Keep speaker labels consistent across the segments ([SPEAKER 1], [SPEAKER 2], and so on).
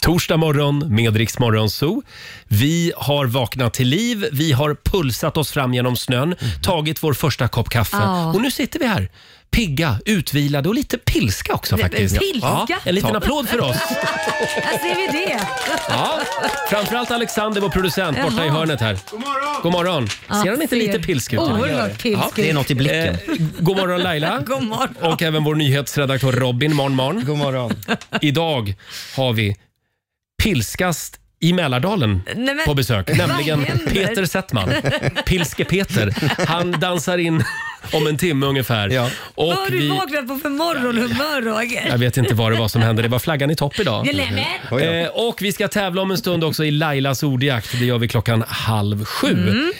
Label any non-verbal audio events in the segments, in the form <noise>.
[SPEAKER 1] Torsdag morgon med Riksmorgonzoo. Vi har vaknat till liv, vi har pulsat oss fram genom snön, tagit vår första kopp kaffe
[SPEAKER 2] Mhm. Ja.
[SPEAKER 1] och nu sitter vi här. Pigga, utvilade och lite pilska också
[SPEAKER 2] Nej,
[SPEAKER 1] faktiskt.
[SPEAKER 2] pilska?
[SPEAKER 1] Ja, en liten
[SPEAKER 2] Ta-
[SPEAKER 1] applåd för
[SPEAKER 2] <laughs>
[SPEAKER 1] oss.
[SPEAKER 2] Här ser vi det.
[SPEAKER 1] Ja, framförallt Alexander, vår producent, borta i
[SPEAKER 2] Jaha.
[SPEAKER 1] hörnet här. God morgon! God morgon.
[SPEAKER 2] Ja,
[SPEAKER 1] Ser han inte
[SPEAKER 2] ser.
[SPEAKER 1] lite pilsk ut?
[SPEAKER 2] Oerhört pilsk ut. Det är något
[SPEAKER 3] i blicken.
[SPEAKER 1] Eh, god morgon Laila.
[SPEAKER 2] <laughs> God morgon.
[SPEAKER 1] Och även vår nyhetsredaktör Robin, morgon, morgon.
[SPEAKER 3] God morgon.
[SPEAKER 1] <laughs> Idag har vi pilskast i Mälardalen
[SPEAKER 2] Nej, men-
[SPEAKER 1] på besök.
[SPEAKER 2] Vad
[SPEAKER 1] Nämligen
[SPEAKER 2] händer?
[SPEAKER 1] Peter Settman. Pilske-Peter. Han
[SPEAKER 2] <laughs>
[SPEAKER 1] dansar in om en timme ungefär.
[SPEAKER 3] Ja.
[SPEAKER 1] Och
[SPEAKER 2] Vad har du
[SPEAKER 1] vi,
[SPEAKER 2] vaknat på för morgonhumör
[SPEAKER 1] jag
[SPEAKER 2] Roger?
[SPEAKER 1] vet inte vad det var som hände. Det var flaggan i topp idag.
[SPEAKER 2] Nej, men.
[SPEAKER 3] Oj då.
[SPEAKER 1] Eh, och vi ska tävla om en stund också i Lailas ordjakt. Det gör vi klockan halv sju.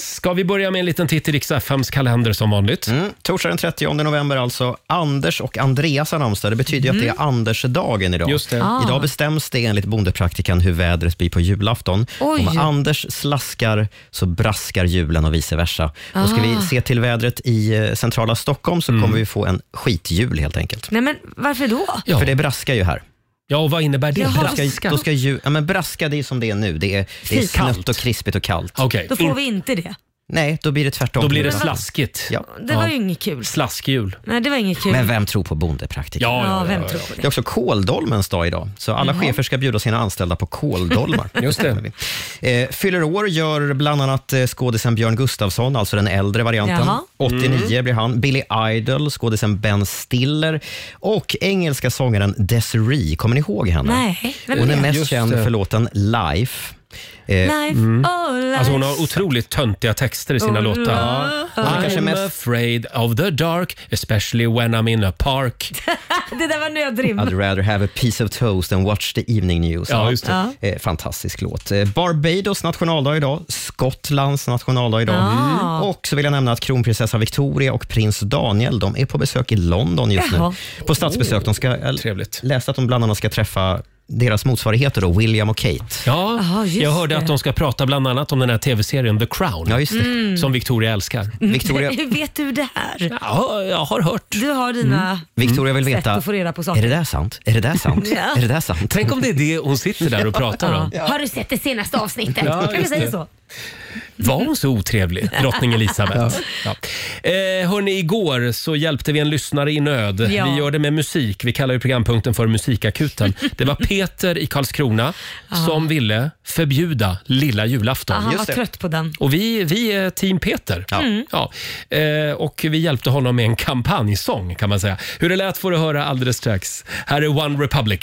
[SPEAKER 1] Ska vi börja med en liten titt i Rix FMs kalender som vanligt?
[SPEAKER 3] Mm. Torsdag den 30 november alltså. Anders och Andreas har namnsdag. Det betyder ju att det är Andersdagen idag.
[SPEAKER 1] Mm. Just det.
[SPEAKER 2] Ah.
[SPEAKER 3] Idag bestäms det enligt bondepraktikan hur vädret blir på julafton.
[SPEAKER 2] Oj.
[SPEAKER 3] Om Anders slaskar så braskar julen och vice versa. Och ska
[SPEAKER 1] Ah.
[SPEAKER 3] vi se till vädret i eh, centrala Stockholm så kommer vi få en skitjul helt enkelt.
[SPEAKER 2] Nej men varför då?
[SPEAKER 1] Mm. Ja.
[SPEAKER 3] För det braskar ju här.
[SPEAKER 1] Ja, och vad innebär det?
[SPEAKER 2] Jaha.
[SPEAKER 1] Bra.
[SPEAKER 3] Ska,
[SPEAKER 2] Braska.
[SPEAKER 3] Då ska ju, ja, men braska det är som det är nu. Det är, det är
[SPEAKER 2] Fy.
[SPEAKER 3] snött och krispigt och kallt.
[SPEAKER 1] Okej,
[SPEAKER 2] Då får vi inte det.
[SPEAKER 3] Nej, då blir det tvärtom.
[SPEAKER 1] då blir det
[SPEAKER 2] Men-
[SPEAKER 1] slaskigt.
[SPEAKER 3] Ja.
[SPEAKER 2] Det var ju inget kul.
[SPEAKER 1] Slaskjul.
[SPEAKER 2] Nej det var inget kul.
[SPEAKER 3] Men vem tror på bondepraktikan?
[SPEAKER 1] Ja,
[SPEAKER 2] ja,
[SPEAKER 1] ja,
[SPEAKER 2] vem
[SPEAKER 1] ja,
[SPEAKER 2] tror på
[SPEAKER 3] Det är
[SPEAKER 2] det?
[SPEAKER 3] också kåldolmens dag idag, så alla chefer ska bjuda sina anställda på kåldolmar.
[SPEAKER 1] <laughs> Just det.
[SPEAKER 3] Eh, Fyller år gör bland annat eh, skådisen Björn Gustafsson, alltså den äldre varianten.
[SPEAKER 2] Jaha.
[SPEAKER 3] 89
[SPEAKER 1] Mm.
[SPEAKER 3] blir han. Billy Idol, skådisen Ben Stiller och engelska sångaren Desiree. Kommer ni ihåg henne?
[SPEAKER 2] Nej, vem är
[SPEAKER 3] Hon är
[SPEAKER 2] det?
[SPEAKER 3] mest
[SPEAKER 1] Just
[SPEAKER 3] känd
[SPEAKER 1] det.
[SPEAKER 3] för låten Life. Eh,
[SPEAKER 2] Life, oh life.
[SPEAKER 1] Alltså hon har otroligt töntiga texter i sina
[SPEAKER 2] Oh,
[SPEAKER 1] låtar.
[SPEAKER 2] ja.
[SPEAKER 3] Hon är kanske
[SPEAKER 1] I'm
[SPEAKER 3] mest-
[SPEAKER 1] afraid of the dark, especially when I'm in a park.
[SPEAKER 2] <laughs> Det där var nödrim.
[SPEAKER 3] I'd rather have a piece of toast and watch the evening news.
[SPEAKER 1] Ja, just det.
[SPEAKER 3] Eh, fantastisk låt. Eh, Barbados nationaldag idag, Skottlands nationaldag idag. Mm.
[SPEAKER 2] Ja.
[SPEAKER 3] Och så vill jag nämna att kronprinsessa Victoria och prins Daniel de är på besök i London just
[SPEAKER 2] Jaha.
[SPEAKER 3] nu. På statsbesök. De ska, jag
[SPEAKER 1] Trevligt.
[SPEAKER 3] läste att de bland annat ska träffa deras motsvarigheter, då, William och Kate.
[SPEAKER 1] Ja,
[SPEAKER 2] Jaha, just
[SPEAKER 1] jag hörde
[SPEAKER 2] det.
[SPEAKER 1] att de ska prata bland annat om den här tv-serien The Crown,
[SPEAKER 3] Ja, just det.
[SPEAKER 1] som Victoria älskar.
[SPEAKER 3] Victoria,
[SPEAKER 2] Hur vet du det här?
[SPEAKER 1] <laughs> Ja, Mm. jag har hört.
[SPEAKER 2] Du har dina...
[SPEAKER 3] Mm. Victoria vill
[SPEAKER 2] Sätt
[SPEAKER 3] veta,
[SPEAKER 2] att få reda på
[SPEAKER 3] är
[SPEAKER 2] saker.
[SPEAKER 3] det där sant? Är det där sant?
[SPEAKER 2] <laughs> Ja.
[SPEAKER 3] Är det där sant?
[SPEAKER 1] Tänk om det är det hon sitter där
[SPEAKER 2] <laughs>
[SPEAKER 1] och pratar om.
[SPEAKER 2] Har du sett det senaste avsnittet?
[SPEAKER 1] Ja,
[SPEAKER 2] kan vi
[SPEAKER 1] just
[SPEAKER 2] säga
[SPEAKER 1] det.
[SPEAKER 2] så?
[SPEAKER 1] Var hon så otrevlig,
[SPEAKER 2] <laughs>
[SPEAKER 1] drottning Elisabeth? Ja. Eh, hörni, igår så hjälpte vi en lyssnare i nöd.
[SPEAKER 2] Ja.
[SPEAKER 1] Vi gör det med musik. Vi kallar ju programpunkten för Musikakuten.
[SPEAKER 2] <laughs>
[SPEAKER 1] Det var Peter i Karlskrona som ville förbjuda lilla julafton.
[SPEAKER 2] Ah, han
[SPEAKER 3] Just
[SPEAKER 2] var
[SPEAKER 3] det.
[SPEAKER 2] trött Mm. på den.
[SPEAKER 1] Och vi, vi är team Peter. Ja. Eh, och vi hjälpte honom med en kampanjsång kan man säga. Hur det lät får du höra alldeles strax. Här är One Republic.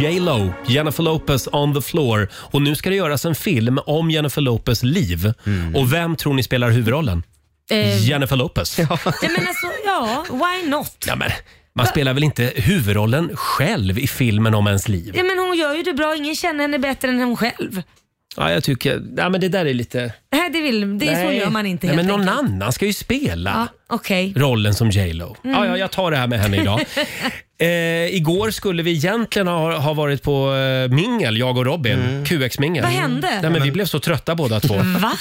[SPEAKER 1] J Lo, Jennifer Lopez on the floor. Och nu ska det göras en film om Jennifer Lopez liv. Och vem tror ni spelar huvudrollen?
[SPEAKER 2] Eh,
[SPEAKER 1] Jennifer Lopez. Ja.
[SPEAKER 2] Nej, men alltså, ja, why not?
[SPEAKER 1] men, man spelar väl inte huvudrollen själv i filmen om ens liv?
[SPEAKER 2] Ja, men hon gör ju det bra, ingen känner henne bättre än hon själv.
[SPEAKER 1] Ja, jag tycker... Nej, men det där är lite...
[SPEAKER 2] Nej, det, vill, det är så gör man inte
[SPEAKER 1] Nej,
[SPEAKER 2] helt
[SPEAKER 1] men någon
[SPEAKER 2] enkelt.
[SPEAKER 1] annan ska ju spela
[SPEAKER 2] Ja, Mm. Okej.
[SPEAKER 1] rollen som J Lo. Ja, ja, jag tar det här med henne
[SPEAKER 2] <laughs>
[SPEAKER 1] idag. eh, igår skulle vi egentligen ha, ha varit på eh, mingel, jag och Robin. QX-mingel.
[SPEAKER 2] Vad hände? Mm.
[SPEAKER 1] Nej, men vi blev så trötta båda två.
[SPEAKER 2] <laughs> Va?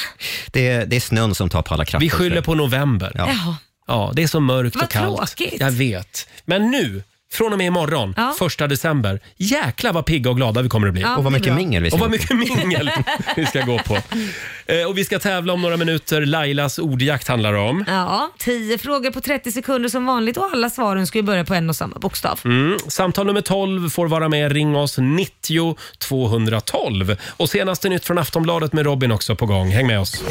[SPEAKER 3] Det, är- det är snön som tar på alla krafter.
[SPEAKER 1] Vi skyller på november. Ja.
[SPEAKER 2] Jaha.
[SPEAKER 1] det är så mörkt
[SPEAKER 2] Vad
[SPEAKER 1] och kallt.
[SPEAKER 2] tråkigt.
[SPEAKER 1] Jag vet. Men nu, från och med imorgon,
[SPEAKER 2] Ja.
[SPEAKER 1] första december. Jäklar vad pigga och glada vi kommer att bli.
[SPEAKER 2] Ja,
[SPEAKER 3] Och vad
[SPEAKER 2] det är
[SPEAKER 3] mycket
[SPEAKER 2] bra.
[SPEAKER 3] mingel vi
[SPEAKER 1] Och
[SPEAKER 3] ser.
[SPEAKER 1] vad mycket mingel vi ska gå
[SPEAKER 2] <laughs>
[SPEAKER 1] på. Eh, och vi ska tävla om några minuter. Lailas ordjakt handlar det om.
[SPEAKER 2] Ja, 10 frågor på 30 sekunder som vanligt och alla svaren ska ju börja på en och samma bokstav.
[SPEAKER 1] Mm. Samtal nummer 12 får vara med. Ring oss 90 212. Och senaste nytt från Aftonbladet med Robin också på gång. Häng med oss.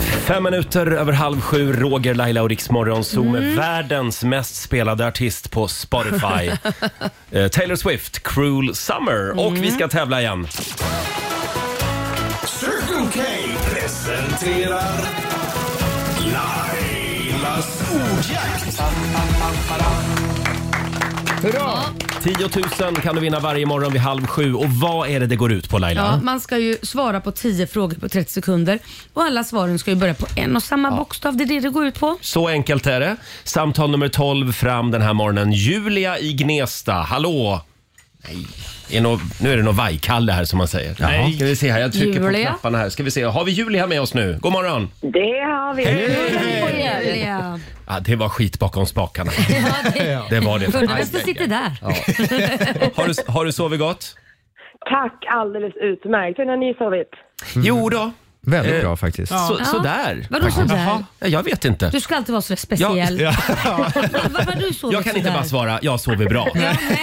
[SPEAKER 1] Fem minuter över halv sju, Roger, Laila och Riksmorgon Zoom med världens mest spelade artist på Spotify. Eh, Taylor Swift, Cruel Summer. Och vi ska tävla igen.
[SPEAKER 4] Circle K presenterar Lailas ordjakt.
[SPEAKER 1] Hurra! 10 000 kan du vinna varje morgon vid halv sju. Och vad är det det går ut på Laila?
[SPEAKER 2] Ja, man ska ju svara på 10 frågor på 30 sekunder och alla svaren ska ju börja på en och samma bokstav. Det är det det går ut på.
[SPEAKER 1] Så enkelt är det. Samtal nummer 12 fram den här morgonen. Julia i Gnesta. Hallå! Nej. Är nå- nu är det nog vajkalle här som man säger. Nej. Ska vi se här, jag trycker på
[SPEAKER 2] Julia.
[SPEAKER 1] knapparna här. Ska vi se, har vi Julia med oss nu? God morgon!
[SPEAKER 5] Det har vi.
[SPEAKER 2] Ja,
[SPEAKER 1] Ja, det var skit
[SPEAKER 2] <laughs>
[SPEAKER 1] bakom spakarna. Det var det.
[SPEAKER 2] Undrar vem som sitter där.
[SPEAKER 1] Har du, har du sovit gott?
[SPEAKER 5] Tack, alldeles utmärkt. Hur har ni sovit?
[SPEAKER 1] Jo då.
[SPEAKER 3] Mm. Väldigt
[SPEAKER 1] Eh,
[SPEAKER 3] bra faktiskt.
[SPEAKER 1] Så,
[SPEAKER 2] Ja.
[SPEAKER 1] Sådär.
[SPEAKER 2] Vadå sådär?
[SPEAKER 1] Jaha, jag vet inte.
[SPEAKER 2] Du ska alltid vara så där speciell. <laughs>
[SPEAKER 1] Ja.
[SPEAKER 2] Varför har du sovit
[SPEAKER 1] Jag kan inte
[SPEAKER 2] sådär?
[SPEAKER 1] bara svara jag sover
[SPEAKER 2] <laughs>
[SPEAKER 1] bra.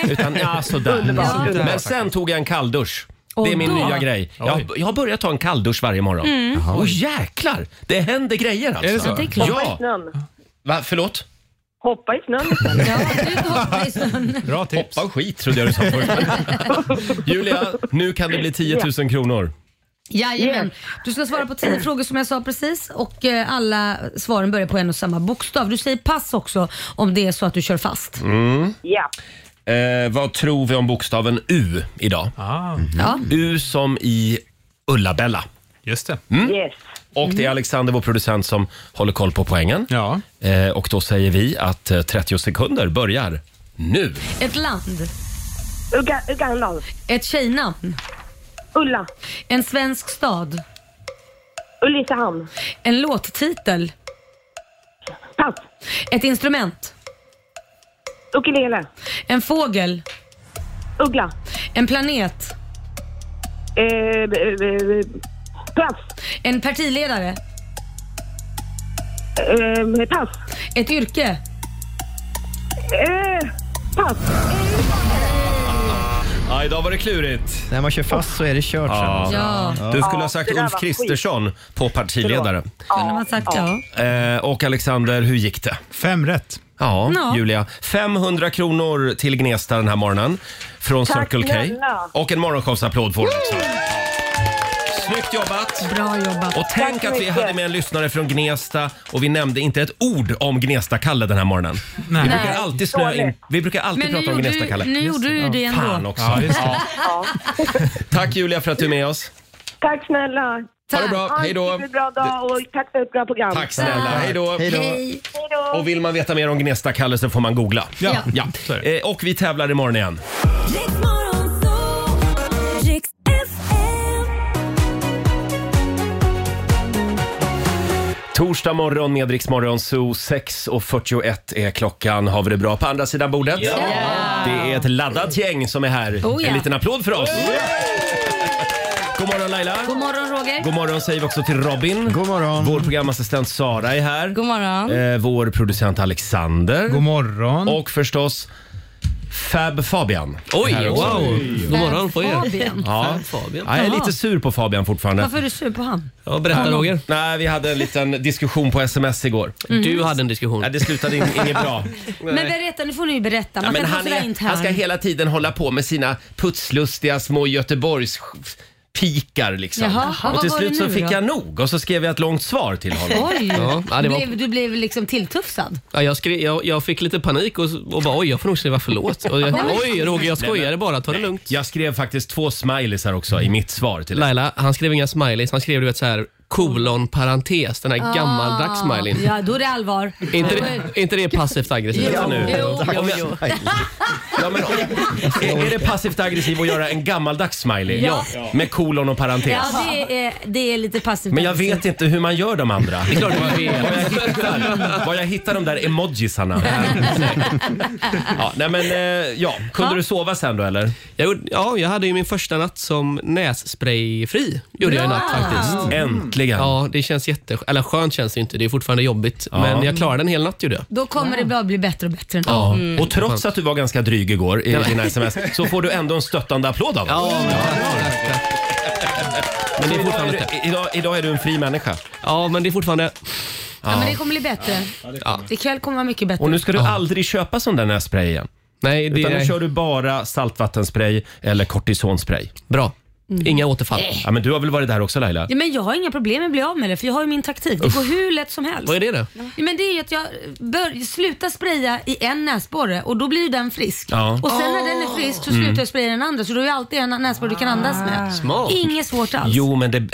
[SPEAKER 1] Utan ja, sådär.
[SPEAKER 5] Ja.
[SPEAKER 1] Men sen tog jag en kalldusch. Det är
[SPEAKER 2] Och
[SPEAKER 1] min
[SPEAKER 2] då?
[SPEAKER 1] nya grej. Jag, jag har börjat ta en kalldusch varje morgon.
[SPEAKER 2] Mm.
[SPEAKER 1] Åh jäklar! Det händer grejer alltså.
[SPEAKER 6] Är det så?
[SPEAKER 2] Ja, det är klart.
[SPEAKER 1] Ja.
[SPEAKER 5] Snön.
[SPEAKER 1] Va, förlåt?
[SPEAKER 5] Hoppa i snön istället.
[SPEAKER 2] Ja, du hoppar i snön.
[SPEAKER 6] Bra tips.
[SPEAKER 1] Hoppa och skit trodde jag du sa först.
[SPEAKER 6] <laughs>
[SPEAKER 1] Julia, nu kan det bli 10 000 kronor.
[SPEAKER 2] Jajamän. Du ska svara på 10 <clears throat> frågor som jag sa precis och eh, alla svaren börjar på en och samma bokstav. Du säger pass också om det är så att du kör fast.
[SPEAKER 1] Mm.
[SPEAKER 5] Ja.
[SPEAKER 1] Eh, vad tror vi om bokstaven U idag?
[SPEAKER 6] Ah,
[SPEAKER 2] Ja.
[SPEAKER 1] U som i Ulla-Bella. Mm?
[SPEAKER 6] just det.
[SPEAKER 5] Yes. Mm.
[SPEAKER 1] Och det är Alexander, vår producent, som håller koll på poängen.
[SPEAKER 6] Ja.
[SPEAKER 1] Eh, och då säger vi att eh, 30 sekunder börjar nu.
[SPEAKER 2] Ett land,
[SPEAKER 5] Uga, Uganda.
[SPEAKER 2] ett tjejnamn,
[SPEAKER 5] Ulla.
[SPEAKER 2] en svensk stad,
[SPEAKER 5] Ulricehamn.
[SPEAKER 2] en låttitel,
[SPEAKER 5] Pass.
[SPEAKER 2] ett instrument,
[SPEAKER 5] Ukulele.
[SPEAKER 2] en fågel,
[SPEAKER 5] Uggla.
[SPEAKER 2] en planet,
[SPEAKER 5] Eh, b- b- b- pass.
[SPEAKER 2] en partiledare,
[SPEAKER 5] Eh, pass.
[SPEAKER 2] ett yrke.
[SPEAKER 5] Eh, pass.
[SPEAKER 1] Ja, idag var det klurigt.
[SPEAKER 3] När man kör fast så är det kört sen.
[SPEAKER 2] Ja,
[SPEAKER 1] Du skulle ha sagt
[SPEAKER 5] det där
[SPEAKER 1] Ulf
[SPEAKER 5] var skit.
[SPEAKER 1] Kristersson på partiledare.
[SPEAKER 2] kunde man sagt ja.
[SPEAKER 1] Eh, och Alexander, hur gick det?
[SPEAKER 6] Fem rätt.
[SPEAKER 1] Ja,
[SPEAKER 2] Ja.
[SPEAKER 1] Julia. 500 kronor till Gnesta den här morgonen från
[SPEAKER 5] Tack
[SPEAKER 1] Circle K.
[SPEAKER 5] snälla.
[SPEAKER 1] Och en morgonshowsapplåd får du också. Snyggt jobbat!
[SPEAKER 2] Bra jobbat.
[SPEAKER 1] Och tänk
[SPEAKER 5] så
[SPEAKER 1] att vi
[SPEAKER 5] mycket.
[SPEAKER 1] hade med en lyssnare från Gnesta och vi nämnde inte ett ord om Gnesta-Kalle den här morgonen. Vi brukar alltid snöa in.
[SPEAKER 5] Dåligt.
[SPEAKER 1] Vi brukar alltid
[SPEAKER 2] Men nu
[SPEAKER 1] prata om
[SPEAKER 2] gjorde, du,
[SPEAKER 1] Gnesta-Kalle.
[SPEAKER 2] nu gjorde du ju det
[SPEAKER 1] Fan
[SPEAKER 2] ändå.
[SPEAKER 1] också.
[SPEAKER 6] Ja, just det.
[SPEAKER 1] Tack Julia för att du är med oss.
[SPEAKER 5] Tack snälla.
[SPEAKER 1] Ha det bra.
[SPEAKER 5] Ha
[SPEAKER 1] Hej då.
[SPEAKER 5] en bra dag och tack för ett bra program.
[SPEAKER 1] Tack snälla. Hej då.
[SPEAKER 3] Hej då.
[SPEAKER 5] Hej då.
[SPEAKER 1] Och vill man veta mer om Gnesta-Kalle så får man googla.
[SPEAKER 6] Ja.
[SPEAKER 1] ja.
[SPEAKER 6] Så är det.
[SPEAKER 1] Eh, Och vi tävlar imorgon igen. Torsdag morgon med Rix Morgon Zoo. 6.41 är klockan. Har vi det bra på andra sidan bordet? Det är ett laddat gäng som är här.
[SPEAKER 2] Oh, ja.
[SPEAKER 1] En liten applåd för oss. God morgon Laila.
[SPEAKER 2] God morgon Roger.
[SPEAKER 1] God morgon säger vi också till Robin.
[SPEAKER 3] God morgon.
[SPEAKER 1] Vår programassistent Sara är här.
[SPEAKER 7] God morgon.
[SPEAKER 1] Eh, vår producent Alexander.
[SPEAKER 6] God morgon.
[SPEAKER 1] Och förstås Fab Fabian.
[SPEAKER 8] Oj, wow. God morgon på er.
[SPEAKER 2] Fabian.
[SPEAKER 1] Ja.
[SPEAKER 8] Fan, Fabian.
[SPEAKER 1] Ja, jag är
[SPEAKER 2] Jaha.
[SPEAKER 1] lite sur på Fabian fortfarande.
[SPEAKER 2] Varför är du sur på han?
[SPEAKER 8] Ja, berätta Roger.
[SPEAKER 1] Nej, vi hade en liten diskussion på sms igår.
[SPEAKER 8] Du hade en diskussion.
[SPEAKER 1] Nej, det slutade in, inget bra.
[SPEAKER 2] Men berätta, nu får ni ju berätta. Man
[SPEAKER 1] Ja, men
[SPEAKER 2] kan
[SPEAKER 1] han,
[SPEAKER 2] inte vara
[SPEAKER 1] är,
[SPEAKER 2] intern.
[SPEAKER 1] han ska hela tiden hålla på med sina putslustiga små Göteborgs pikar liksom.
[SPEAKER 2] Jaha,
[SPEAKER 1] och
[SPEAKER 2] vad
[SPEAKER 1] till
[SPEAKER 2] var
[SPEAKER 1] slut
[SPEAKER 2] det
[SPEAKER 1] så
[SPEAKER 2] nu
[SPEAKER 1] fick
[SPEAKER 2] då?
[SPEAKER 1] jag nog och så skrev jag ett långt svar till honom.
[SPEAKER 2] Oj,
[SPEAKER 8] Ja, ja,
[SPEAKER 2] du,
[SPEAKER 8] det var-
[SPEAKER 2] blev, du blev liksom tilltufsad.
[SPEAKER 8] Ja, jag, skrev, jag, jag fick lite panik och, och bara oj, jag får nog skriva förlåt. Och jag, oj Roger, jag skojade bara. Ta det lugnt.
[SPEAKER 1] Jag skrev faktiskt två smileysar också i mitt svar till dig.
[SPEAKER 8] Laila, han skrev inga smileys. Han skrev du vet så här kolon parentes, den här gammaldags smileyn.
[SPEAKER 2] Ah, Ja, då är det allvar.
[SPEAKER 8] Är Inte det, är inte det
[SPEAKER 2] <laughs>
[SPEAKER 8] passivt aggressivt?
[SPEAKER 1] Vänta nu.
[SPEAKER 2] Jo,
[SPEAKER 1] Om jag- Ja, men, är, är det passivt aggressivt att göra en gammaldags smiley?
[SPEAKER 2] Ja.
[SPEAKER 1] Med kolon och parentes.
[SPEAKER 2] Ja, det är, det är lite passivt.
[SPEAKER 1] Men jag vet inte hur man gör de andra.
[SPEAKER 8] Det är klart det var
[SPEAKER 1] Var
[SPEAKER 8] fel.
[SPEAKER 1] jag hittar, var jag hittar de där emojisarna. Ja, nej men, eh, ja. Kunde
[SPEAKER 2] Ja.
[SPEAKER 1] du sova sen då eller?
[SPEAKER 8] Jag, gjorde- ja, jag hade ju min första natt som nässprayfri. Gjorde jag i natt faktiskt.
[SPEAKER 1] Mm. Äntligen.
[SPEAKER 8] Ja, det känns jätte... Eller skönt känns det inte. Det är fortfarande jobbigt. Men jag klarade en hel natt gjorde jag.
[SPEAKER 2] Då kommer det bara bli bättre och bättre. Mm. ändå.
[SPEAKER 1] Ja. Och trots att du var ganska dryg igår i dina sms så får du ändå en stöttande applåd av oss.
[SPEAKER 8] tack, tack. Men det är
[SPEAKER 1] Idag är,
[SPEAKER 8] fortfarande
[SPEAKER 1] du, idag, idag är du en fri människa.
[SPEAKER 8] Ja, men det är fortfarande...
[SPEAKER 2] Ja, men det kommer bli bättre. Ikväll kommer vara mycket bättre.
[SPEAKER 1] Och nu ska du aldrig köpa sån där nässpray igen.
[SPEAKER 8] Nej, det
[SPEAKER 1] Utan nu
[SPEAKER 8] är
[SPEAKER 1] kör du bara saltvattenspray eller kortisonspray.
[SPEAKER 8] bra. Inga återfall.
[SPEAKER 1] Ja, men du har väl varit där också Laila?
[SPEAKER 2] Mm. Eh. Ja, men jag har inga problem med att bli av med det för jag har ju min taktik. Det går hur lätt som helst.
[SPEAKER 8] Vad är det då?
[SPEAKER 2] Ja, men det är ju att jag bör, slutar spraya i en näsborre och då blir ju den frisk.
[SPEAKER 1] Ja.
[SPEAKER 2] Och sen när den är frisk så slutar jag spraya den andra så då är det alltid en näsborre du kan andas med.
[SPEAKER 8] Smart.
[SPEAKER 2] Inget svårt alls.
[SPEAKER 1] Jo, men det,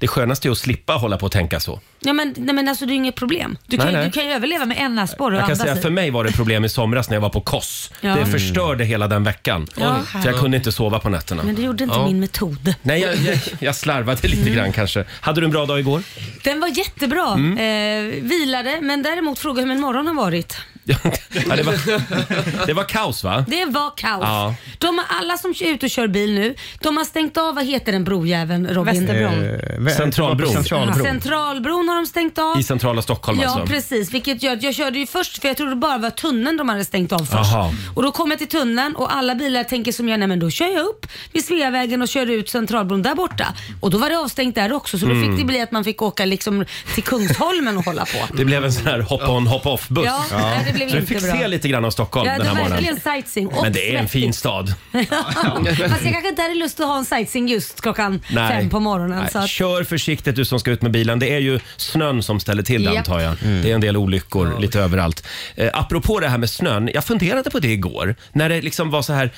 [SPEAKER 1] det skönaste är att slippa hålla på och tänka så.
[SPEAKER 2] Ja, men, nej, men alltså det är ju inget problem. Du
[SPEAKER 1] Nej,
[SPEAKER 2] kan, ju-
[SPEAKER 1] nej.
[SPEAKER 2] du kan ju överleva med en näsborre och
[SPEAKER 1] Jag kan
[SPEAKER 2] andas
[SPEAKER 1] säga,
[SPEAKER 2] i.
[SPEAKER 1] för mig var det problem i somras när jag var på KOS.
[SPEAKER 2] Ja. Mm.
[SPEAKER 1] Det förstörde hela den veckan.
[SPEAKER 2] Ja.
[SPEAKER 1] Så jag kunde inte sova på nätterna.
[SPEAKER 2] Men det gjorde inte min Mm. metod.
[SPEAKER 1] Nej, jag, jag, jag slarvade lite grann kanske. Hade du en bra dag
[SPEAKER 2] <laughs>
[SPEAKER 1] igår?
[SPEAKER 2] Den var jättebra.
[SPEAKER 1] Mm.
[SPEAKER 2] Eh, vilade, men däremot fråga hur min morgon har varit.
[SPEAKER 1] Ja, det, var, det var kaos va?
[SPEAKER 2] Det var kaos.
[SPEAKER 1] Ah. Ja.
[SPEAKER 2] De har alla som är ute och kör bil nu, de har stängt av, vad heter den brojäveln Robin?
[SPEAKER 7] Västerbron.
[SPEAKER 3] Eh,
[SPEAKER 1] Centralbron.
[SPEAKER 3] Centralbron.
[SPEAKER 2] Centralbron har de stängt av.
[SPEAKER 1] I centrala Stockholm
[SPEAKER 2] Ja
[SPEAKER 1] alltså.
[SPEAKER 2] precis, vilket gör att jag körde ju först för jag trodde det bara var tunneln de hade stängt av först.
[SPEAKER 1] Aha.
[SPEAKER 2] Och då kom jag till tunneln och alla bilar tänker som jag, nej men då kör jag upp vid Sveavägen och kör ut Centralbron där borta. Och då var det avstängt där också så då
[SPEAKER 1] Mm.
[SPEAKER 2] fick det bli att man fick åka liksom till Kungsholmen och hålla på.
[SPEAKER 1] Det blev en sån här hop-on hop-off-buss.
[SPEAKER 2] Ja, nej, det blev
[SPEAKER 1] Så du
[SPEAKER 2] inte
[SPEAKER 1] fick
[SPEAKER 2] bra.
[SPEAKER 1] se lite grann av Stockholm
[SPEAKER 2] Ja, det
[SPEAKER 1] den här
[SPEAKER 2] var
[SPEAKER 1] morgonen.
[SPEAKER 2] verkligen sightseeing. och
[SPEAKER 1] Men
[SPEAKER 2] <laughs>
[SPEAKER 1] det är en fin
[SPEAKER 2] svettigt.
[SPEAKER 1] stad.
[SPEAKER 2] Fast jag kanske inte hade lust att ha en sightseeing just klockan
[SPEAKER 1] Nej.
[SPEAKER 2] fem på morgonen.
[SPEAKER 1] Nej,
[SPEAKER 2] Så att,
[SPEAKER 1] Kör försiktigt du som ska ut med bilen. Det är ju snön som ställer till det
[SPEAKER 2] Japp.
[SPEAKER 1] antar jag.
[SPEAKER 3] Mm.
[SPEAKER 1] Det är en del olyckor lite överallt. Eh, apropå det här med snön. Jag funderade på det igår. När det liksom var så här.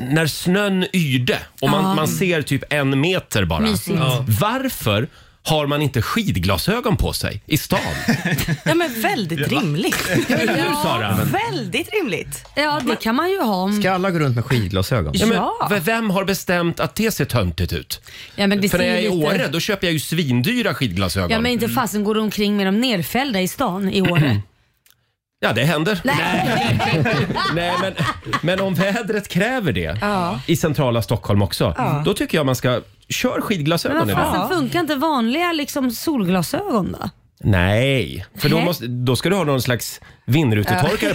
[SPEAKER 1] När snön yrde och man, man ser typ en meter bara.
[SPEAKER 2] Mysigt.
[SPEAKER 1] Ja. Varför har man inte skidglasögon på sig i stan?
[SPEAKER 7] Ja, men väldigt
[SPEAKER 1] <laughs>
[SPEAKER 7] rimligt.
[SPEAKER 1] Du Sara?
[SPEAKER 7] Väldigt rimligt.
[SPEAKER 2] ja, det kan man ju ha om...
[SPEAKER 3] Ska alla gå runt med skidglasögon?
[SPEAKER 1] Ja, men,
[SPEAKER 7] Ja.
[SPEAKER 1] v- Vem har bestämt att det ser töntigt ut?
[SPEAKER 2] Ja, men det
[SPEAKER 1] För när
[SPEAKER 2] ser
[SPEAKER 1] jag är i
[SPEAKER 2] ju lite-
[SPEAKER 1] Åre då köper jag ju svindyra skidglasögon.
[SPEAKER 2] Ja men inte fasen går du omkring med dem nerfällda i stan i
[SPEAKER 1] Mm.
[SPEAKER 2] Åre.
[SPEAKER 1] Ja, det händer. Nej,
[SPEAKER 2] <laughs>
[SPEAKER 1] Nej men, men om vädret kräver det i centrala Stockholm också, då tycker jag man ska köra skidglasögon
[SPEAKER 2] Men vad
[SPEAKER 1] idag.
[SPEAKER 2] fasen funkar inte vanliga liksom, solglasögon då?
[SPEAKER 1] Nej, för då,
[SPEAKER 2] Nej.
[SPEAKER 1] måste, då ska du ha någon slags vindrutetorkare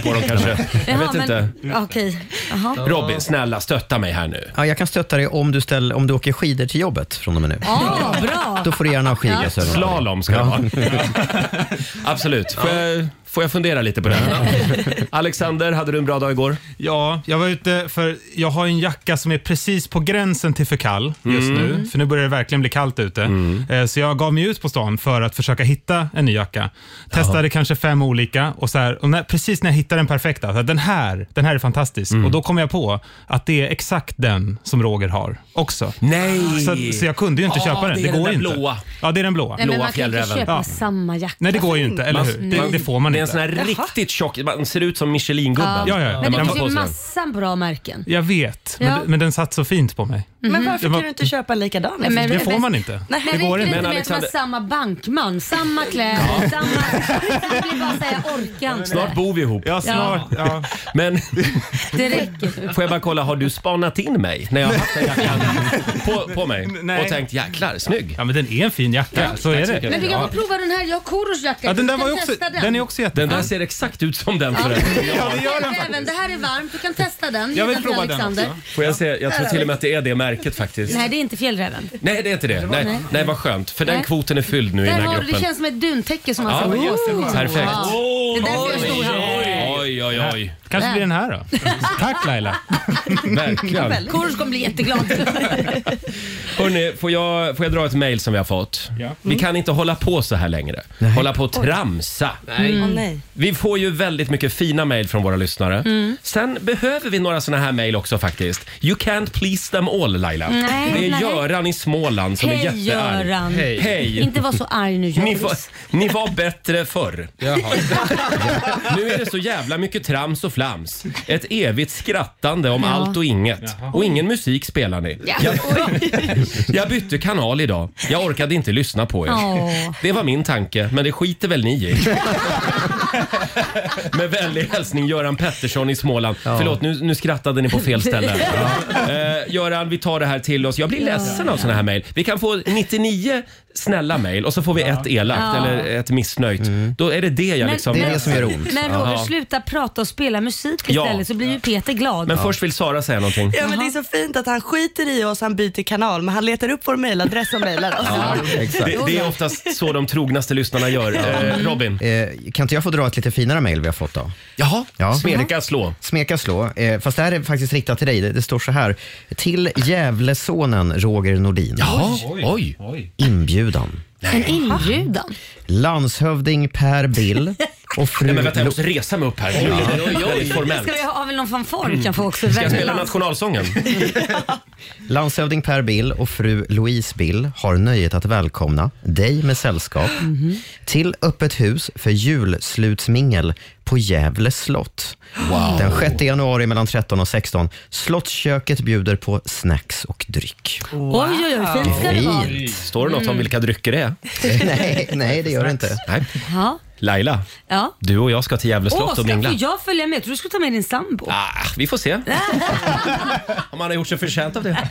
[SPEAKER 2] <laughs>
[SPEAKER 1] på dem kanske. Jag
[SPEAKER 2] Jaha,
[SPEAKER 1] vet inte.
[SPEAKER 2] Men, okej. Jaha.
[SPEAKER 1] Robin, snälla stötta mig här nu.
[SPEAKER 3] Ja, jag kan stötta dig om du, ställ, om du åker skidor till jobbet från och med nu.
[SPEAKER 2] Ja,
[SPEAKER 6] <laughs>
[SPEAKER 2] bra.
[SPEAKER 3] Då får du gärna ha skidglasögon.
[SPEAKER 1] Slalom ska det vara.
[SPEAKER 3] <laughs>
[SPEAKER 1] Absolut. Får jag, får jag fundera lite på det? <laughs> Alexander, hade du en bra dag igår?
[SPEAKER 6] Ja, jag var ute för jag har en jacka som är precis på gränsen till för kall just
[SPEAKER 1] Mm.
[SPEAKER 6] nu, för nu börjar det verkligen bli kallt ute. Eh, Så jag gav mig ut på stan för att försöka hitta en ny jacka. Testade kanske fem olika och, så här, och när, precis när jag hittade den perfekta, så här, den här, den här är fantastisk.
[SPEAKER 1] Mm.
[SPEAKER 6] Och då kom jag på att det är exakt den som Roger har också.
[SPEAKER 1] Nej!
[SPEAKER 6] Så, att- så jag kunde ju inte
[SPEAKER 1] Ja,
[SPEAKER 6] köpa den.
[SPEAKER 1] det är
[SPEAKER 6] Det,
[SPEAKER 1] den
[SPEAKER 6] går
[SPEAKER 1] där
[SPEAKER 6] ju inte.
[SPEAKER 1] blåa.
[SPEAKER 6] Ja, det är den blåa.
[SPEAKER 2] Nej, men man kan ju inte
[SPEAKER 1] fjällräven.
[SPEAKER 2] köpa
[SPEAKER 6] Ja.
[SPEAKER 2] samma jacka.
[SPEAKER 6] Nej, det går ju inte, eller hur? Det, det får man
[SPEAKER 1] Det är en sån
[SPEAKER 6] inte.
[SPEAKER 1] här riktigt tjock, man ser ut som Michelin-gubben.
[SPEAKER 6] Ja, ja, ja.
[SPEAKER 2] Men
[SPEAKER 1] När
[SPEAKER 2] det
[SPEAKER 1] man
[SPEAKER 2] finns
[SPEAKER 1] tar på
[SPEAKER 2] ju
[SPEAKER 1] sig den.
[SPEAKER 2] massa bra märken. Mhm.
[SPEAKER 6] Jag vet, men,
[SPEAKER 2] Ja.
[SPEAKER 6] men den satt så fint på mig. Mm-hmm.
[SPEAKER 7] Men varför
[SPEAKER 6] var-
[SPEAKER 7] kan du inte köpa en likadan?
[SPEAKER 2] Nej, men-
[SPEAKER 6] Det får man inte.
[SPEAKER 7] Nej,
[SPEAKER 2] Men
[SPEAKER 6] det går
[SPEAKER 2] räcker
[SPEAKER 6] inte.
[SPEAKER 2] inte med
[SPEAKER 1] Alexander-
[SPEAKER 2] att man har samma bankman, samma kläder,
[SPEAKER 6] <laughs>
[SPEAKER 2] samma... Jag vill bara säga jag orkar inte.
[SPEAKER 1] Snart bor vi ihop.
[SPEAKER 6] Ja, snart. Ja.
[SPEAKER 1] <laughs> Men
[SPEAKER 2] <laughs> Det räcker.
[SPEAKER 1] får jag bara kolla, har du spanat in mig när jag har haft den
[SPEAKER 6] <laughs>
[SPEAKER 1] jackan på, på mig?
[SPEAKER 6] Nej.
[SPEAKER 1] Och tänkt jäklar, snygg.
[SPEAKER 6] ja, men den är en fin jacka. så är det.
[SPEAKER 2] Men du kan få prova den här. Jag har Korosh jacka.
[SPEAKER 6] Ja, den där
[SPEAKER 2] Du
[SPEAKER 6] var
[SPEAKER 2] kan
[SPEAKER 6] ju också,
[SPEAKER 2] testa den.
[SPEAKER 6] den är också jättefin.
[SPEAKER 1] Den där ser exakt ut som den för
[SPEAKER 6] Ja, det gör den
[SPEAKER 2] Även, det här är varmt, du kan testa den.
[SPEAKER 6] Jag vill
[SPEAKER 2] Hitta
[SPEAKER 6] prova den
[SPEAKER 2] Alexander.
[SPEAKER 6] också.
[SPEAKER 1] Får jag se, jag tror till och med att det är det märket faktiskt.
[SPEAKER 2] Nej, det är inte fjällräven.
[SPEAKER 1] Nej, det är inte det. Nej, nej vad skönt. För den
[SPEAKER 2] Nej.
[SPEAKER 1] kvoten är fylld nu i
[SPEAKER 2] Där
[SPEAKER 1] den här
[SPEAKER 2] har du, det
[SPEAKER 1] gruppen.
[SPEAKER 2] känns som ett duntäcke som
[SPEAKER 1] Ja,
[SPEAKER 2] han ja,
[SPEAKER 1] jättebra. Perfekt.
[SPEAKER 2] Det är därför jag har stor hand.
[SPEAKER 1] Oj, oj, oj.
[SPEAKER 6] Kanske blir den här
[SPEAKER 2] <laughs>
[SPEAKER 6] då. Tack Laila.
[SPEAKER 1] Verkligen.
[SPEAKER 2] Korosh kommer bli jätteglad.
[SPEAKER 1] Hörrni, får jag, får jag dra ett mejl som vi har fått?
[SPEAKER 6] Ja.
[SPEAKER 1] Vi kan inte hålla på så här längre. Hålla på och tramsa. Mm.
[SPEAKER 7] Åh, nej.
[SPEAKER 1] Vi får ju väldigt mycket fina mejl från våra lyssnare.
[SPEAKER 2] Mm.
[SPEAKER 1] Sen behöver vi några såna här mejl också faktiskt. You can't please them all Laila.
[SPEAKER 2] Nej,
[SPEAKER 1] det är
[SPEAKER 2] nej.
[SPEAKER 1] Göran i Småland som är
[SPEAKER 2] Hej
[SPEAKER 1] jättearg.
[SPEAKER 2] Göran.
[SPEAKER 1] Hej!
[SPEAKER 2] Inte vara så arg nu
[SPEAKER 1] Ni
[SPEAKER 2] Joris.
[SPEAKER 1] var, ni var bättre förr. Nu är det så jävla mycket trams och flams. Ett evigt skrattande om allt och inget. Och ingen musik spelar ni.
[SPEAKER 2] Ja.
[SPEAKER 1] Jag, jag bytte kanal idag. Jag orkade inte lyssna på er.
[SPEAKER 2] Åh.
[SPEAKER 1] Det var min tanke, men det skiter väl ni i.
[SPEAKER 3] <laughs>
[SPEAKER 1] Med vänlig hälsning Göran Pettersson i Småland. Förlåt, nu, nu skrattade ni på fel ställe.
[SPEAKER 3] <laughs>
[SPEAKER 1] Eh, Göran, vi tar det här till oss. Jag blir ledsen av såna här mejl. Vi kan få 99 snälla mejl och så får vi ett elakt
[SPEAKER 2] Ja.
[SPEAKER 1] eller ett missnöjt. Då är det det jag liksom...
[SPEAKER 3] Mm. Det är det som gör ont.
[SPEAKER 2] Men Roger, sluta prata och spela musik
[SPEAKER 1] Ja.
[SPEAKER 2] istället så blir ju Peter glad.
[SPEAKER 1] Men först vill Sara säga någonting.
[SPEAKER 7] Ja, men det är så fint att han skiter i oss, han byter kanal, men han letar upp vår mejladress och mejlar oss.
[SPEAKER 3] Exakt.
[SPEAKER 1] Det, det är oftast så de trognaste lyssnarna gör. Eh, Robin?
[SPEAKER 3] Eh, kan inte jag få dra ett lite finare mejl vi har fått då?
[SPEAKER 1] Jaha,
[SPEAKER 3] Ja.
[SPEAKER 1] smeka, slå.
[SPEAKER 3] Smeka slå. Eh, fast det här är faktiskt riktat till dig. Det, det står så här. Till Gävlesonen Roger Nordin.
[SPEAKER 1] Jaha, oj.
[SPEAKER 3] Inbjudan.
[SPEAKER 2] En inbjudan.
[SPEAKER 3] Landshövding Per
[SPEAKER 2] <laughs>
[SPEAKER 3] Bill och fru...
[SPEAKER 1] Nej, men vänta, jag
[SPEAKER 3] Lo-
[SPEAKER 1] måste resa mig upp här. Nu blir det väldigt formellt.
[SPEAKER 2] Ska vi ha väl någon fanfar kanske också?
[SPEAKER 1] Mm. Ska jag spela
[SPEAKER 2] Värmland.
[SPEAKER 1] nationalsången?
[SPEAKER 3] Landshövding Per Bill och fru Louise Bill har nöjet att välkomna dig med sällskap
[SPEAKER 2] Mhm.
[SPEAKER 3] till öppet hus för julslutsmingel på Gävle slott. Den 6 januari mellan 13 och 16. Slottsköket bjuder på snacks och dryck.
[SPEAKER 2] Oj, oj, oj, fint ska det vara.
[SPEAKER 3] Fint.
[SPEAKER 1] Står det något
[SPEAKER 2] Mm.
[SPEAKER 1] om vilka <laughs> drycker det är?
[SPEAKER 3] nej, nej, det gör det inte.
[SPEAKER 1] Nej.
[SPEAKER 2] Ja.
[SPEAKER 1] Laila,
[SPEAKER 2] Ja.
[SPEAKER 1] du och jag ska till Gävle
[SPEAKER 2] Åh,
[SPEAKER 1] slott och
[SPEAKER 2] ska
[SPEAKER 1] mingla.
[SPEAKER 2] får jag följa med? Jag tror du skulle ta med din sambo.
[SPEAKER 1] Ah, vi
[SPEAKER 2] <laughs>
[SPEAKER 1] får se. Om man har gjort sig förtjänt av det.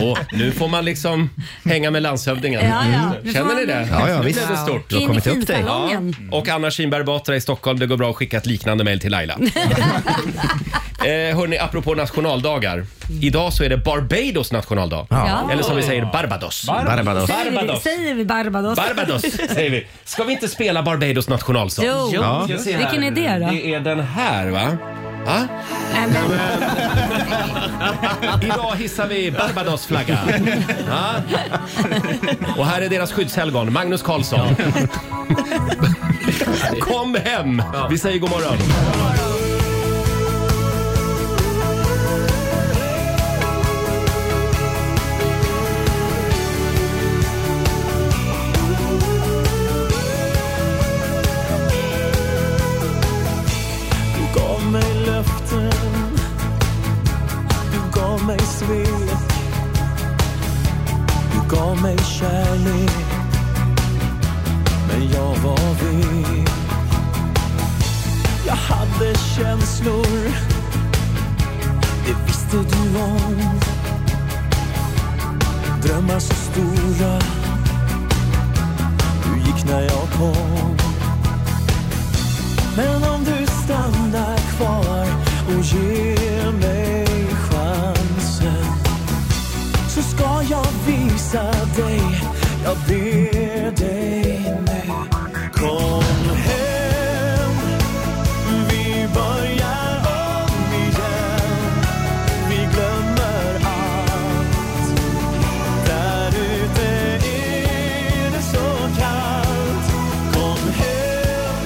[SPEAKER 1] Åh, nu får man liksom hänga med landshövdingen.
[SPEAKER 2] Ja, ja.
[SPEAKER 1] Mm. Känner ni det?
[SPEAKER 3] Ja, ja,
[SPEAKER 1] Nu
[SPEAKER 3] visst.
[SPEAKER 1] blev Det stort.
[SPEAKER 3] Du har
[SPEAKER 2] In
[SPEAKER 3] kommit
[SPEAKER 2] i
[SPEAKER 3] upp dig.
[SPEAKER 1] Ja.
[SPEAKER 2] finfallongen.
[SPEAKER 1] Och Anna Kinberg Batra i Stockholm, det går bra att skicka ett liknande mejl till
[SPEAKER 2] <laughs>
[SPEAKER 1] Laila. eh, hörni, apropå
[SPEAKER 2] Mm.
[SPEAKER 1] nationaldagar. Idag så är det Barbados nationaldag.
[SPEAKER 2] Ja.
[SPEAKER 1] Eller som vi säger, Barbados.
[SPEAKER 3] Barbados.
[SPEAKER 2] Säger, vi,
[SPEAKER 1] Barbados.
[SPEAKER 2] säger vi Barbados? <laughs> Äh,
[SPEAKER 1] Barbados säger vi. Ska vi inte spela Barbados nationalsång?
[SPEAKER 2] Jo.
[SPEAKER 3] Ja.
[SPEAKER 1] Ska vi se här.
[SPEAKER 2] Vilken är det då?
[SPEAKER 1] Det är den här va?
[SPEAKER 2] <laughs>
[SPEAKER 1] Va?
[SPEAKER 2] Nej, men,
[SPEAKER 1] Idag hissar vi Barbados flagga. Ja. Och här är deras skyddshelgon, Magnus Karlsson. <laughs> Kom hem! Vi säger god morgon.
[SPEAKER 9] Du gav mig löften Du gav mig svek Du gav mig kärlek Men jag var vek Jag hade känslor Det visste du om Drömmar så stora Du gick när jag kom men om du stannar kvar och ger mig chansen så ska jag visa dig, jag ber dig nu. Kom hem, vi börjar om igen. Vi glömmer allt. Där ute är det så kallt. Kom hem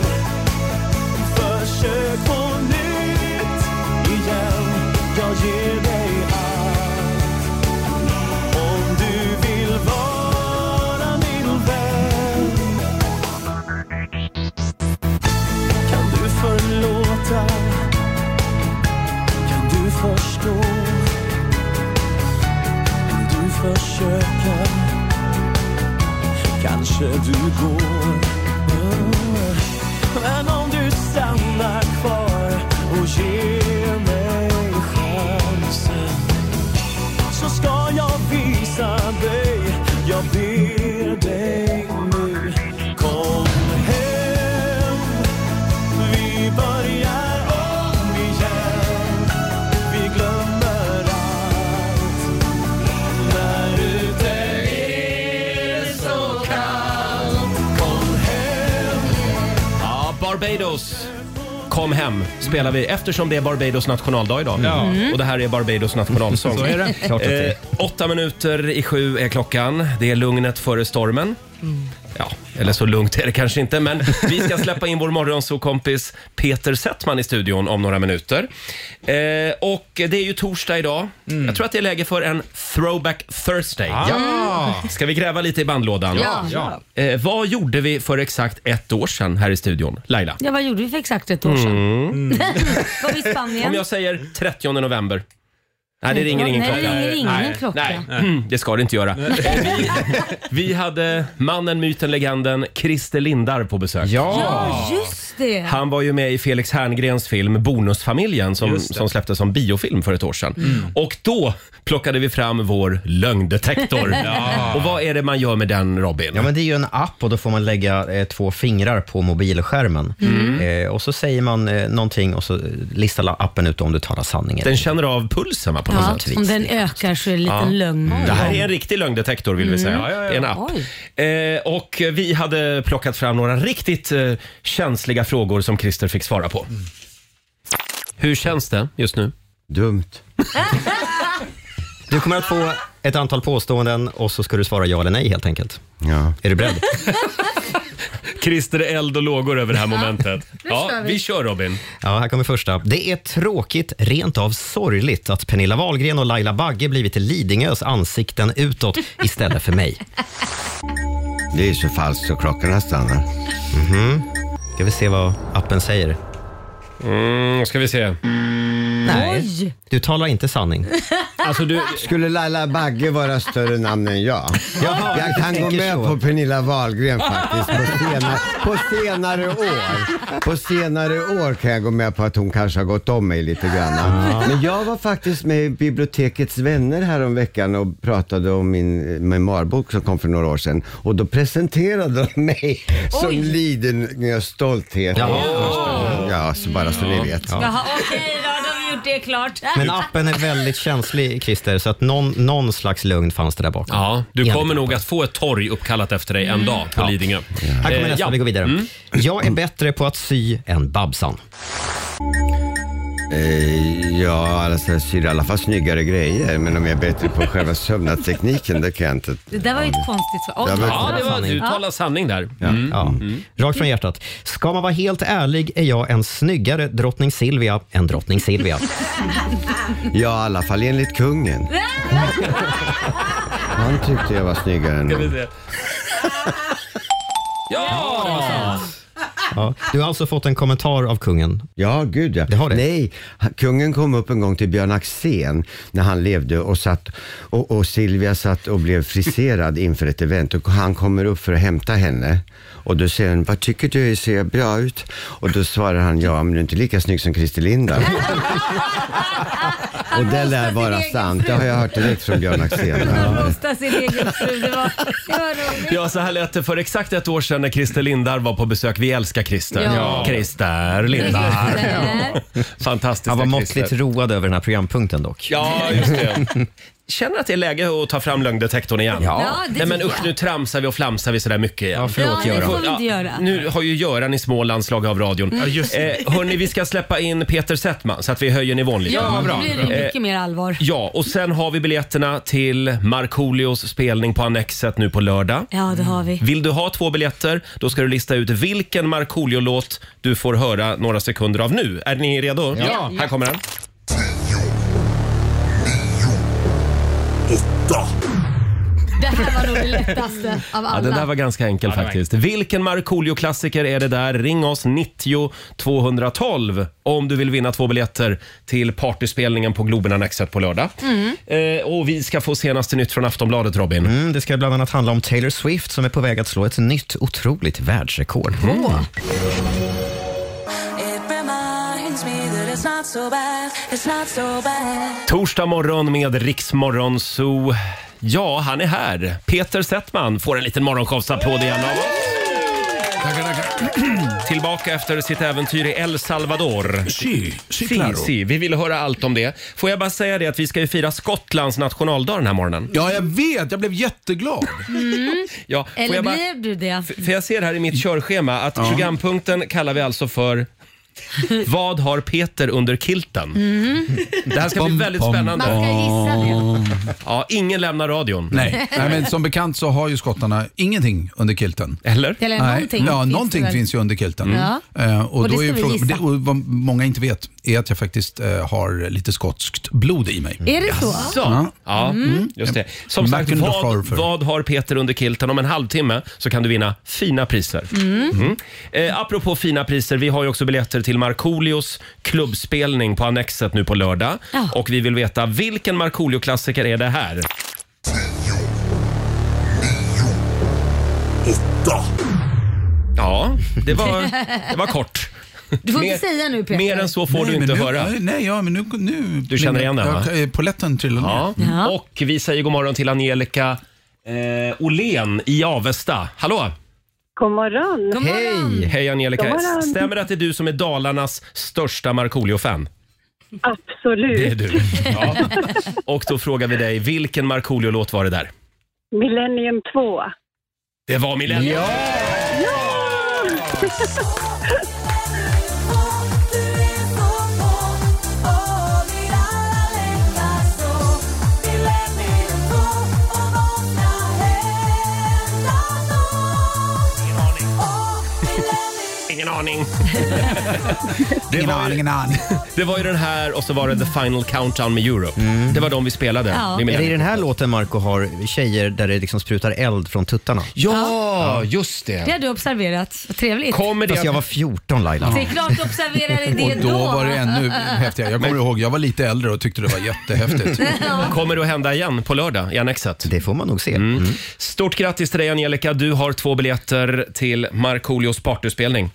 [SPEAKER 9] försök på nytt igen. Jag ger dig allt. Om du vill vara min vän. Kan du förlåta? Kan du förstå? Vill du försöka? Kanske du går. Mm. Men om du stannar kvar och ger mig chansen så ska jag visa dig, jag ber dig nu. Kom hem, vi börjar om igen. Vi glömmer allt. Där ute är det så kallt. Kom hem.
[SPEAKER 1] Ja, Barbados. Kom hem spelar vi eftersom det är Barbados nationaldag idag. Och det här är Barbados nationalsång.
[SPEAKER 6] Så är det.
[SPEAKER 3] Klart att det
[SPEAKER 1] Eh,
[SPEAKER 3] är.
[SPEAKER 1] åtta minuter i sju är klockan. Det är lugnet före stormen. Ja, eller så lugnt är det kanske inte, men vi ska släppa in vår morgonsokompis Peter Settman i studion om några minuter. Eh, och det är ju torsdag idag.
[SPEAKER 6] Mm.
[SPEAKER 1] Jag tror att det är läge för en Throwback Thursday.
[SPEAKER 6] Ah. Ja.
[SPEAKER 1] Ska vi gräva lite i bandlådan?
[SPEAKER 2] Ja.
[SPEAKER 6] Ja.
[SPEAKER 1] Eh, vad gjorde vi för exakt ett år sedan här i studion? Laila?
[SPEAKER 2] ja, vad gjorde vi för exakt ett år sedan?
[SPEAKER 1] Mm.
[SPEAKER 2] <laughs> Var vi i Spanien?
[SPEAKER 1] Om jag säger 30 november. Nej, det ringer
[SPEAKER 2] Ja,
[SPEAKER 1] ingen
[SPEAKER 2] nej,
[SPEAKER 1] klocka.
[SPEAKER 2] det ringer ingen
[SPEAKER 6] Nej,
[SPEAKER 2] klocka.
[SPEAKER 1] Nej, mm, det ska det inte göra. Eh, Vi, vi hade mannen, myten, legenden Christer Lindar på besök.
[SPEAKER 3] Ja.
[SPEAKER 2] Ja, just Just det.
[SPEAKER 1] Han var ju med i Felix Herngrens film Bonusfamiljen som,
[SPEAKER 6] Just det. Mm.
[SPEAKER 1] som släpptes som biofilm för ett år sedan. Och då plockade vi fram vår <laughs>
[SPEAKER 6] <laughs>
[SPEAKER 1] lögndetektor. Och vad är det man gör med den Robin?
[SPEAKER 3] Ja, men det är ju en app och då får man lägga eh, två fingrar på mobilskärmen.
[SPEAKER 1] Mm.
[SPEAKER 3] Eh, och så säger man eh, någonting och så eh, listar la- appen ut om du talar sanningen.
[SPEAKER 1] Den känner av pulsen va, på något
[SPEAKER 2] Ja,
[SPEAKER 1] sätt.
[SPEAKER 2] om den ökar så är det en liten lögn.
[SPEAKER 1] Det här är en riktig lögndetektor vill vi säga.
[SPEAKER 6] Mm.
[SPEAKER 1] Det är En app. Eh, och vi hade plockat fram några riktigt eh, känsliga frågor som Christer fick svara på.
[SPEAKER 6] Mm.
[SPEAKER 1] Hur känns det just nu?
[SPEAKER 3] Dumt. Du kommer att få ett antal påståenden och så ska du svara ja eller nej helt enkelt.
[SPEAKER 10] Ja.
[SPEAKER 3] Är du beredd?
[SPEAKER 1] Christer är eld och lågor över det här momentet. Ja,
[SPEAKER 2] kör vi.
[SPEAKER 1] vi kör Robin.
[SPEAKER 3] Ja, här kommer första. Det är tråkigt, rent av sorgligt, att Pernilla Wahlgren och Laila Bagge blivit Lidingös ansikten utåt istället för mig.
[SPEAKER 10] Det är så falskt så klockorna stannar. Mhm.
[SPEAKER 3] Ska vi se vad appen säger.
[SPEAKER 1] Mm, ska vi se.
[SPEAKER 2] Oj!
[SPEAKER 3] Du talar inte sanning.
[SPEAKER 1] Alltså du,
[SPEAKER 10] Skulle Laila Bagge vara större namn än jag?
[SPEAKER 3] Jaha,
[SPEAKER 10] jag
[SPEAKER 3] du
[SPEAKER 10] kan gå
[SPEAKER 3] tänker
[SPEAKER 10] med
[SPEAKER 3] så.
[SPEAKER 10] på Pernilla Wahlgren faktiskt. På senare, på senare år På senare år kan jag gå med på att hon kanske har gått om mig lite grann. Men jag var faktiskt med i Bibliotekets vänner häromveckan och pratade om min memoarbok som kom för några år sedan. Och då presenterade de mig som Lidingös stolthet. Ja, så bara så ni vet.
[SPEAKER 2] Jaha, okej då, då har vi gjort det klart.
[SPEAKER 3] Men appen är väldigt känslig, Christer, så att någon, någon slags lugn fanns det där bakom.
[SPEAKER 1] ja, du
[SPEAKER 3] Enligt
[SPEAKER 1] kommer
[SPEAKER 3] appen.
[SPEAKER 1] nog att få ett torg uppkallat efter dig en dag på Lidingö.
[SPEAKER 3] Mm. Här kommer
[SPEAKER 1] Eh,
[SPEAKER 3] nästa,
[SPEAKER 1] ja.
[SPEAKER 3] vi går vidare. Jag är bättre på att sy än Babsan.
[SPEAKER 10] Eh, Ja, alltså, jag syr i alla fall snyggare grejer, men om jag är bättre på själva sömnadstekniken, det kan jag inte.
[SPEAKER 2] Det där var ju ett konstigt svar.
[SPEAKER 10] Ja,
[SPEAKER 2] Oj,
[SPEAKER 10] men-
[SPEAKER 1] Ja, det var, du
[SPEAKER 2] Ja.
[SPEAKER 1] talar sanning där.
[SPEAKER 3] Mm. Ja.
[SPEAKER 1] Mm.
[SPEAKER 3] Rakt från hjärtat. Ska man vara helt ärlig är jag en snyggare drottning Silvia än drottning Silvia.
[SPEAKER 10] Ja, i alla fall enligt kungen. Han tyckte jag var snyggare än honom.
[SPEAKER 1] Ja!
[SPEAKER 3] Ja. Du har alltså fått en kommentar av kungen.
[SPEAKER 10] Ja, gud ja.
[SPEAKER 3] Det har det.
[SPEAKER 10] Nej, han- kungen kom upp en gång till Björn Axén när han levde och, satt, och, och Silvia satt och blev friserad inför ett event och han kommer upp för att hämta henne och då säger hon, vad tycker du, ser jag bra ut? Och då svarar han, ja men du är inte lika snygg som Christer Lindarw. och det lär vara
[SPEAKER 2] egen
[SPEAKER 10] sant, det har jag hört direkt från Björn Axén.
[SPEAKER 2] Han rostar sin egen fru. Det var, det var roligt.
[SPEAKER 1] Ja, så här lät det för exakt ett år sedan när Christer Lindarw var på besök. Vi älskar Christer.
[SPEAKER 2] Ja.
[SPEAKER 1] Christer Lindarw.
[SPEAKER 2] Där.
[SPEAKER 1] Fantastiska
[SPEAKER 3] Han var
[SPEAKER 1] Christer.
[SPEAKER 3] måttligt road över den här programpunkten dock.
[SPEAKER 1] Ja, just det. Känner att det är läge att ta fram lögndetektorn igen?
[SPEAKER 2] Ja, det
[SPEAKER 1] Nej men
[SPEAKER 2] tycker
[SPEAKER 1] usch,
[SPEAKER 2] jag.
[SPEAKER 1] nu tramsar vi och flamsar vi sådär mycket igen.
[SPEAKER 3] Ja, förlåt
[SPEAKER 2] Ja, det
[SPEAKER 3] Göran.
[SPEAKER 2] får vi inte göra.
[SPEAKER 1] nu har ju Göran i Småland slagit av radion. Ja,
[SPEAKER 6] just
[SPEAKER 1] Eh, hörni, vi ska släppa in Peter Settman så att vi höjer nivån lite. Eh,
[SPEAKER 2] Ja, nu blir det mycket mer allvar.
[SPEAKER 1] Ja, och sen har vi biljetterna till Markoolios spelning på Annexet nu på lördag.
[SPEAKER 2] Ja, det har vi.
[SPEAKER 1] Vill du ha två biljetter, då ska du lista ut vilken Markoolio-låt du får höra några sekunder av nu. Är ni redo?
[SPEAKER 6] Ja.
[SPEAKER 1] Här kommer den.
[SPEAKER 2] Det här var nog det lättaste av
[SPEAKER 1] Ja, den där
[SPEAKER 2] alla.
[SPEAKER 1] var ganska enkel
[SPEAKER 6] den var
[SPEAKER 1] faktiskt. Vilken Markoolio-klassiker är det där? Ring oss 90 212 om du vill vinna två biljetter till partyspelningen på Globen Annexet på lördag.
[SPEAKER 2] Mm.
[SPEAKER 6] Mm.
[SPEAKER 1] Eh, och vi ska få senaste nytt från Aftonbladet, Robin.
[SPEAKER 3] Mm, det ska bland annat handla om Taylor Swift som är på väg att slå ett nytt otroligt världsrekord.
[SPEAKER 1] Mm. Torsdag morgon med Riksmorgon Zoo. Ja, han är här. Peter Settman får en liten morgonshowsapplåd igen av oss. Tillbaka efter sitt äventyr i El Salvador.
[SPEAKER 4] Sí, sí,
[SPEAKER 1] Si,
[SPEAKER 4] claro.
[SPEAKER 1] si, vi vill höra allt om det. Får jag bara säga det att vi ska ju fira Skottlands nationaldag den här morgonen.
[SPEAKER 4] Ja, jag vet. Jag blev jätteglad.
[SPEAKER 1] Ja, får
[SPEAKER 2] Mm. Eller
[SPEAKER 1] jag bara,
[SPEAKER 2] blev du det?
[SPEAKER 1] för jag ser här i mitt körschema att programpunkten kallar vi alltså för Vad har Peter under kilten? Det här ska bli väldigt
[SPEAKER 2] Mm. Man
[SPEAKER 1] spännande.
[SPEAKER 2] ska gissa det.
[SPEAKER 1] Ja, ingen lämnar radion. <laughs>
[SPEAKER 4] Nej. Nej, men som bekant så har ju skottarna ingenting under kilten.
[SPEAKER 1] Eller?
[SPEAKER 2] Eller
[SPEAKER 4] Nej.
[SPEAKER 2] någonting.
[SPEAKER 4] ja,
[SPEAKER 2] det
[SPEAKER 4] någonting
[SPEAKER 2] väl.
[SPEAKER 4] finns ju under kilten.
[SPEAKER 2] Ja.
[SPEAKER 4] Eh, och
[SPEAKER 2] Och det
[SPEAKER 4] då
[SPEAKER 2] ska
[SPEAKER 4] är ju
[SPEAKER 2] vi
[SPEAKER 4] frågan,
[SPEAKER 2] gissa.
[SPEAKER 4] det, och vad många inte vet är att jag faktiskt eh, har lite skotskt blod i mig.
[SPEAKER 2] Är det så? Mm.
[SPEAKER 1] Så. Ja, Mm. just det. Som sagt,
[SPEAKER 4] Macken
[SPEAKER 1] vad,
[SPEAKER 4] Duffer.
[SPEAKER 1] vad har Peter under kilten? Om en halvtimme så kan du vinna fina priser. Mm. Eh, apropå fina priser, vi har ju också biljetter till Markoolios klubbspelning på Annexet nu på lördag.
[SPEAKER 2] Ja.
[SPEAKER 1] Och vi vill veta vilken Markoolio-klassiker är det här?
[SPEAKER 2] <laughs>
[SPEAKER 1] Ja, det var, det var kort.
[SPEAKER 2] Du får
[SPEAKER 1] Mer-
[SPEAKER 2] inte säga nu Peter.
[SPEAKER 1] Mer än så får du
[SPEAKER 4] men
[SPEAKER 1] inte
[SPEAKER 4] nu,
[SPEAKER 1] höra.
[SPEAKER 4] Nej, nej, ja, men nu... nu
[SPEAKER 1] Du känner igen den, va?
[SPEAKER 4] va? Polletten trillade
[SPEAKER 1] Ja.
[SPEAKER 4] ner.
[SPEAKER 1] Och vi säger god morgon till Angelica eh, Olén i Avesta. Hallå!
[SPEAKER 5] God morgon.
[SPEAKER 1] Hej! Hej Angelica.
[SPEAKER 5] God morgon.
[SPEAKER 1] Stämmer det att det är du som är Dalarnas största Markoolio-fan?
[SPEAKER 5] Absolut.
[SPEAKER 1] Det är du. Ja. Och då frågar vi dig, vilken Markoolio-låt var det där?
[SPEAKER 5] <laughs> Millennium 2.
[SPEAKER 1] Det var Millennium. Ingen aning. Det
[SPEAKER 4] Ingen
[SPEAKER 1] var,
[SPEAKER 4] aning, ingen aning.
[SPEAKER 1] det var ju den här och så var det The Final Countdown med Europe. Det var de vi spelade. vid
[SPEAKER 3] Mm. Är det i
[SPEAKER 1] Millennium.
[SPEAKER 3] den här låten Marco har tjejer där det liksom sprutar eld från tuttarna?
[SPEAKER 1] Ja, just
[SPEAKER 2] Det har du observerat. Vad trevligt.
[SPEAKER 1] Kommer det
[SPEAKER 3] Fast jag var 14 Laila.
[SPEAKER 2] Det är klart du observerade det
[SPEAKER 4] <laughs> Och
[SPEAKER 2] då.
[SPEAKER 4] då var
[SPEAKER 2] <laughs>
[SPEAKER 4] det ännu häftigare. Jag kommer ihåg, jag var lite äldre och tyckte det var
[SPEAKER 1] <laughs>
[SPEAKER 4] jättehäftigt.
[SPEAKER 1] Kommer det att hända igen på lördag i Annexet? Mm.
[SPEAKER 3] Det får man nog se. Mm.
[SPEAKER 1] Stort grattis till dig Angelica. Du har två biljetter till Markoolios partyspelning.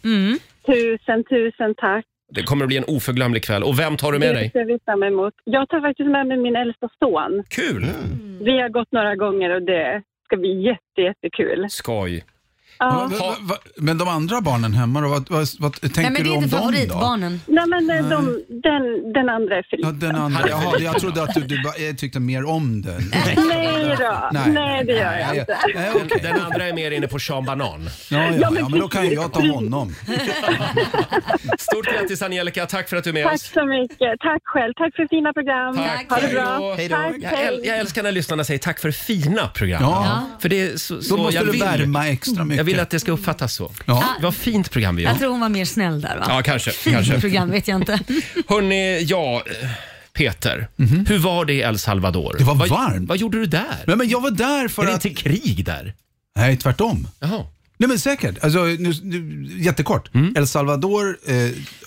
[SPEAKER 5] Tusen, tusen tack.
[SPEAKER 1] Det kommer att bli en oförglömlig kväll. Och vem tar du med dig?
[SPEAKER 5] Det ser vi fram emot. Jag tar faktiskt med mig min äldsta son.
[SPEAKER 1] Kul!
[SPEAKER 4] Mm.
[SPEAKER 5] Mm. Vi har gått några gånger och det ska bli jätte, jättekul.
[SPEAKER 1] Skoj.
[SPEAKER 5] Ja.
[SPEAKER 4] Va, va, va, men de andra barnen hemma då? Vad, vad, vad tänker
[SPEAKER 2] Nej men
[SPEAKER 4] du
[SPEAKER 2] det är
[SPEAKER 4] om
[SPEAKER 2] inte
[SPEAKER 4] dem då?
[SPEAKER 2] favoritbarnen.
[SPEAKER 5] Nej, men eh, de, den, den andra är för
[SPEAKER 4] Ja,
[SPEAKER 5] liten.
[SPEAKER 4] den andra.
[SPEAKER 1] Han är
[SPEAKER 4] Jaha,
[SPEAKER 1] för
[SPEAKER 4] jag trodde att du, du bara, eh, tyckte mer om den.
[SPEAKER 5] Nej då. Nej, det gör jag
[SPEAKER 4] nej,
[SPEAKER 5] inte.
[SPEAKER 4] Nej, okej.
[SPEAKER 1] Den andra är mer inne på Sean Banan.
[SPEAKER 4] Ja, ja, ja, men då kan ju jag ta honom.
[SPEAKER 1] <laughs> Stort grattis Angelica. Tack för att du är med
[SPEAKER 5] Tack
[SPEAKER 1] oss.
[SPEAKER 5] så mycket. Tack själv. Tack för fina program.
[SPEAKER 1] Tack.
[SPEAKER 5] Ha det
[SPEAKER 1] Hej
[SPEAKER 5] bra.
[SPEAKER 1] då.
[SPEAKER 3] Hej då.
[SPEAKER 5] Tack,
[SPEAKER 1] Jag, äl- jag älskar när lyssnarna säger tack för fina program.
[SPEAKER 4] Ja,
[SPEAKER 1] För det är så, så
[SPEAKER 4] då måste
[SPEAKER 1] jag
[SPEAKER 4] du
[SPEAKER 1] vill.
[SPEAKER 4] värma extra mycket.
[SPEAKER 1] Jag vill att det ska uppfattas så.
[SPEAKER 4] Ja.
[SPEAKER 1] Vad fint program vi gör.
[SPEAKER 2] Jag tror hon var mer snäll där va?
[SPEAKER 1] Ja, kanske.
[SPEAKER 2] Fint
[SPEAKER 1] kanske.
[SPEAKER 2] program vet jag inte.
[SPEAKER 1] Hörni, ja, eh, Peter. Hur var det i El Salvador?
[SPEAKER 4] Mhm. Det var
[SPEAKER 1] vad,
[SPEAKER 4] varmt.
[SPEAKER 1] Vad gjorde du där?
[SPEAKER 4] Nej, men jag var där för
[SPEAKER 1] är det
[SPEAKER 4] att...
[SPEAKER 1] inte krig där?
[SPEAKER 4] Nej, tvärtom.
[SPEAKER 1] Jaha. Mm.
[SPEAKER 4] Nej men säkert. Alltså, nu, nu, jättekort. El Salvador eh,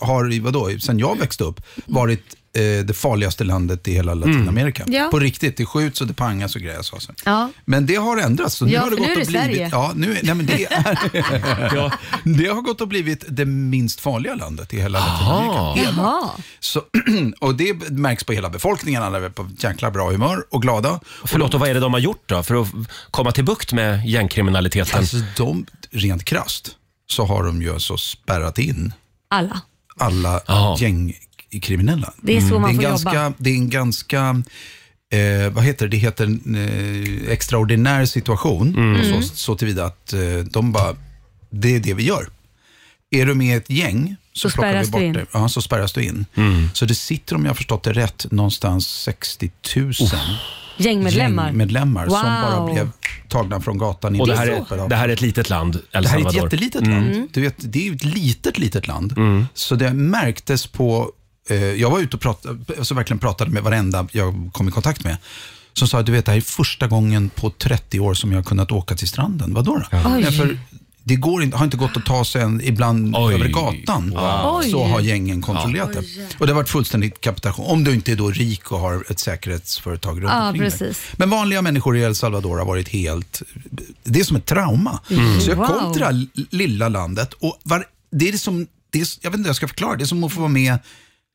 [SPEAKER 4] har, i vadå, sen jag växte upp varit eh, det farligaste landet i
[SPEAKER 1] Mm.
[SPEAKER 4] hela Latinamerika.
[SPEAKER 2] Ja.
[SPEAKER 4] På riktigt, det skjuts och det pangas och grejas. Och så.
[SPEAKER 2] Ja.
[SPEAKER 4] Men det har ändrats. Så nu
[SPEAKER 2] Ja,
[SPEAKER 4] har det
[SPEAKER 2] för nu
[SPEAKER 4] gått
[SPEAKER 2] är
[SPEAKER 4] och
[SPEAKER 2] det
[SPEAKER 4] blivit,
[SPEAKER 2] Sverige.
[SPEAKER 4] Ja, nu, är- nej, men det,
[SPEAKER 1] <laughs>
[SPEAKER 4] är, <laughs> ja, det har gått och blivit det minst farliga landet i hela Latinamerika.
[SPEAKER 2] Jaha.
[SPEAKER 4] Så, <clears throat> och det märks på hela befolkningen. Alla är på jäkla bra humör och glada.
[SPEAKER 1] Förlåt, och vad är det de har gjort då för att komma till bukt med gängkriminaliteten?
[SPEAKER 4] Alltså, de, rent krasst så har de ju alltså spärrat in
[SPEAKER 2] Alla.
[SPEAKER 4] alla
[SPEAKER 1] Ja.
[SPEAKER 4] gängkriminella. Mm.
[SPEAKER 2] Det är så man
[SPEAKER 4] det är en
[SPEAKER 2] får jobba.
[SPEAKER 4] ganska, det är en ganska eh, vad heter det? Det heter en eh, extraordinär situation. Så, så tillvida att eh, de bara, det är det vi gör. Är du med i ett gäng så,
[SPEAKER 2] Så
[SPEAKER 4] plockar
[SPEAKER 2] spärras
[SPEAKER 4] vi
[SPEAKER 2] du in.
[SPEAKER 4] bort det. Ja, så spärras du in. Så det sitter, om jag har förstått det rätt, någonstans 60 000
[SPEAKER 2] Gängmedlemmar.
[SPEAKER 4] gängmedlemmar som
[SPEAKER 2] Wow.
[SPEAKER 4] bara blev tagna från gatan. in
[SPEAKER 1] och
[SPEAKER 4] i
[SPEAKER 1] det här,
[SPEAKER 4] papper
[SPEAKER 1] är,
[SPEAKER 4] av-
[SPEAKER 1] det här är ett litet land, El
[SPEAKER 4] det här är ett
[SPEAKER 1] Salvador. Mm.
[SPEAKER 4] jättelitet land. Du vet, det är ju ett litet, litet land. Så det märktes på... Eh, jag var ute och pratade, alltså verkligen pratade med varenda jag kom i kontakt med. Som sa, du vet, det här är första gången på 30 år som jag har kunnat åka till stranden. Vadå då?
[SPEAKER 2] Oj.
[SPEAKER 4] Nej, för det går inte, har inte gått att ta sig en, ibland
[SPEAKER 1] Oj.
[SPEAKER 4] över gatan.
[SPEAKER 2] Oj.
[SPEAKER 4] Så har gängen kontrollerat det. Och det har varit fullständigt kapitation. Om du inte är då rik och har ett säkerhetsföretag runt
[SPEAKER 2] Ja,
[SPEAKER 4] omkring dig.
[SPEAKER 2] precis.
[SPEAKER 4] Men vanliga människor i El Salvador har varit helt... Det är som ett trauma. Så jag
[SPEAKER 2] Mm. Wow.
[SPEAKER 4] kom till det här lilla landet och var, det är som... Det är, jag vet inte hur jag ska förklara. Det är som att få vara med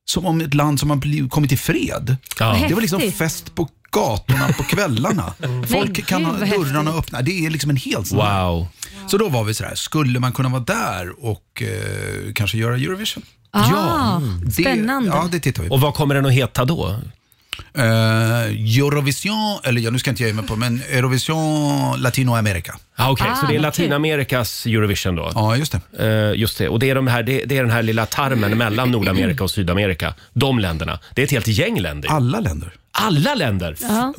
[SPEAKER 4] som om ett land som har blivit, kommit i fred.
[SPEAKER 1] Ja.
[SPEAKER 4] Det var liksom
[SPEAKER 2] Häftigt.
[SPEAKER 4] fest på gatorna
[SPEAKER 2] <laughs>
[SPEAKER 4] på kvällarna. Folk
[SPEAKER 2] gud,
[SPEAKER 4] kan ha
[SPEAKER 2] vad häftigt.
[SPEAKER 4] dörrarna öppna. Det är liksom en helt sån här-
[SPEAKER 1] Wow.
[SPEAKER 4] Så då var vi sådär, skulle man kunna vara där och eh, kanske göra Eurovision?
[SPEAKER 2] Ah,
[SPEAKER 4] Mm. det,
[SPEAKER 2] Spännande.
[SPEAKER 4] Ja, det tittar vi på.
[SPEAKER 1] Och vad kommer den att heta då?
[SPEAKER 4] Eh, Eurovision, eller ja, nu ska inte jag ge mig på, men Eurovision Latinoamerika.
[SPEAKER 1] Ah, Okej,
[SPEAKER 2] Ah,
[SPEAKER 1] så det är
[SPEAKER 2] vad
[SPEAKER 1] Latinamerikas Eurovision då?
[SPEAKER 4] Ja, just det.
[SPEAKER 1] Eh, just det, och det är, de här, det, det är den här lilla tarmen mellan Nordamerika och Sydamerika. De länderna. Det är ett helt gäng länder.
[SPEAKER 4] Alla länder.
[SPEAKER 1] Alla länder!
[SPEAKER 2] Ja.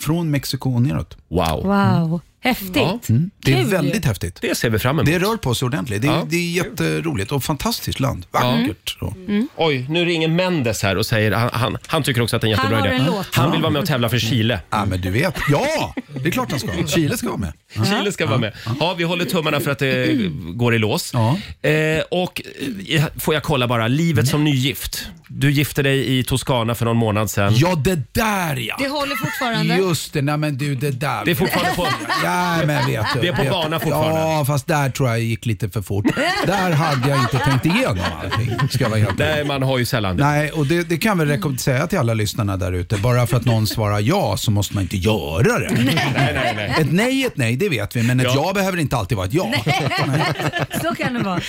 [SPEAKER 4] Från Mexiko och neråt. Mm.
[SPEAKER 1] Wow.
[SPEAKER 2] Wow. Häftigt.
[SPEAKER 1] Ja.
[SPEAKER 4] Det är
[SPEAKER 2] Kul.
[SPEAKER 4] väldigt häftigt.
[SPEAKER 1] Det ser vi fram emot.
[SPEAKER 4] Det rör på sig ordentligt. Det är, det är jätteroligt och fantastiskt land. Vackert. och-
[SPEAKER 2] Mm.
[SPEAKER 1] Oj, nu ringer Mendes här och säger han, han, han tycker också att det är en
[SPEAKER 2] Han
[SPEAKER 1] jättebra
[SPEAKER 2] har
[SPEAKER 1] idé.
[SPEAKER 2] en låt. Mm.
[SPEAKER 1] Han vill vara med och tävla för Chile.
[SPEAKER 4] Ja, men du vet. Ja, det är klart han ska. Chile ska vara med.
[SPEAKER 1] <laughs> Chile ska vara med. Ja, vi håller tummarna för att det går i lås.
[SPEAKER 4] Ja.
[SPEAKER 1] Eh, och eh, får jag kolla bara, livet som nygift. Du gifte dig i Toscana för någon månad sedan.
[SPEAKER 4] Ja, det där ja.
[SPEAKER 2] Det håller fortfarande.
[SPEAKER 4] Just det, nej men du det där. <laughs>
[SPEAKER 1] Det är fortfarande på,
[SPEAKER 4] Ja, men vet du.
[SPEAKER 1] det är är på bana fortfarande.
[SPEAKER 4] Ja, fast där tror jag gick lite för fort. Där hade jag inte tänkt igenom allting. Ska jag vara helt
[SPEAKER 1] Nej, man har ju sällan det.
[SPEAKER 4] Nej, och det, det kan jag väl rekom- säga till alla lyssnarna där ute. Bara för att någon svarar ja så måste man inte göra det.
[SPEAKER 1] Nej, nej, nej.
[SPEAKER 4] Ett nej är ett nej, det vet vi. Men ett ja, behöver inte alltid vara ett ja.
[SPEAKER 2] <laughs> Så kan det vara.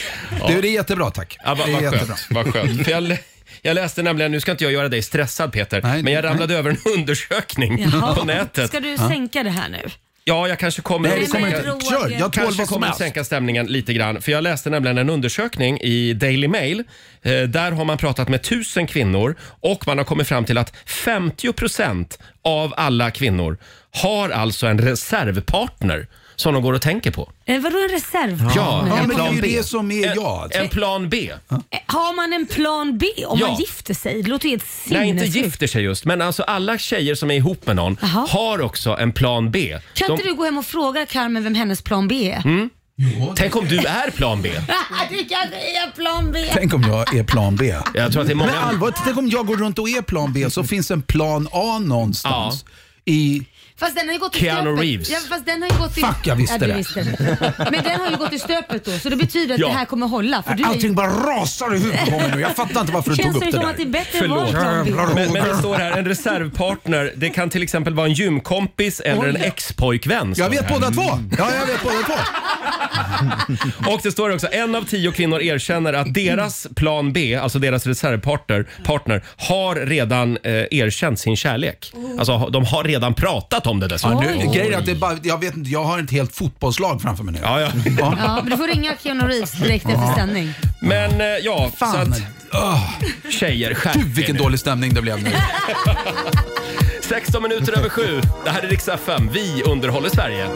[SPEAKER 4] Du, det är jättebra tack.
[SPEAKER 1] Ja, vad,
[SPEAKER 4] det är
[SPEAKER 1] vad
[SPEAKER 4] jättebra.
[SPEAKER 1] skönt. Vad skönt. För jag, lä- jag läste nämligen, nu ska inte jag göra dig stressad Peter, men jag ramlade över en <laughs> undersökning
[SPEAKER 2] Jaha.
[SPEAKER 1] på nätet.
[SPEAKER 2] Ska du
[SPEAKER 1] Ja.
[SPEAKER 2] sänka det här nu?
[SPEAKER 1] Ja, jag kanske kommer
[SPEAKER 2] Nej, det
[SPEAKER 1] att
[SPEAKER 2] kommer
[SPEAKER 1] sänka-
[SPEAKER 2] inte. Kör, jag tål
[SPEAKER 1] kanske
[SPEAKER 2] vad som
[SPEAKER 1] kommer att
[SPEAKER 2] helst.
[SPEAKER 1] sänka stämningen lite grann. För jag läste nämligen en undersökning i Daily Mail. Eh, där har man pratat med tusen kvinnor och man har kommit fram till att 50% av alla kvinnor har alltså en reservpartner som de går och tänker på.
[SPEAKER 2] Eh, vadå en reserv?
[SPEAKER 4] som är
[SPEAKER 1] ja.
[SPEAKER 2] alltså.
[SPEAKER 1] En, en
[SPEAKER 4] Alltså-
[SPEAKER 1] plan B.
[SPEAKER 2] Eh, Har man en plan B om
[SPEAKER 1] Ja.
[SPEAKER 2] man gifter sig? Det låter helt
[SPEAKER 1] Nej, inte
[SPEAKER 2] sinnessjukt.
[SPEAKER 1] gifter sig just, men alltså alla tjejer som är ihop med någon
[SPEAKER 2] Jaha.
[SPEAKER 1] har också en plan B.
[SPEAKER 2] Kan
[SPEAKER 1] De-
[SPEAKER 2] inte du gå hem och fråga Carmen vem hennes plan B är?
[SPEAKER 1] mm? Tänk om du är plan B.
[SPEAKER 2] <laughs> det kanske är plan B.
[SPEAKER 4] Tänk om jag är plan B.
[SPEAKER 1] Jag tror att det är många-
[SPEAKER 4] Men allvarligt, tänk om jag går runt och är plan B så finns en plan A någonstans. I...
[SPEAKER 2] Fast den har ju gått i
[SPEAKER 4] Keanu
[SPEAKER 2] stöpet.
[SPEAKER 4] Reeves.
[SPEAKER 2] Ja, fast den har ju gått i...
[SPEAKER 4] Fuck, jag visste
[SPEAKER 2] ja, du
[SPEAKER 4] det.
[SPEAKER 2] Visste det. Men den har ju gått i stöpet då, så det betyder att
[SPEAKER 4] Ja.
[SPEAKER 2] det här kommer hålla. För du är ju-
[SPEAKER 4] Allting bara rasar i huvudet på mig nu. Jag fattar inte varför du
[SPEAKER 2] Känns
[SPEAKER 4] tog upp
[SPEAKER 2] det
[SPEAKER 4] det
[SPEAKER 2] som
[SPEAKER 4] där.
[SPEAKER 2] att det är bättre att vara plan B?
[SPEAKER 1] Men, men det står här, en reservpartner. Det kan till exempel vara en gymkompis eller en
[SPEAKER 4] Oj.
[SPEAKER 1] ex-pojkvän. står
[SPEAKER 4] Jag vet
[SPEAKER 1] det här.
[SPEAKER 4] båda två. Ja, jag vet båda
[SPEAKER 1] <laughs>
[SPEAKER 4] två.
[SPEAKER 1] Mm. Och det står också, en av tio kvinnor erkänner att deras plan B, alltså deras reservpartner, partner, har redan eh, erkänt sin kärlek.
[SPEAKER 2] Oh.
[SPEAKER 1] Alltså ha- de har redan pratat om det
[SPEAKER 4] Ja,
[SPEAKER 1] dessutom.
[SPEAKER 4] nu, grejen är att det är bara, jag vet inte, jag har ett helt fotbollslag framför mig nu.
[SPEAKER 1] Ja, ja.
[SPEAKER 2] Ja, men du får ringa Keanu Reeves direkt efter sändning.
[SPEAKER 1] Men eh, ja, så att... ah, Tjejer, skärp Gud vilken dålig
[SPEAKER 4] stämning det
[SPEAKER 1] <laughs>
[SPEAKER 4] blev nu.
[SPEAKER 1] 16 minuter över sju. Det här är Rix FM. Vi underhåller Sverige.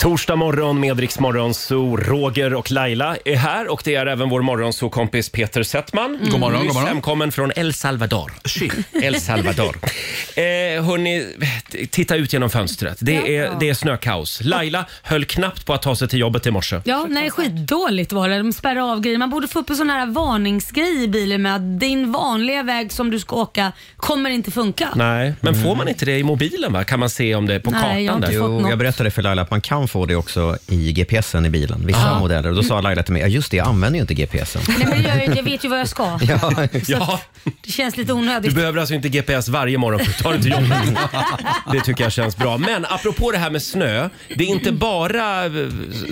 [SPEAKER 1] Torsdag morgon med Rix Morgonzoo. Roger och Laila är här och det är även vår morgonzoo-kompis Peter Settman.
[SPEAKER 4] Mm. God morgon,
[SPEAKER 1] Nyss
[SPEAKER 4] god morgon.
[SPEAKER 1] hemkommen från El Salvador. El Salvador. Eh, hörni, t- titta ut genom fönstret. Det är, det är snökaos. Laila höll knappt på att ta sig till jobbet i morse.
[SPEAKER 2] Ja, nej skitdåligt var det. De spärrade av grejer. Man borde få upp en sån här varningsgrej i bilen med att din vanliga väg som du ska åka kommer inte funka.
[SPEAKER 1] Nej, men får man inte det i mobilen? Va? Kan man se om det är på
[SPEAKER 2] Nej, jag har
[SPEAKER 1] kartan?
[SPEAKER 2] inte
[SPEAKER 1] där?
[SPEAKER 2] fått
[SPEAKER 3] Jo, jag berättade för Laila att man kan få det också i GPSen i bilen,
[SPEAKER 1] Ah.
[SPEAKER 3] vissa
[SPEAKER 2] Ja.
[SPEAKER 3] modeller. Och då
[SPEAKER 1] Mm.
[SPEAKER 3] sa Laila till mig, ja just det, jag använder ju inte GPSen.
[SPEAKER 2] Nej, men det gör jag, ju- jag vet ju vad jag ska.
[SPEAKER 3] <laughs> Ja,
[SPEAKER 1] <laughs> ja.
[SPEAKER 2] Det känns lite
[SPEAKER 1] Du
[SPEAKER 2] onödigt.
[SPEAKER 1] behöver alltså inte GPS varje morgon för att ta dig till jobbet. Det tycker jag känns bra. Men apropå det här med snö. Det är inte bara eh,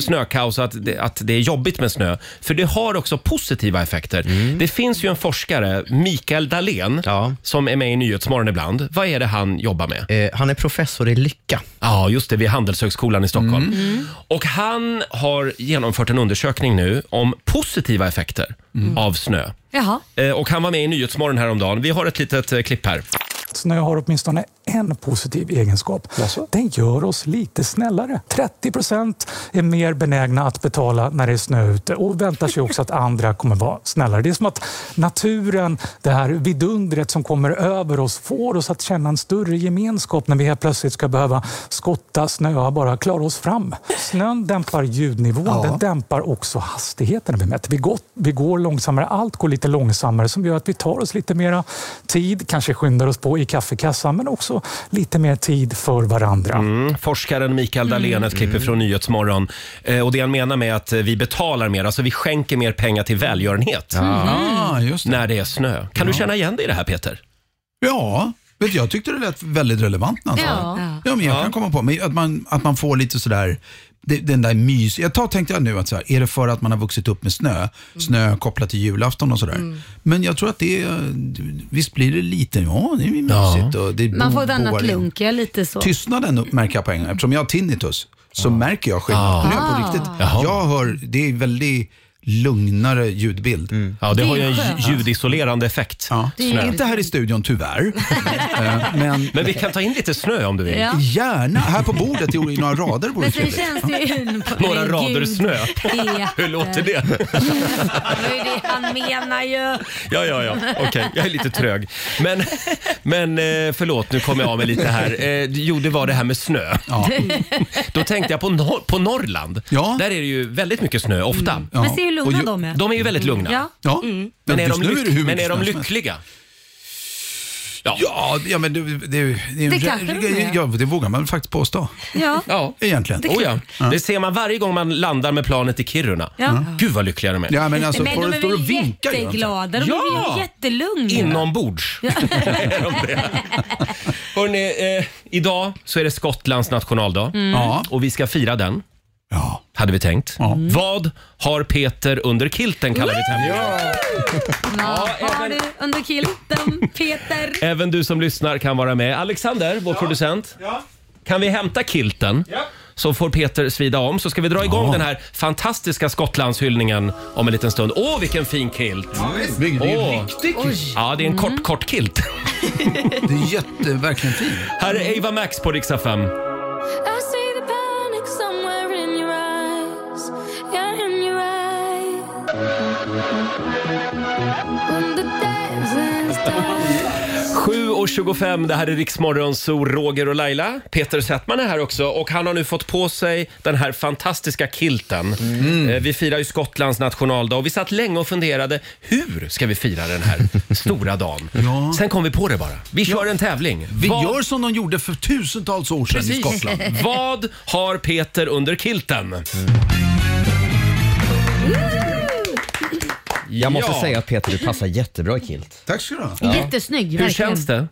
[SPEAKER 1] snökaos och att det, att det är jobbigt med snö. För det har också positiva effekter. Det finns ju en forskare, Mikael Dahlén, som är med i Nyhetsmorgon ibland. Vad är det han jobbar med?
[SPEAKER 3] Eh, han är professor i lycka.
[SPEAKER 1] Ja, just det. Vid Handelshögskolan i Stockholm. Och han har genomfört en undersökning nu om positiva effekter av snö.
[SPEAKER 2] Jaha.
[SPEAKER 1] Eh, Och han var med i Nyhetsmorgon häromdagen. Vi har ett litet eh, klipp här.
[SPEAKER 11] Snö har åtminstone en positiv egenskap. Den gör oss lite snällare. 30 procent är mer benägna att betala när det är snö ute och väntar sig också att andra kommer vara snällare. Det är som att naturen, det här vidundret som kommer över oss, får oss att känna en större gemenskap när vi helt plötsligt ska behöva skotta, snöa, bara klara oss fram. Snön dämpar ljudnivån, den dämpar också hastigheten vi mäter. Vi går, vi går långsammare, allt går lite långsammare som gör att vi tar oss lite mera tid, kanske skyndar oss på i kaffekassan, men också lite mer tid för varandra.
[SPEAKER 1] Mm. Forskaren Mikael Dahlén, ett klipp från Nyhetsmorgon. Eh, Och det han menar med att eh, vi betalar mer, alltså vi skänker mer pengar till välgörenhet.
[SPEAKER 4] Ah,
[SPEAKER 1] När det är snö. Kan du känna igen dig i det här Peter?
[SPEAKER 4] Ja, vet du, jag tyckte det lät väldigt relevant när han sa det.
[SPEAKER 1] Ja.
[SPEAKER 4] Ja, men jag kan komma på men att man, att man får lite sådär, det- den där mys... Jag tar, tänkte jag nu att så här, är det för att man har vuxit upp med
[SPEAKER 2] Mm.
[SPEAKER 4] snö? Snö kopplat till julafton och sådär. Men jag tror att det, är- visst blir det lite, ja det är mysigt. Och det
[SPEAKER 2] <laughs> Man får ett
[SPEAKER 4] boar
[SPEAKER 2] annat
[SPEAKER 4] in.
[SPEAKER 2] lunk, ja, lite så.
[SPEAKER 4] Tystnaden upp- märker jag på en gång. Eftersom jag har tinnitus så märker jag skillnad. Nu är jag på
[SPEAKER 2] Ah.
[SPEAKER 4] riktigt. Jag hör, det är en väldigt lugnare ljudbild.
[SPEAKER 1] Mm. Ja,
[SPEAKER 2] det Det har ju är en skönt.
[SPEAKER 1] ljudisolerande effekt.
[SPEAKER 2] Det är ju-
[SPEAKER 4] Inte här i
[SPEAKER 2] <laughs>
[SPEAKER 4] studion tyvärr. Eh, men,
[SPEAKER 1] vi kan ta in lite snö om du vill.
[SPEAKER 2] Ja.
[SPEAKER 4] Gärna. Här på bordet i några rader vore
[SPEAKER 2] Men sen
[SPEAKER 4] trevligt.
[SPEAKER 2] känns det ju...
[SPEAKER 1] Några
[SPEAKER 2] Men
[SPEAKER 1] rader
[SPEAKER 2] gud, <laughs>
[SPEAKER 1] snö.
[SPEAKER 2] Peter.
[SPEAKER 1] Hur låter det?
[SPEAKER 2] Det var ju det han menar ju.
[SPEAKER 1] Ja, ja, ja. Okej, jag är lite trög. Men, men eh, förlåt, nu kommer jag av mig lite här. Eh, Jo, det var det här med snö. Då tänkte jag på, Nor- på Norrland. Där är det ju väldigt mycket snö, ofta.
[SPEAKER 9] Mm.
[SPEAKER 2] Men se hur lugna Och ju- de är.
[SPEAKER 1] De är ju väldigt lugna.
[SPEAKER 2] Ja. Ja. Mm.
[SPEAKER 1] Men,
[SPEAKER 4] Men
[SPEAKER 1] är de,
[SPEAKER 4] just nu är det hur
[SPEAKER 1] lyck-
[SPEAKER 4] mycket
[SPEAKER 1] men är
[SPEAKER 4] snö
[SPEAKER 1] de
[SPEAKER 4] som helst.
[SPEAKER 1] lyckliga?
[SPEAKER 4] Ja, ja, men det, det, det, är ju en
[SPEAKER 1] Det
[SPEAKER 4] re-
[SPEAKER 1] kanske de är.
[SPEAKER 4] ja, det vågar man faktiskt påstå.
[SPEAKER 2] Ja.
[SPEAKER 4] Egentligen.
[SPEAKER 1] Det, oh, ja. det ser man varje gång man landar med planet i Kiruna.
[SPEAKER 2] Ja. Mm.
[SPEAKER 1] Gud vad lyckliga de är.
[SPEAKER 4] Ja,
[SPEAKER 2] men
[SPEAKER 1] <laughs>
[SPEAKER 2] alltså, Men de folk är står och väl vinkar ju. jätteglada. De är väl jättelugna.
[SPEAKER 1] Inombords. Hörrni, eh, idag så är det Skottlands nationaldag
[SPEAKER 9] Mm. Ja.
[SPEAKER 1] och vi ska fira den. Ja. Hade vi tänkt. Vad har Peter under kilten kallar vi tävlingen.
[SPEAKER 2] Ja, har du under kilten, Peter?
[SPEAKER 1] Även du som lyssnar kan vara med. Alexander, vår producent. Kan vi hämta kilten? Så får Peter svida om, så ska vi dra igång den här fantastiska Skottlandshyllningen om en liten stund. Åh, vilken fin kilt! Ja,
[SPEAKER 4] visst. Det är ju riktig kilt. Mm. Oj.
[SPEAKER 1] Ja, det är en kort, kort kilt.
[SPEAKER 4] Det är jätte, verkligen fint.
[SPEAKER 1] Här är Ava Max på Riksa 5.
[SPEAKER 9] I see the panic somewhere in your eyes. Yeah, in your eyes. When the dancing's done.
[SPEAKER 1] 7.25, det här är Riksmorgon, så Roger och Laila. Peter Settman är här också och han har nu fått på sig den här fantastiska kilten.
[SPEAKER 4] Mm.
[SPEAKER 1] Eh, Vi firar ju Skottlands nationaldag och vi satt länge och funderade hur ska vi fira
[SPEAKER 4] <laughs>
[SPEAKER 1] den här stora dagen? Sen kom vi på det bara. Vi kör en tävling.
[SPEAKER 4] Vi gör som de gjorde för tusentals år sedan i Skottland.
[SPEAKER 1] <laughs> Vad har Peter under kilten?
[SPEAKER 3] Jag måste
[SPEAKER 1] Ja.
[SPEAKER 3] säga att Peter, du passar jättebra i kilt.
[SPEAKER 4] Tack ska du ha.
[SPEAKER 2] Jättesnygg,
[SPEAKER 4] Hur
[SPEAKER 2] verkligen.
[SPEAKER 4] känns
[SPEAKER 1] det?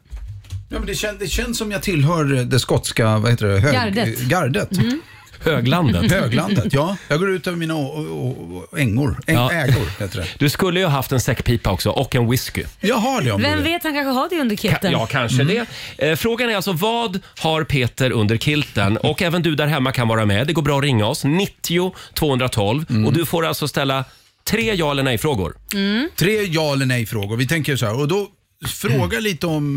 [SPEAKER 4] Ja, men det, känns, det känns som jag tillhör eh, det skotska vad heter det, hög, eh,
[SPEAKER 2] Gardet.
[SPEAKER 4] gardet.
[SPEAKER 2] Mm.
[SPEAKER 1] Höglandet.
[SPEAKER 4] Höglandet, ja. Jag går ut över mina å- å- å- ängor. Äng,
[SPEAKER 1] Ja.
[SPEAKER 4] Ägor heter det.
[SPEAKER 1] Du skulle ju ha haft en säckpipa också och en whisky.
[SPEAKER 4] Jag har det
[SPEAKER 2] Vem vet, han kanske har det under Mm. kilten.
[SPEAKER 1] Ja, kanske
[SPEAKER 4] Mm.
[SPEAKER 1] det. Eh, Frågan är alltså vad har Peter
[SPEAKER 4] <laughs>
[SPEAKER 1] under kilten? Och även du där hemma kan vara med. Det går bra att ringa oss, 90 212.
[SPEAKER 4] Mm.
[SPEAKER 1] Och du får alltså ställa tre ja eller nej-frågor.
[SPEAKER 2] Mm.
[SPEAKER 4] Tre ja eller nej frågor. Vi tänker så här, och då
[SPEAKER 1] Mm.
[SPEAKER 4] fråga lite om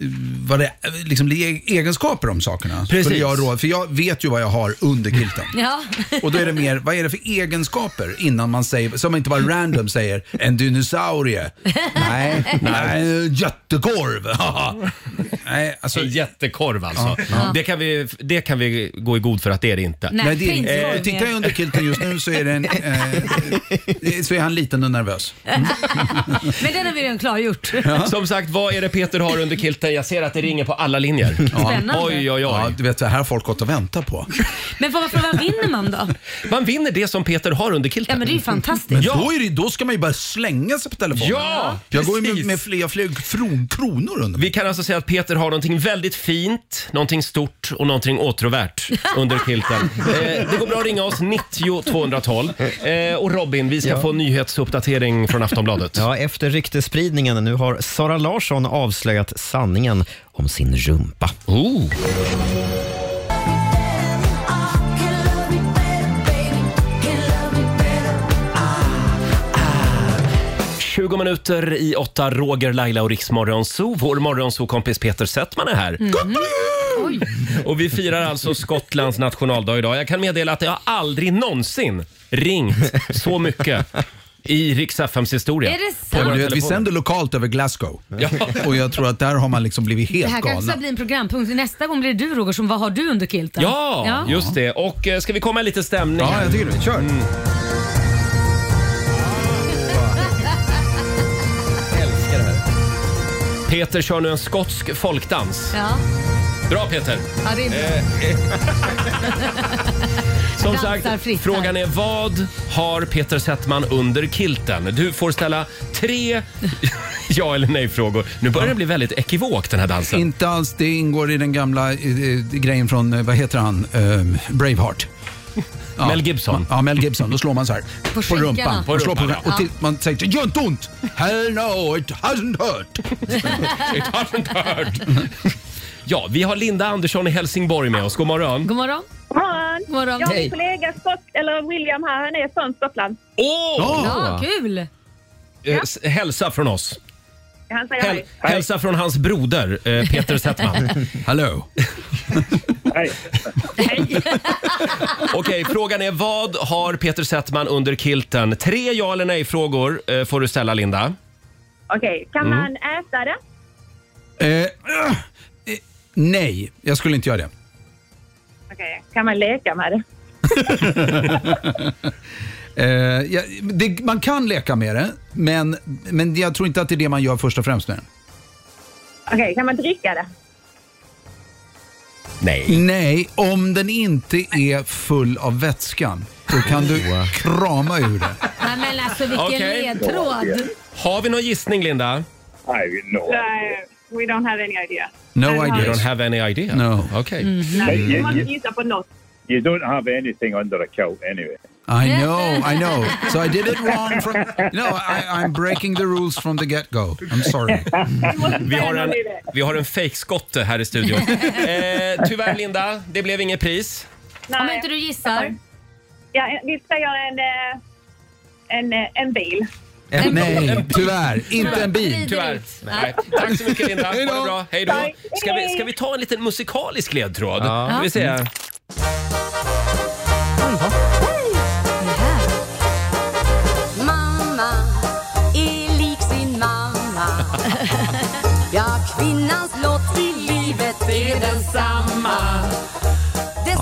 [SPEAKER 4] eh, vad det, liksom, li- egenskaper om sakerna. Skulle
[SPEAKER 1] Precis.
[SPEAKER 4] Jag då, för jag vet ju vad jag har under kilten.
[SPEAKER 2] Ja.
[SPEAKER 4] Och då är det mer, vad är det för egenskaper innan man säger, så man inte bara random säger, en dinosaurie. Nej, Eh, nej en <laughs> jättekorv. nej, alltså,
[SPEAKER 1] Ah. en jättekorv
[SPEAKER 4] Ja.
[SPEAKER 1] alltså.
[SPEAKER 4] Ja.
[SPEAKER 1] Det, kan vi, det kan vi gå i god för att det är det inte.
[SPEAKER 4] Nej, det, eh, tittar jag under kilten just nu så är, <laughs> det en, eh, så är han liten
[SPEAKER 2] <laughs>
[SPEAKER 4] och nervös.
[SPEAKER 2] <laughs> Men den har vi redan klargjort.
[SPEAKER 1] Som sagt, vad är det Peter har under kilten? Jag ser att det ringer på alla linjer.
[SPEAKER 2] Spännande.
[SPEAKER 1] Oj, oj, oj.
[SPEAKER 4] Ja, du vet, det här har folk gått och väntat på.
[SPEAKER 2] Men får man fråga, vad vinner man då?
[SPEAKER 1] Man vinner det som Peter har under kilten.
[SPEAKER 2] Ja, men det är ju fantastiskt.
[SPEAKER 4] Men
[SPEAKER 2] Ja.
[SPEAKER 4] då, är det, då ska man ju bara slänga sig på telefonen.
[SPEAKER 1] Ja,
[SPEAKER 4] Jag går ju
[SPEAKER 1] precis.
[SPEAKER 4] med, med flera, flera kron, kronor under mig.
[SPEAKER 1] Vi kan alltså säga att Peter har någonting väldigt fint, någonting stort och någonting åtråvärt
[SPEAKER 2] <laughs>
[SPEAKER 1] under kilten. Eh, det går bra att ringa oss, 90 212. Eh, och Robin, vi ska
[SPEAKER 3] Ja.
[SPEAKER 1] få en nyhetsuppdatering från Aftonbladet.
[SPEAKER 3] Ja, efter ryktesspridningen. Nu har Sara Larsson avslöjat sanningen om sin rumpa.
[SPEAKER 1] Oh.
[SPEAKER 9] Can love me better.
[SPEAKER 1] 20 minuter i åtta, Roger, Laila och Riksmorgonzoo. Vår morgonzoo-kompis Peter Settman är här.
[SPEAKER 2] Mm.
[SPEAKER 1] Och vi firar alltså Skottlands nationaldag idag. Jag kan meddela att jag har aldrig någonsin ringt så mycket i Rix FMs historia.
[SPEAKER 2] Är det
[SPEAKER 1] På
[SPEAKER 2] sant?
[SPEAKER 1] våra
[SPEAKER 4] Men du vet, vi
[SPEAKER 1] telefoner.
[SPEAKER 4] sänder lokalt över Glasgow.
[SPEAKER 1] Ja.
[SPEAKER 4] <laughs> Och jag tror att där har man liksom blivit
[SPEAKER 2] Det
[SPEAKER 4] helt
[SPEAKER 2] här kanske
[SPEAKER 4] galna.
[SPEAKER 2] ska bli en programpunkt. Nästa gång blir det du Roger som vad har du under kilten?
[SPEAKER 1] Ja, just det. Och eh, ska vi komma i lite stämning? Mm.
[SPEAKER 4] Ja, jag tycker det. Kör! <laughs>
[SPEAKER 1] Peter kör nu en skotsk folkdans.
[SPEAKER 2] Ja.
[SPEAKER 1] Bra Peter!
[SPEAKER 2] Ja, det är bra.
[SPEAKER 1] Eh, <laughs> eh, Som
[SPEAKER 2] Dansar
[SPEAKER 1] sagt,
[SPEAKER 2] fritt
[SPEAKER 1] frågan är vad har Peter Settman under kilten? Du får ställa tre <laughs> ja eller nej-frågor. Nu börjar det bli väldigt ekivok den här dansen.
[SPEAKER 4] Inte alls, det ingår i den gamla eh, eh, grejen från, eh, vad heter han, Ehm, Braveheart. Ja.
[SPEAKER 1] <laughs> Mel Gibson.
[SPEAKER 4] Ja, Mel Gibson. Då slår man så här. På,
[SPEAKER 1] skinkorna.
[SPEAKER 4] rumpan.
[SPEAKER 1] På
[SPEAKER 4] man slår på
[SPEAKER 1] rumpan, ja.
[SPEAKER 4] Och till, man säger gör inte ont! Hell no, it hasn't hurt.
[SPEAKER 1] It hasn't hurt. Ja, vi har Linda Andersson i Helsingborg med oss. God morgon.
[SPEAKER 2] God morgon.
[SPEAKER 12] morgon. Jag har
[SPEAKER 1] Hej.
[SPEAKER 12] min kollega Scott, eller William här, han är från Skottland.
[SPEAKER 1] Åh!
[SPEAKER 2] Ja, kul!
[SPEAKER 1] Eh, s- Hälsa från oss.
[SPEAKER 12] Han säger
[SPEAKER 1] Häl
[SPEAKER 12] hej.
[SPEAKER 1] hälsa från hans broder eh, Peter Settman.
[SPEAKER 4] <laughs> Hallå.
[SPEAKER 1] Okej, frågan är vad har Peter Settman under kilten? Tre ja eller nej-frågor eh, får du ställa, Linda.
[SPEAKER 12] Okej, kan
[SPEAKER 1] Mm.
[SPEAKER 12] man äta det?
[SPEAKER 4] Eh, eh, nej, jag skulle inte göra det.
[SPEAKER 12] Okej. Kan man leka med det?
[SPEAKER 4] <laughs> Eh, ja, det, man kan leka med det, men, men jag tror inte att det är det man gör först och främst med den.
[SPEAKER 13] Okej, kan man dricka det?
[SPEAKER 1] Nej.
[SPEAKER 4] Nej, om den inte är full av vätskan. Då kan du krama ur det.
[SPEAKER 2] Nej men alltså <laughs> vilken
[SPEAKER 1] Okej.
[SPEAKER 2] ledtråd.
[SPEAKER 1] Har vi någon gissning, Linda?
[SPEAKER 13] Nej, we don't have any idea.
[SPEAKER 1] No idea. Mm-hmm. You don't have any idea? No. Okej.
[SPEAKER 4] Mm-hmm.
[SPEAKER 13] Nej,
[SPEAKER 14] Mm.
[SPEAKER 13] man måste gissa på något.
[SPEAKER 14] You don't have anything under a kilt anyway.
[SPEAKER 4] I know, I know. So I did it wrong from... No, I, I'm breaking the rules from the get-go. I'm sorry.
[SPEAKER 9] Mm.
[SPEAKER 1] Vi har en, vi har en fejkskotte här i studion. Eh, tyvärr Linda, det blev inget pris.
[SPEAKER 13] Nej. Om inte du gissar? Ja, vi säger en, eh, en, eh, en bil.
[SPEAKER 4] En- Eh, Nej, tyvärr. Inte en bil.
[SPEAKER 1] Tyvärr. Nej. Tack så mycket Linda. Ha det
[SPEAKER 4] Hej då.
[SPEAKER 1] bra. Hej då.
[SPEAKER 4] Tack.
[SPEAKER 1] Ska vi, ska vi ta en liten musikalisk ledtråd?
[SPEAKER 15] Ja.
[SPEAKER 1] Ska vi se.
[SPEAKER 15] Mm.
[SPEAKER 7] Mamma är lik sin mamma Ja, kvinnans lott i livet är densamma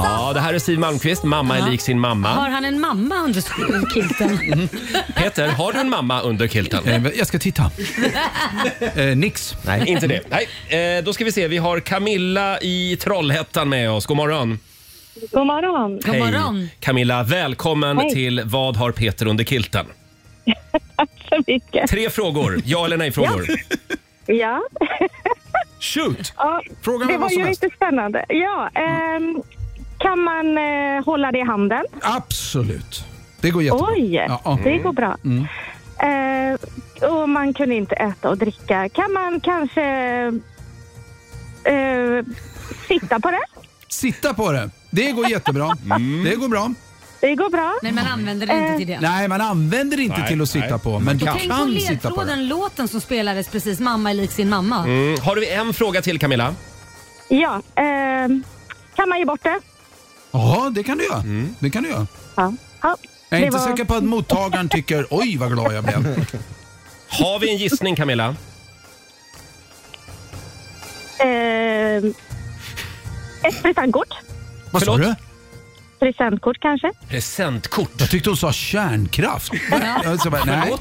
[SPEAKER 1] Ja, det här är Siw Malmkvist. Mamma är lik sin
[SPEAKER 2] Har
[SPEAKER 1] mamma.
[SPEAKER 2] han en mamma under
[SPEAKER 4] <laughs>
[SPEAKER 2] kilten?
[SPEAKER 1] Peter, har du en mamma under kilten?
[SPEAKER 4] Eh, Jag ska
[SPEAKER 1] <laughs>
[SPEAKER 4] titta. Eh, nix.
[SPEAKER 1] Nej, inte det. Nej. Eh, då ska vi se. Vi har Camilla i Trollhättan med oss. God morgon.
[SPEAKER 9] God morgon.
[SPEAKER 1] Hej. Camilla, välkommen
[SPEAKER 9] Hej.
[SPEAKER 1] till Vad har Peter
[SPEAKER 9] <laughs>
[SPEAKER 1] under kilten?
[SPEAKER 9] Så mycket.
[SPEAKER 1] Tre frågor. Ja eller nej-frågor.
[SPEAKER 9] Ja.
[SPEAKER 1] Shoot!
[SPEAKER 9] ja
[SPEAKER 4] Fråga mig
[SPEAKER 9] det
[SPEAKER 4] vad
[SPEAKER 9] var
[SPEAKER 4] som
[SPEAKER 9] ju
[SPEAKER 4] helst.
[SPEAKER 9] lite spännande. Ja, ehm, kan man eh, hålla det i handen?
[SPEAKER 4] Absolut. Det går jättebra.
[SPEAKER 9] Oj,
[SPEAKER 4] Ja, ja.
[SPEAKER 9] det går bra.
[SPEAKER 4] Mm.
[SPEAKER 9] Eh, och man kunde inte äta och dricka. Kan man kanske eh, sitta på det?
[SPEAKER 4] Sitta på det. Det går jättebra.
[SPEAKER 1] Mm.
[SPEAKER 4] Det går bra.
[SPEAKER 9] Det går bra.
[SPEAKER 2] Men man använder det inte till det.
[SPEAKER 4] Nej, man använder det inte
[SPEAKER 1] Nej,
[SPEAKER 4] till att sitta
[SPEAKER 1] nej.
[SPEAKER 4] på, men
[SPEAKER 1] Och
[SPEAKER 4] du
[SPEAKER 2] Tänk på
[SPEAKER 4] kan sitta på det.
[SPEAKER 2] ledtråden, låten som spelades precis, Mamma är lik sin mamma.
[SPEAKER 1] Mm. Har du en fråga till Camilla?
[SPEAKER 9] Ja, ehm, kan man ge bort det?
[SPEAKER 4] Ja, det kan du göra.
[SPEAKER 1] Mm.
[SPEAKER 4] Det kan du göra.
[SPEAKER 9] Ja. ja.
[SPEAKER 4] Jag är
[SPEAKER 9] det
[SPEAKER 4] inte
[SPEAKER 9] var-
[SPEAKER 4] säker på att mottagaren tycker oj vad glad jag blev.
[SPEAKER 1] Har vi en gissning Camilla?
[SPEAKER 13] Eh,
[SPEAKER 9] Ehm, ett presentkort.
[SPEAKER 4] Vad sa du?
[SPEAKER 9] Presentkort kanske?
[SPEAKER 1] Presentkort.
[SPEAKER 4] Jag tyckte hon sa kärnkraft. Jag sa Alltså, bara, nej.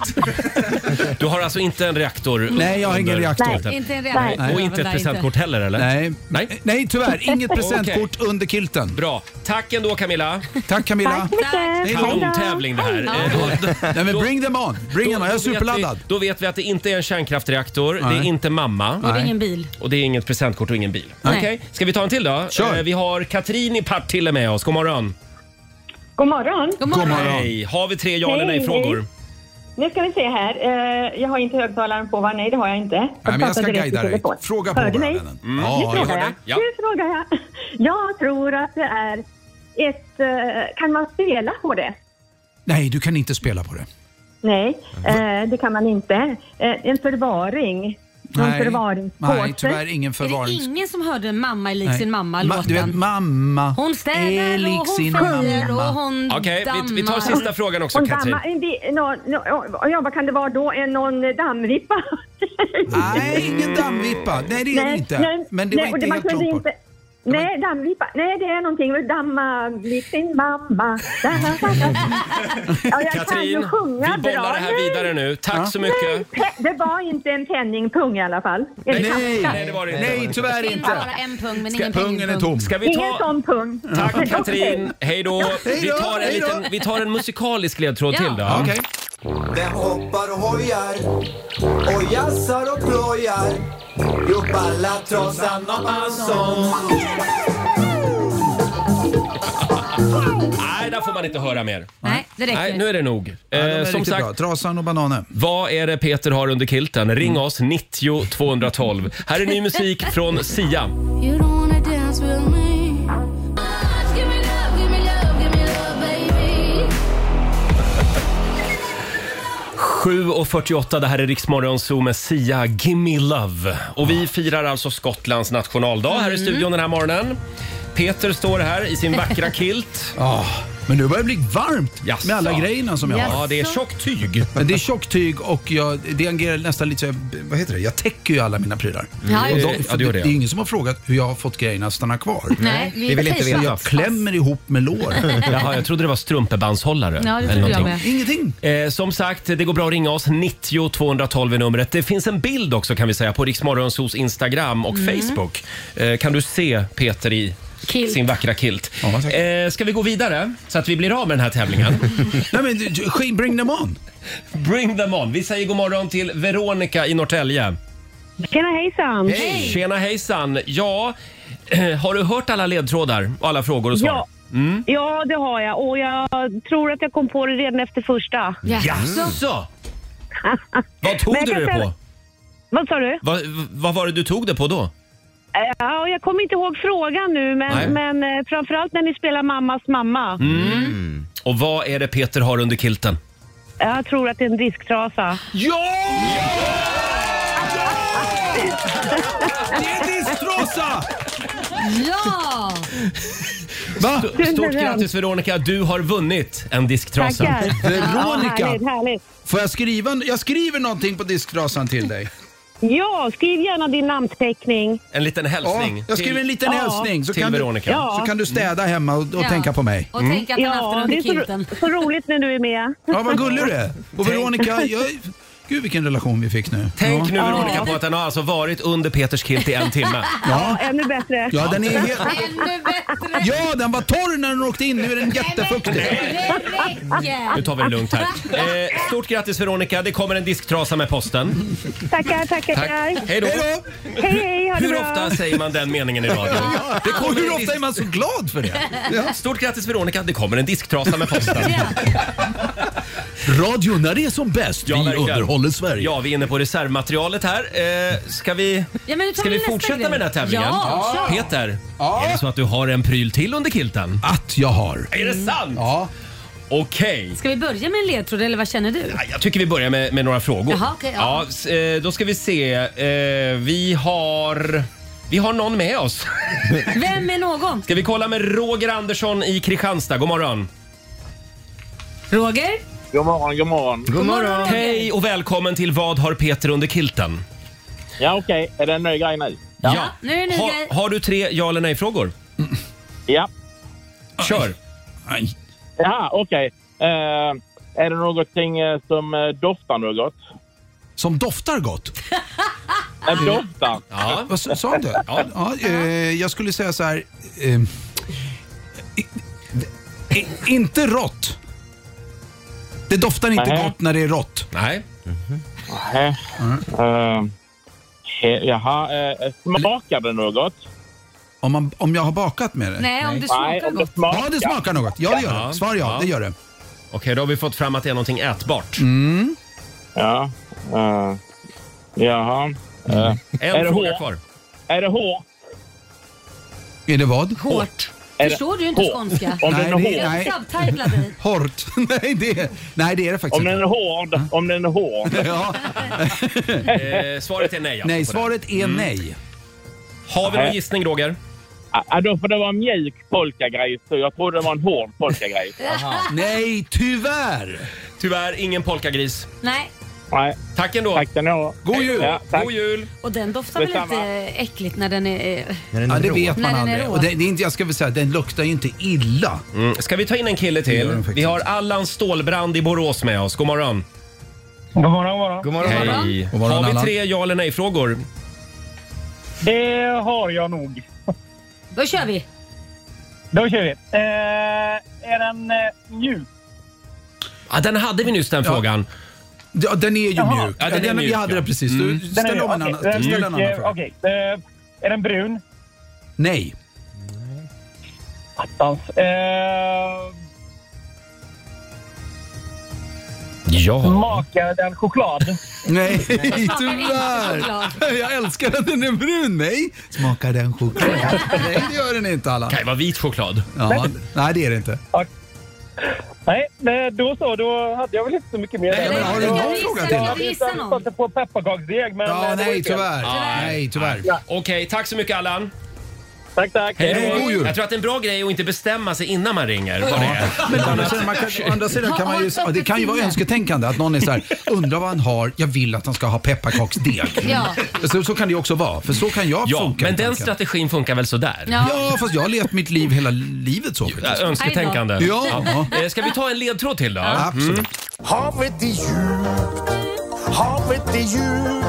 [SPEAKER 1] Du har alltså inte en reaktor?
[SPEAKER 4] Nej, jag har ingen
[SPEAKER 1] under
[SPEAKER 4] reaktor.
[SPEAKER 1] kilten?
[SPEAKER 2] Inte en reaktor.
[SPEAKER 1] Nej. Och inte ett
[SPEAKER 2] Nej.
[SPEAKER 1] presentkort heller eller?
[SPEAKER 4] Nej.
[SPEAKER 1] Nej,
[SPEAKER 4] Nej tyvärr,
[SPEAKER 2] <laughs>
[SPEAKER 4] inget presentkort under kilten.
[SPEAKER 1] Bra. Tack ändå Camilla.
[SPEAKER 4] Tack Camilla.
[SPEAKER 9] Tack.
[SPEAKER 1] Kanontävling det här. Eh, då-
[SPEAKER 4] Nej, men
[SPEAKER 1] då-
[SPEAKER 4] bring them on. Bring them on. Jag är
[SPEAKER 1] då vet vi-
[SPEAKER 4] superladdad.
[SPEAKER 1] Då vet vi att det inte är en kärnkraftreaktor, det är
[SPEAKER 4] Nej.
[SPEAKER 1] inte mamma.
[SPEAKER 2] Och det är ingen bil.
[SPEAKER 1] Och det är inget presentkort och ingen bil.
[SPEAKER 2] Nej.
[SPEAKER 1] Okej, ska vi ta en till då?
[SPEAKER 2] Kör.
[SPEAKER 1] Eh, Vi har Katrin i Partille med oss. God morgon.
[SPEAKER 13] God morgon.
[SPEAKER 1] Hej. Har vi tre ja eller
[SPEAKER 13] Hej.
[SPEAKER 1] nej-frågor?
[SPEAKER 13] Nu ska vi se här. Eh, jag har inte högtalaren på, va? Nej, det har jag inte. Jag
[SPEAKER 4] Nej, men jag
[SPEAKER 13] pratar
[SPEAKER 4] ska
[SPEAKER 13] direkt i
[SPEAKER 4] guida dig.
[SPEAKER 13] telefon.
[SPEAKER 4] Fråga på
[SPEAKER 13] Hör du
[SPEAKER 4] bara,
[SPEAKER 13] mig?
[SPEAKER 4] vännen.
[SPEAKER 13] Mm.
[SPEAKER 4] Ja,
[SPEAKER 13] nu
[SPEAKER 4] jag
[SPEAKER 13] frågar
[SPEAKER 4] hör
[SPEAKER 13] jag.
[SPEAKER 4] dig. Ja.
[SPEAKER 13] Nu frågar jag. Jag tror att det är ett... eh, kan man spela på det?
[SPEAKER 4] Nej, du kan inte spela på det.
[SPEAKER 13] Nej, eh, det kan man inte. Eh, en förvaring. Någon
[SPEAKER 4] Nej.
[SPEAKER 13] förvaringspåse.
[SPEAKER 4] Nej, tyvärr ingen förvarings-
[SPEAKER 2] Är det ingen som hörde Mamma är lik
[SPEAKER 4] Nej.
[SPEAKER 2] sin mamma
[SPEAKER 4] Ma- Du vet,
[SPEAKER 2] låten?
[SPEAKER 4] mamma
[SPEAKER 2] Hon städar
[SPEAKER 4] är
[SPEAKER 2] och
[SPEAKER 4] lik
[SPEAKER 2] hon
[SPEAKER 4] sin
[SPEAKER 2] fejar
[SPEAKER 4] mamma.
[SPEAKER 2] och hon
[SPEAKER 1] Okej, vi, vi tar
[SPEAKER 2] dammar.
[SPEAKER 1] sista frågan också
[SPEAKER 13] Och
[SPEAKER 1] Katrin.
[SPEAKER 13] damma, en di- nå- nå- ja, vad kan det vara då? En, någon dammvippa?
[SPEAKER 4] Nej, ingen dammvippa. Nej, det är det inte. Men det var
[SPEAKER 13] och
[SPEAKER 4] inte
[SPEAKER 13] man
[SPEAKER 4] helt
[SPEAKER 13] kunde
[SPEAKER 4] långt bort.
[SPEAKER 13] inte, Nej, dammvippa. Nej, det är någonting. Damma lik sin
[SPEAKER 1] <laughs>
[SPEAKER 13] mamma. ja, jag kan ju
[SPEAKER 1] Katrin,
[SPEAKER 13] sjunga
[SPEAKER 1] vi bollar
[SPEAKER 13] bra.
[SPEAKER 1] det här vidare nu. Tack så mycket.
[SPEAKER 13] Nej, det var inte en penningpung i alla fall. Eller
[SPEAKER 1] nej,
[SPEAKER 13] kanske.
[SPEAKER 1] nej, det var det inte.
[SPEAKER 4] Nej, tyvärr
[SPEAKER 2] Det finns
[SPEAKER 4] inte.
[SPEAKER 2] bara en pung men
[SPEAKER 1] Ska-
[SPEAKER 2] ingen
[SPEAKER 1] pungen är
[SPEAKER 2] penningpung.
[SPEAKER 1] tom. Ska vi ta-
[SPEAKER 13] Ingen sån pung. Men
[SPEAKER 1] Tack
[SPEAKER 13] okej.
[SPEAKER 1] Katrin, hej då.
[SPEAKER 13] Hej
[SPEAKER 1] Vi
[SPEAKER 13] då,
[SPEAKER 1] tar en,
[SPEAKER 13] hej då.
[SPEAKER 1] liten, vi tar en musikalisk ledtråd
[SPEAKER 13] Ja.
[SPEAKER 1] till då.
[SPEAKER 4] Ja, okej.
[SPEAKER 10] Den hoppar och hojar och jassar och plojar. Jo, balla trossan och manson.
[SPEAKER 1] Nej, där får man inte höra mer.
[SPEAKER 2] Nej, det räcker.
[SPEAKER 1] Nej, nu är det nog. Eh,
[SPEAKER 4] de är
[SPEAKER 1] som
[SPEAKER 4] riktigt bra.
[SPEAKER 1] sagt,
[SPEAKER 4] Trasan och bananen.
[SPEAKER 1] vad är det Peter har under kilten? Ring oss, 90 212. Här är ny musik från Sia.
[SPEAKER 7] You don't wanna dance with me Give me love, give me love, give me love baby
[SPEAKER 1] 7.48, det här är Riksmorgon Zoo med Sia, Gimme Love. Och vi firar alltså Skottlands nationaldag här i
[SPEAKER 2] Mm. <laughs>
[SPEAKER 1] studion den här morgonen. Peter står här i sin vackra kilt.
[SPEAKER 4] Men nu börjar det bli varmt
[SPEAKER 1] Jaså.
[SPEAKER 4] med alla grejerna som jag har.
[SPEAKER 1] Ja, det är tjockt tyg.
[SPEAKER 4] Men det är tjockt tyg och jag, det agerar nästan lite så jag, vad heter det, jag täcker ju alla mina prylar.
[SPEAKER 1] Ja,
[SPEAKER 4] och
[SPEAKER 1] just det. Ja,
[SPEAKER 4] det,
[SPEAKER 1] du gör det,
[SPEAKER 4] det
[SPEAKER 1] ja.
[SPEAKER 4] är ingen som har frågat hur jag har fått grejerna att stanna kvar.
[SPEAKER 2] Nej, vi- Vi vill inte veta.
[SPEAKER 4] Jag klämmer ihop med
[SPEAKER 1] <laughs>
[SPEAKER 4] lår.
[SPEAKER 1] Jaha, jag trodde det var strumpebandshållare.
[SPEAKER 2] Ja, det
[SPEAKER 1] eller
[SPEAKER 2] trodde jag
[SPEAKER 1] någonting.
[SPEAKER 2] med.
[SPEAKER 4] Ingenting.
[SPEAKER 1] Eh, som sagt, det går bra att ringa oss. 90 212 är numret. Det finns en bild också kan vi säga på Riksmorgonsos Instagram och
[SPEAKER 2] Mm.
[SPEAKER 1] Facebook. Eh, kan du se Peter i
[SPEAKER 2] Kilt.
[SPEAKER 1] sin vackra kilt? eh, ska vi gå vidare så att vi blir av med den här tävlingen?
[SPEAKER 4] <laughs> Nej, men, bring them on!
[SPEAKER 1] Bring them on! Vi säger god morgon till Veronica i Norrtälje.
[SPEAKER 13] Tjena hejsan!
[SPEAKER 1] Tjena hejsan! Ja, <clears throat> eh, har du hört alla ledtrådar och alla frågor och svar?
[SPEAKER 13] Ja.
[SPEAKER 1] Mm.
[SPEAKER 13] Ja, det har jag och jag tror att jag kom på det redan efter första.
[SPEAKER 1] Jaså? Vad tog
[SPEAKER 13] Men jag
[SPEAKER 1] du
[SPEAKER 13] kan
[SPEAKER 1] det
[SPEAKER 13] säga-
[SPEAKER 1] på?
[SPEAKER 13] Vad sa du?
[SPEAKER 1] Vad, vad var det du tog det på då?
[SPEAKER 13] Ja, och jag kommer inte ihåg frågan nu,
[SPEAKER 1] Nej.
[SPEAKER 13] men, men eh, framförallt när ni spelar mammas mamma.
[SPEAKER 4] Mm.
[SPEAKER 1] Och vad är det Peter har under kilten?
[SPEAKER 13] Jag tror att det är en disktrasa.
[SPEAKER 4] Ja! Det är disktrasa!
[SPEAKER 2] Ja!
[SPEAKER 1] Va? Stort
[SPEAKER 13] Tusen
[SPEAKER 1] grattis Veronica, du har vunnit en disktrasa.
[SPEAKER 4] <laughs> Veronica!
[SPEAKER 13] Ja, härligt, härligt.
[SPEAKER 4] Får jag skriva, jag skriver någonting på disktrasan till dig.
[SPEAKER 13] Ja, skriv gärna din namnteckning.
[SPEAKER 1] En liten <laughs> hälsning.
[SPEAKER 4] Ja, jag skriver en liten
[SPEAKER 13] Ja.
[SPEAKER 4] hälsning så
[SPEAKER 1] Till
[SPEAKER 4] kan, du,
[SPEAKER 1] Veronica.
[SPEAKER 4] så kan du städa hemma och, och
[SPEAKER 13] Ja.
[SPEAKER 4] tänka på mig.
[SPEAKER 13] Och tänka att han haft den under kilten. Så, så roligt när du är med.
[SPEAKER 4] Ja, vad gullig du är. Och Veronica, jag, gud vilken relation vi fick nu.
[SPEAKER 1] Tänk nu
[SPEAKER 4] ja.
[SPEAKER 1] Veronica på att den har alltså varit under Peters kilt i en timme.
[SPEAKER 4] Ja.
[SPEAKER 13] Ännu bättre.
[SPEAKER 4] Ja, den är helt-
[SPEAKER 2] Ännu bättre!
[SPEAKER 4] Mm. ja, den var torr när den åkte in. Nu är den jättefuktig.
[SPEAKER 1] Nu tar vi
[SPEAKER 13] <laughs>
[SPEAKER 1] det lugnt här. Eh, stort grattis Veronica, det kommer en disktrasa med posten.
[SPEAKER 13] Tackar, tackar.
[SPEAKER 1] Tack. Hej då.
[SPEAKER 13] Hej, hej. Ha det
[SPEAKER 1] Hur
[SPEAKER 13] bra.
[SPEAKER 1] ofta säger man den meningen i radio? Det kommer
[SPEAKER 4] Och hur
[SPEAKER 1] en
[SPEAKER 4] ofta
[SPEAKER 1] disk-
[SPEAKER 4] är man så glad för det?
[SPEAKER 1] Stort grattis Veronica, det kommer en disktrasa med posten.
[SPEAKER 4] Radio när det är som bäst.
[SPEAKER 1] Ja,
[SPEAKER 4] vi
[SPEAKER 1] verkligen.
[SPEAKER 4] underhåller Sverige.
[SPEAKER 1] Ja, vi är inne på reservmaterialet här. Eh, ska vi,
[SPEAKER 2] Ja, men nu tar
[SPEAKER 1] ska
[SPEAKER 2] vi
[SPEAKER 1] vi
[SPEAKER 2] nästa
[SPEAKER 1] fortsätta
[SPEAKER 2] grej.
[SPEAKER 1] med den här tävlingen?
[SPEAKER 2] Ja, kör.
[SPEAKER 1] Peter, är det så att du har en pryl till under kilten?
[SPEAKER 4] Att jag har.
[SPEAKER 1] Är det sant?
[SPEAKER 4] Ja.
[SPEAKER 1] Okej.
[SPEAKER 2] Ska vi börja med en ledtråd eller vad känner du?
[SPEAKER 1] Jag tycker vi börjar med, med några frågor.
[SPEAKER 2] Jaha, okej, ja.
[SPEAKER 1] s- eh, då ska vi se. Eh, vi har... Vi har någon med oss. <laughs>
[SPEAKER 2] Vem är någon?
[SPEAKER 1] Ska vi kolla med Roger Andersson i Kristianstad? God morgon.
[SPEAKER 2] Roger?
[SPEAKER 16] God morgon, god morgon.
[SPEAKER 1] Hej och välkommen till Vad har Peter under kilten?
[SPEAKER 16] Ja, okej. Är det en ny grej nu?
[SPEAKER 1] Ja.
[SPEAKER 2] Nu är det en ny
[SPEAKER 1] Ha,
[SPEAKER 2] grej.
[SPEAKER 1] har du tre ja eller nej-frågor?
[SPEAKER 16] Ja.
[SPEAKER 1] Kör.
[SPEAKER 16] Jaha, okej. Eh, är det någonting eh, som eh, doftar något?
[SPEAKER 4] Som doftar
[SPEAKER 1] <laughs>
[SPEAKER 4] gott.
[SPEAKER 16] Eh,
[SPEAKER 4] Mm.
[SPEAKER 16] doftar?
[SPEAKER 1] Ja.
[SPEAKER 4] Vad sa- sa du? Ja. eh, jag skulle säga så här. Eh, i- i- inte rått. Det doftar inte
[SPEAKER 16] Nej.
[SPEAKER 4] gott när det är rått. Mm.
[SPEAKER 1] Nej.
[SPEAKER 16] Nej. Eh, he- jaha, eh, smakar det något?
[SPEAKER 4] Om, man, om jag har bakat med det?
[SPEAKER 2] Nej, om det smakar
[SPEAKER 16] Nej, om det
[SPEAKER 2] gott.
[SPEAKER 16] smakar.
[SPEAKER 4] Ja, det smakar något. Ja, det gör
[SPEAKER 1] Ja.
[SPEAKER 4] det. Svar ja,
[SPEAKER 1] Ja.
[SPEAKER 4] det gör det.
[SPEAKER 1] Okej, då har vi fått fram att det är någonting ätbart.
[SPEAKER 4] Mm.
[SPEAKER 16] Ja. eh, jaha. Eh,
[SPEAKER 1] En
[SPEAKER 16] det
[SPEAKER 1] fråga
[SPEAKER 16] hår?
[SPEAKER 1] kvar.
[SPEAKER 16] Är det hår?
[SPEAKER 4] Är det vad?
[SPEAKER 2] Hårt.
[SPEAKER 16] Är det-
[SPEAKER 2] Förstår du inte
[SPEAKER 16] Hår.
[SPEAKER 2] skånska?
[SPEAKER 16] Om den är
[SPEAKER 4] Nej, det-
[SPEAKER 16] hår.
[SPEAKER 2] Jag
[SPEAKER 4] nej.
[SPEAKER 2] subtitlade dig.
[SPEAKER 4] Hårt? Nej, det, är- <laughs> nej, det är det faktiskt
[SPEAKER 16] Om den är
[SPEAKER 4] inte.
[SPEAKER 16] hård. Om den är hård.
[SPEAKER 4] <laughs> Ja,
[SPEAKER 1] Eh, svaret är nej. alltså
[SPEAKER 4] nej,
[SPEAKER 1] på den.
[SPEAKER 4] svaret är nej.
[SPEAKER 1] Har vi någon gissning, Roger?
[SPEAKER 16] Ja, Ah, då får det vara en mjuk polkagris. så Jag trodde det var en hård polkagris.
[SPEAKER 4] <laughs> Nej, tyvärr.
[SPEAKER 1] Tyvärr, ingen polkagris.
[SPEAKER 2] Nej,
[SPEAKER 16] Nej.
[SPEAKER 1] Tack ändå.
[SPEAKER 16] Tack ska ni ha.
[SPEAKER 4] God jul!
[SPEAKER 16] Ja, tack.
[SPEAKER 1] God jul!
[SPEAKER 2] och den doftar väl
[SPEAKER 16] Detsamma.
[SPEAKER 2] inte äckligt när den är... eh,
[SPEAKER 4] Ja, det vet
[SPEAKER 2] När
[SPEAKER 4] man
[SPEAKER 2] den är
[SPEAKER 4] aldrig.
[SPEAKER 2] rå.
[SPEAKER 4] Och det, det är inte, jag ska väl säga, den luktar ju inte illa.
[SPEAKER 1] Mm. Ska vi ta in en kille
[SPEAKER 4] Det gör
[SPEAKER 1] till?
[SPEAKER 4] de faktiskt
[SPEAKER 1] Vi har Allan Stålbrand i Borås med oss. God morgon.
[SPEAKER 16] God morgon, god morgon.
[SPEAKER 4] God morgon.
[SPEAKER 1] Hej.
[SPEAKER 4] God morgon,
[SPEAKER 1] har vi
[SPEAKER 4] Allan.
[SPEAKER 1] tre ja eller nej-frågor?
[SPEAKER 16] Det har jag nog.
[SPEAKER 2] Då kör vi!
[SPEAKER 16] Då kör vi. Eh, är den eh, mjuk?
[SPEAKER 1] Ja, den hade vi nyss, den frågan.
[SPEAKER 4] Ja, den är ju
[SPEAKER 16] Jaha.
[SPEAKER 4] mjuk.
[SPEAKER 1] Ja,
[SPEAKER 4] Ja,
[SPEAKER 1] den är
[SPEAKER 4] den
[SPEAKER 1] mjuk,
[SPEAKER 4] jag hade
[SPEAKER 1] ja.
[SPEAKER 4] det precis.
[SPEAKER 1] Mm.
[SPEAKER 4] Du,
[SPEAKER 16] Den
[SPEAKER 4] ställ
[SPEAKER 16] är-
[SPEAKER 4] om en
[SPEAKER 16] okej,
[SPEAKER 4] annan,
[SPEAKER 16] den är
[SPEAKER 4] ställ en
[SPEAKER 16] mjuk,
[SPEAKER 4] annan
[SPEAKER 16] eh,
[SPEAKER 4] fråga.
[SPEAKER 16] Okej. Eh, är den brun?
[SPEAKER 4] Nej.
[SPEAKER 16] Attans. Eh,
[SPEAKER 1] Ja.
[SPEAKER 16] makar den choklad?
[SPEAKER 2] <laughs>
[SPEAKER 4] Nej,
[SPEAKER 2] smakar inte
[SPEAKER 4] tyvärr.
[SPEAKER 2] choklad.
[SPEAKER 4] Jag älskar att den är brun. Nej, smakar den choklad? Nej, det gör den inte Allan.
[SPEAKER 1] Kan det vara vit choklad?
[SPEAKER 4] Ja, nej, det är det inte.
[SPEAKER 16] Nej, nej, då så. Då hade jag väl inte så mycket mer.
[SPEAKER 4] Nej, men har du
[SPEAKER 2] Ska
[SPEAKER 4] någon
[SPEAKER 2] vi
[SPEAKER 4] fråga
[SPEAKER 2] gissa
[SPEAKER 4] till?
[SPEAKER 2] någon?
[SPEAKER 16] Jag
[SPEAKER 2] Vi
[SPEAKER 16] vet
[SPEAKER 2] gissar
[SPEAKER 16] inte, jag
[SPEAKER 2] någon.
[SPEAKER 16] satte på pepparkaksdeg, men... eh,
[SPEAKER 4] Ja,
[SPEAKER 16] det var ju
[SPEAKER 4] nej,
[SPEAKER 16] fel.
[SPEAKER 4] tyvärr. Nej, tyvärr.
[SPEAKER 1] Okej, tack så mycket Allan.
[SPEAKER 16] Tack, tack.
[SPEAKER 1] Hej då. Jag tror att det är en bra grej att inte bestämma sig innan man ringer. Vad det är.
[SPEAKER 4] Men å andra sidan, man kan, å andra sidan kan man ju, ja, det kan ju vara önsketänkande att någon är så här, undrar vad han har, jag vill att han ska ha pepparkaksdeg.
[SPEAKER 2] Ja.
[SPEAKER 4] Så, så kan det ju också vara, för så kan jag
[SPEAKER 1] Ja,
[SPEAKER 4] funka.
[SPEAKER 1] men den
[SPEAKER 4] tänker jag.
[SPEAKER 1] strategin funkar väl sådär?
[SPEAKER 2] Ja.
[SPEAKER 4] Ja, fast jag har levt mitt liv hela livet så faktiskt.
[SPEAKER 1] Önsketänkande.
[SPEAKER 4] Ja.
[SPEAKER 1] Eh, Ska vi ta en ledtråd till då? Mm.
[SPEAKER 4] Ja, absolut.
[SPEAKER 14] Havet är djupt, havet är djupt.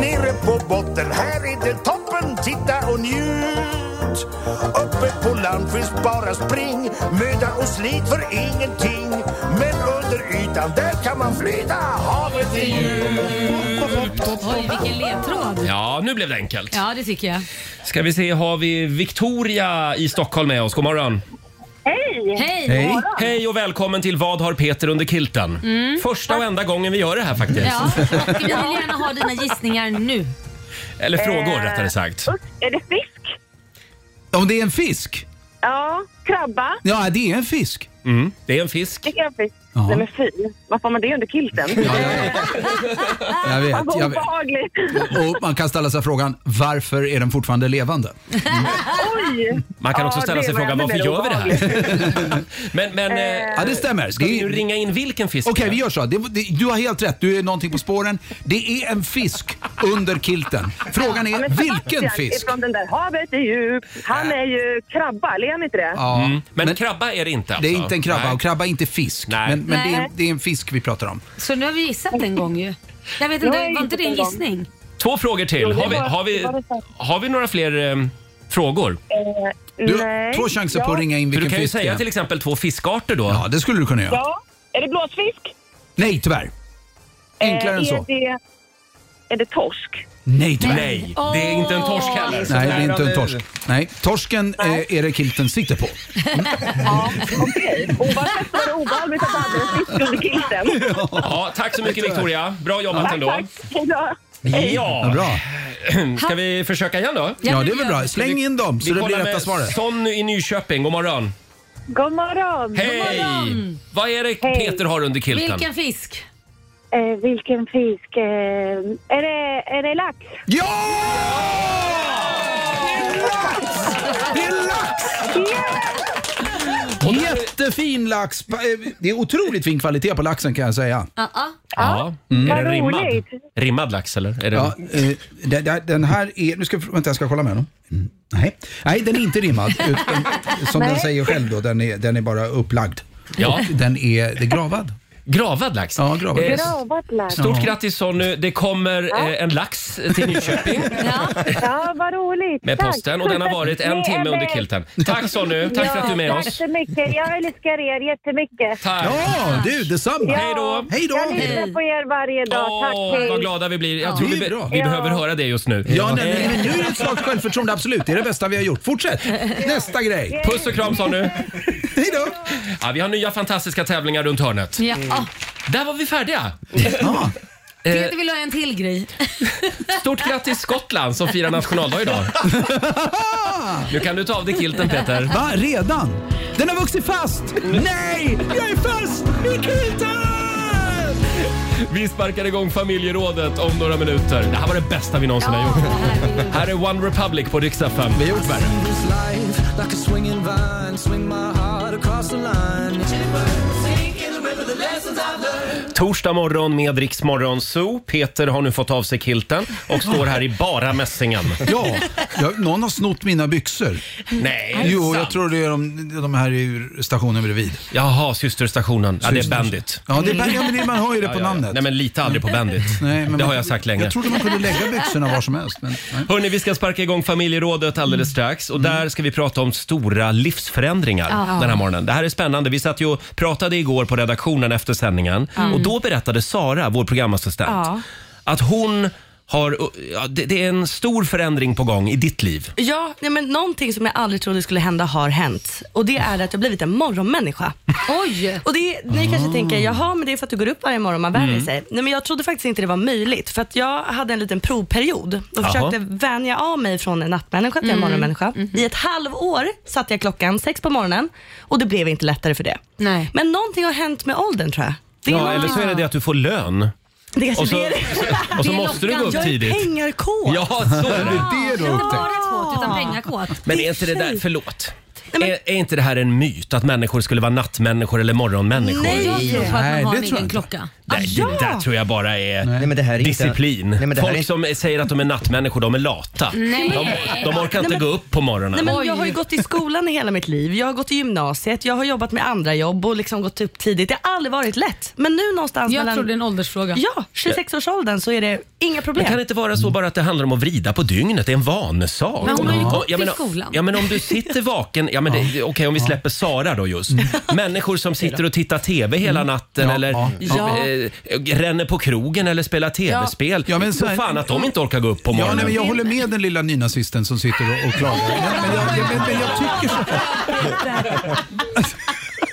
[SPEAKER 14] Nere på botten, här är det toppen. Titta och njut. Uppe på land finns bara spring, möda och slit för ingenting. Men under ytan, där kan man flyta. Havet är djupt.
[SPEAKER 2] Oj, vilken ledtråd.
[SPEAKER 1] Ja, nu blev det enkelt.
[SPEAKER 2] Ja, det tycker jag.
[SPEAKER 1] Ska vi se, har vi Victoria i Stockholm med oss? God morgon.
[SPEAKER 13] Hej!
[SPEAKER 2] Hej!
[SPEAKER 1] Hej och välkommen till Vad har Peter under kilten?
[SPEAKER 2] Mm.
[SPEAKER 1] Första och enda gången vi gör det här faktiskt.
[SPEAKER 2] Ja,
[SPEAKER 1] <laughs>
[SPEAKER 2] och vi vill gärna ha dina gissningar nu.
[SPEAKER 1] Eller frågor
[SPEAKER 13] Eh,
[SPEAKER 1] rättare sagt.
[SPEAKER 13] Är det fisk?
[SPEAKER 4] Om det är en fisk?
[SPEAKER 13] Ja. Krabba?
[SPEAKER 4] Ja, det är en fisk.
[SPEAKER 1] Mm, Det är en fisk.
[SPEAKER 13] Det är en fisk. Nej men fy, varför har man det under kilten?
[SPEAKER 4] Jag vet,
[SPEAKER 13] Vad
[SPEAKER 4] jag vet.
[SPEAKER 13] obehagligt!
[SPEAKER 4] Och man kan ställa sig frågan, varför är den fortfarande levande?
[SPEAKER 13] Oj!
[SPEAKER 1] Man kan också
[SPEAKER 13] Ja,
[SPEAKER 1] ställa
[SPEAKER 13] det
[SPEAKER 1] sig
[SPEAKER 13] var
[SPEAKER 1] frågan
[SPEAKER 13] ännu
[SPEAKER 1] varför
[SPEAKER 13] mer
[SPEAKER 1] gör vi det här? <laughs> men, men, eh,
[SPEAKER 4] Ja, det stämmer.
[SPEAKER 1] Ska vi
[SPEAKER 4] Det är-
[SPEAKER 1] nu ringa in vilken fisk
[SPEAKER 4] Okej,
[SPEAKER 1] det är?
[SPEAKER 4] vi gör så. Det, det, du har helt rätt. Du är någonting på spåren. Det är en fisk under kilten. Frågan
[SPEAKER 13] Ja,
[SPEAKER 4] är,
[SPEAKER 13] men
[SPEAKER 4] vilken
[SPEAKER 13] Sebastian
[SPEAKER 4] fisk?
[SPEAKER 13] Ifrån den där havet är djupt. Han är ju krabba, eller är han inte det?
[SPEAKER 4] Ja,
[SPEAKER 1] Äh. Mm. Men, krabba är det inte
[SPEAKER 4] Det
[SPEAKER 1] alltså?
[SPEAKER 4] är inte en krabba
[SPEAKER 1] Nej.
[SPEAKER 4] och krabba är inte fisk. Men, men det, är,
[SPEAKER 2] Nej.
[SPEAKER 4] det är en fisk vi pratar om.
[SPEAKER 2] Så nu har vi gissat en gång ju. Jag vet inte,
[SPEAKER 13] Nej,
[SPEAKER 2] var inte det en
[SPEAKER 13] inte en
[SPEAKER 2] gissning?
[SPEAKER 1] Två frågor
[SPEAKER 13] Jo,
[SPEAKER 1] till.
[SPEAKER 13] det
[SPEAKER 1] Har vi,
[SPEAKER 13] var-
[SPEAKER 1] har
[SPEAKER 13] det var
[SPEAKER 1] vi,
[SPEAKER 13] det sagt.
[SPEAKER 1] har vi några fler eh, frågor?
[SPEAKER 13] Eh, nej. Ja.
[SPEAKER 1] För Du kan ju säga till exempel två fiskarter då.
[SPEAKER 4] Ja, det skulle du kunna göra.
[SPEAKER 13] Ja, är det blåsfisk?
[SPEAKER 4] Nej, tyvärr. Enklare
[SPEAKER 13] Eh,
[SPEAKER 4] än
[SPEAKER 13] är
[SPEAKER 4] så.
[SPEAKER 13] Det, är det torsk?
[SPEAKER 4] Nej, tyvärr.
[SPEAKER 1] Nej, det är inte en torsk heller. Så
[SPEAKER 4] Nej, det
[SPEAKER 1] där
[SPEAKER 4] är inte
[SPEAKER 1] har
[SPEAKER 4] en
[SPEAKER 1] du-
[SPEAKER 4] torsk. Nej, torsken eh, är det kilten sitter på.
[SPEAKER 13] Oavsett var det obehagligt att han hade en fisk under kilten.
[SPEAKER 1] Ja, tack så mycket Victoria. Bra jobbat
[SPEAKER 13] Tack,
[SPEAKER 1] ändå.
[SPEAKER 13] tack. Hej då. Hej.
[SPEAKER 1] Mm. Ja.
[SPEAKER 4] bra.
[SPEAKER 1] <clears throat> Ska vi försöka igen då?
[SPEAKER 4] Ja, det är väl bra. Släng in dem så
[SPEAKER 1] Vi
[SPEAKER 4] det blir
[SPEAKER 1] kollar
[SPEAKER 4] rätta
[SPEAKER 1] med
[SPEAKER 4] svaret.
[SPEAKER 1] Sonny i Nyköping, god morgon.
[SPEAKER 13] God morgon.
[SPEAKER 1] Hej! Vad är det Peter har under kilten?
[SPEAKER 2] Vilken fisk?
[SPEAKER 13] Eh, vilken fisk? Eh, är, det, är det lax?
[SPEAKER 4] Ja! Det är lax! Jättefin lax. Pa- eh, Det är otroligt fin kvalitet på laxen kan jag säga.
[SPEAKER 2] Uh-uh.
[SPEAKER 1] Ja.
[SPEAKER 4] Mm.
[SPEAKER 1] Är det
[SPEAKER 4] Vad
[SPEAKER 1] rimmad?
[SPEAKER 4] roligt.
[SPEAKER 1] rimmad lax eller? Är det...
[SPEAKER 4] Ja, eh, den- den- den här är... Nu ska, jag- vänta, jag ska kolla med honom. Mm, Nej. Nej, den är inte <laughs> rimmad. Utan, som den säger själv då, den är, den är bara upplagd.
[SPEAKER 1] Ja.
[SPEAKER 4] Och Den är, det är gravad.
[SPEAKER 1] Gravad lax?
[SPEAKER 4] Ja, gravad.
[SPEAKER 1] Eh,
[SPEAKER 13] Gravad lax.
[SPEAKER 1] Stort
[SPEAKER 4] Ja.
[SPEAKER 1] grattis Sonny, det kommer eh, en lax till Nyköping
[SPEAKER 13] Ja, vad roligt.
[SPEAKER 1] med
[SPEAKER 13] Tack.
[SPEAKER 1] posten och den har varit en
[SPEAKER 13] Ni är
[SPEAKER 1] timme under
[SPEAKER 13] bäst.
[SPEAKER 1] kilten. Tack Sonny, tack för att du är med
[SPEAKER 13] tack
[SPEAKER 1] oss.
[SPEAKER 13] så mycket. Jag älskar er jättemycket.
[SPEAKER 1] Tack.
[SPEAKER 4] Ja, du detsamma.
[SPEAKER 13] Ja,
[SPEAKER 4] Hej då. Hej då.
[SPEAKER 13] Jag lyssnar på er varje dag.
[SPEAKER 1] Åh,
[SPEAKER 13] Tack, hej.
[SPEAKER 1] vad glada vi blir. Jag tror
[SPEAKER 4] Det
[SPEAKER 1] vi,
[SPEAKER 4] är
[SPEAKER 1] be-
[SPEAKER 4] bra.
[SPEAKER 1] vi
[SPEAKER 13] Ja.
[SPEAKER 1] behöver höra det just nu.
[SPEAKER 4] Ja, nej,
[SPEAKER 1] Eh,
[SPEAKER 4] nej, men nu är det ett slags självförtroende, absolut. Det är det bästa vi har gjort. Fortsätt! Nästa grej.
[SPEAKER 1] Puss och kram Sonny.
[SPEAKER 4] Hej då!
[SPEAKER 1] Ja, vi har nya fantastiska tävlingar runt hörnet. Mm.
[SPEAKER 2] Ja. ah,
[SPEAKER 1] Där var vi färdiga. Eh,
[SPEAKER 2] Peter vill ha en till grej.
[SPEAKER 1] Stort grattis Skottland som firar nationaldag idag. Nu kan du ta av dig kilten Peter.
[SPEAKER 4] Va, redan? Den har vuxit fast! Nej, jag är fast i kilten!
[SPEAKER 1] Vi sparkar igång familjerådet om några minuter. Det här var det bästa vi någonsin har gjort. Här är One Republic på Rix FM. Vi har gjort värre. Torsdag morgon med Rix Morgon Zoo. Peter har nu fått av sig kilten och står här i bara mässingen.
[SPEAKER 4] Ja, jag, någon har snott mina byxor.
[SPEAKER 1] Nej,
[SPEAKER 4] Jo,
[SPEAKER 1] sant?
[SPEAKER 4] jag tror det är de, de här i stationen bredvid.
[SPEAKER 1] Jaha, systerstationen. Ja, det är
[SPEAKER 4] Syster-
[SPEAKER 1] Bandit.
[SPEAKER 4] Ja, det, är- ja men det, man hör ju det på namnet.
[SPEAKER 1] Nej, men lita aldrig på Bandit.
[SPEAKER 4] Nej, men
[SPEAKER 1] det har
[SPEAKER 4] man-
[SPEAKER 1] jag sagt länge.
[SPEAKER 4] Jag trodde man kunde lägga byxorna var som helst. Men, nej. Mm.
[SPEAKER 1] Hörni, vi ska sparka igång familjerådet alldeles strax och där ska vi prata om stora livsförändringar
[SPEAKER 2] Ja.
[SPEAKER 1] den här morgonen. Det här är spännande. Vi satt ju och pratade igår på redaktionen efter sändningen
[SPEAKER 2] Mm.
[SPEAKER 1] och då berättade Sara, vår programassistent,
[SPEAKER 7] Ja.
[SPEAKER 1] att hon har, ja, det, det är en stor förändring på gång i ditt liv.
[SPEAKER 7] Ja, nej, men någonting som jag aldrig trodde skulle hända har hänt. Och det är att jag blivit en morgonmänniska.
[SPEAKER 2] Oj!
[SPEAKER 7] Och det, ni
[SPEAKER 1] Ah.
[SPEAKER 7] kanske tänker, jaha men det är för att du går upp varje morgon man vänjer
[SPEAKER 1] Mm.
[SPEAKER 7] sig. Nej men jag trodde faktiskt inte det var möjligt. För att jag hade en liten provperiod och
[SPEAKER 1] Jaha.
[SPEAKER 7] försökte vänja av mig från en nattmänniska
[SPEAKER 2] Mm.
[SPEAKER 7] till en morgonmänniska.
[SPEAKER 2] Mhm.
[SPEAKER 7] I ett halvår satte jag klockan sex på morgonen och det blev inte lättare för det.
[SPEAKER 2] Nej.
[SPEAKER 7] Men någonting har hänt med åldern tror jag. Det är
[SPEAKER 1] Ja,
[SPEAKER 7] någonting
[SPEAKER 1] eller så är det det att du får lön.
[SPEAKER 7] Det kanske
[SPEAKER 1] Och så-
[SPEAKER 7] är det.
[SPEAKER 1] och så
[SPEAKER 7] Det är
[SPEAKER 1] måste du gå
[SPEAKER 7] lockande.
[SPEAKER 1] upp tidigt.
[SPEAKER 7] Jag är pengarkåt.
[SPEAKER 1] Ja, så är det. Det är det du har
[SPEAKER 2] Inte
[SPEAKER 1] upptäckt.
[SPEAKER 2] bara kåt, utan pengakåt.
[SPEAKER 1] Men är inte det där, förlåt. Är, är inte det här en myt? Att människor skulle vara nattmänniskor eller morgonmänniskor?
[SPEAKER 2] Nej, jag tror på att man har en egen klocka.
[SPEAKER 1] Nej, det där tror jag bara är,
[SPEAKER 3] Nej, men det här är inte-
[SPEAKER 1] disciplin.
[SPEAKER 3] Nej, men det här
[SPEAKER 1] Folk
[SPEAKER 3] är-
[SPEAKER 1] som säger att de är nattmänniskor, de är lata.
[SPEAKER 7] Nej.
[SPEAKER 1] De, de orkar
[SPEAKER 7] Nej,
[SPEAKER 1] inte
[SPEAKER 7] men-
[SPEAKER 1] gå upp på morgonen.
[SPEAKER 7] Nej, men jag har ju gått i skolan i hela mitt liv. Jag har gått i gymnasiet, jag har jobbat med andra jobb och liksom gått upp tidigt. Det har aldrig varit lätt. Men nu någonstans
[SPEAKER 2] Jag
[SPEAKER 7] mellan...
[SPEAKER 2] tror det är en åldersfråga.
[SPEAKER 7] Ja, 26-årsåldern så är det inga problem.
[SPEAKER 1] Men kan det inte vara så bara att det handlar om att vrida på dygnet? Det är en vanesak.
[SPEAKER 7] Men hon har ju
[SPEAKER 1] Ja.
[SPEAKER 7] gått
[SPEAKER 1] Ja,
[SPEAKER 7] i
[SPEAKER 1] men-
[SPEAKER 7] skolan.
[SPEAKER 1] Ja, men om du sitter vaken. Ja, men det, okej, om vi släpper Sara då just. Människor som sitter och tittar TV hela
[SPEAKER 4] Mm.
[SPEAKER 1] natten
[SPEAKER 4] Ja,
[SPEAKER 1] eller
[SPEAKER 4] ja.
[SPEAKER 1] Eh, ränner på krogen eller spelar TV-spel.
[SPEAKER 4] Ja, men så
[SPEAKER 1] så
[SPEAKER 4] här-
[SPEAKER 1] fan att de inte orkar gå upp på
[SPEAKER 4] Ja,
[SPEAKER 1] morgonen.
[SPEAKER 4] nej, men jag håller med den lilla nynazisten som sitter och, och klagar. Men, men, jag, jag, men, men jag tycker så.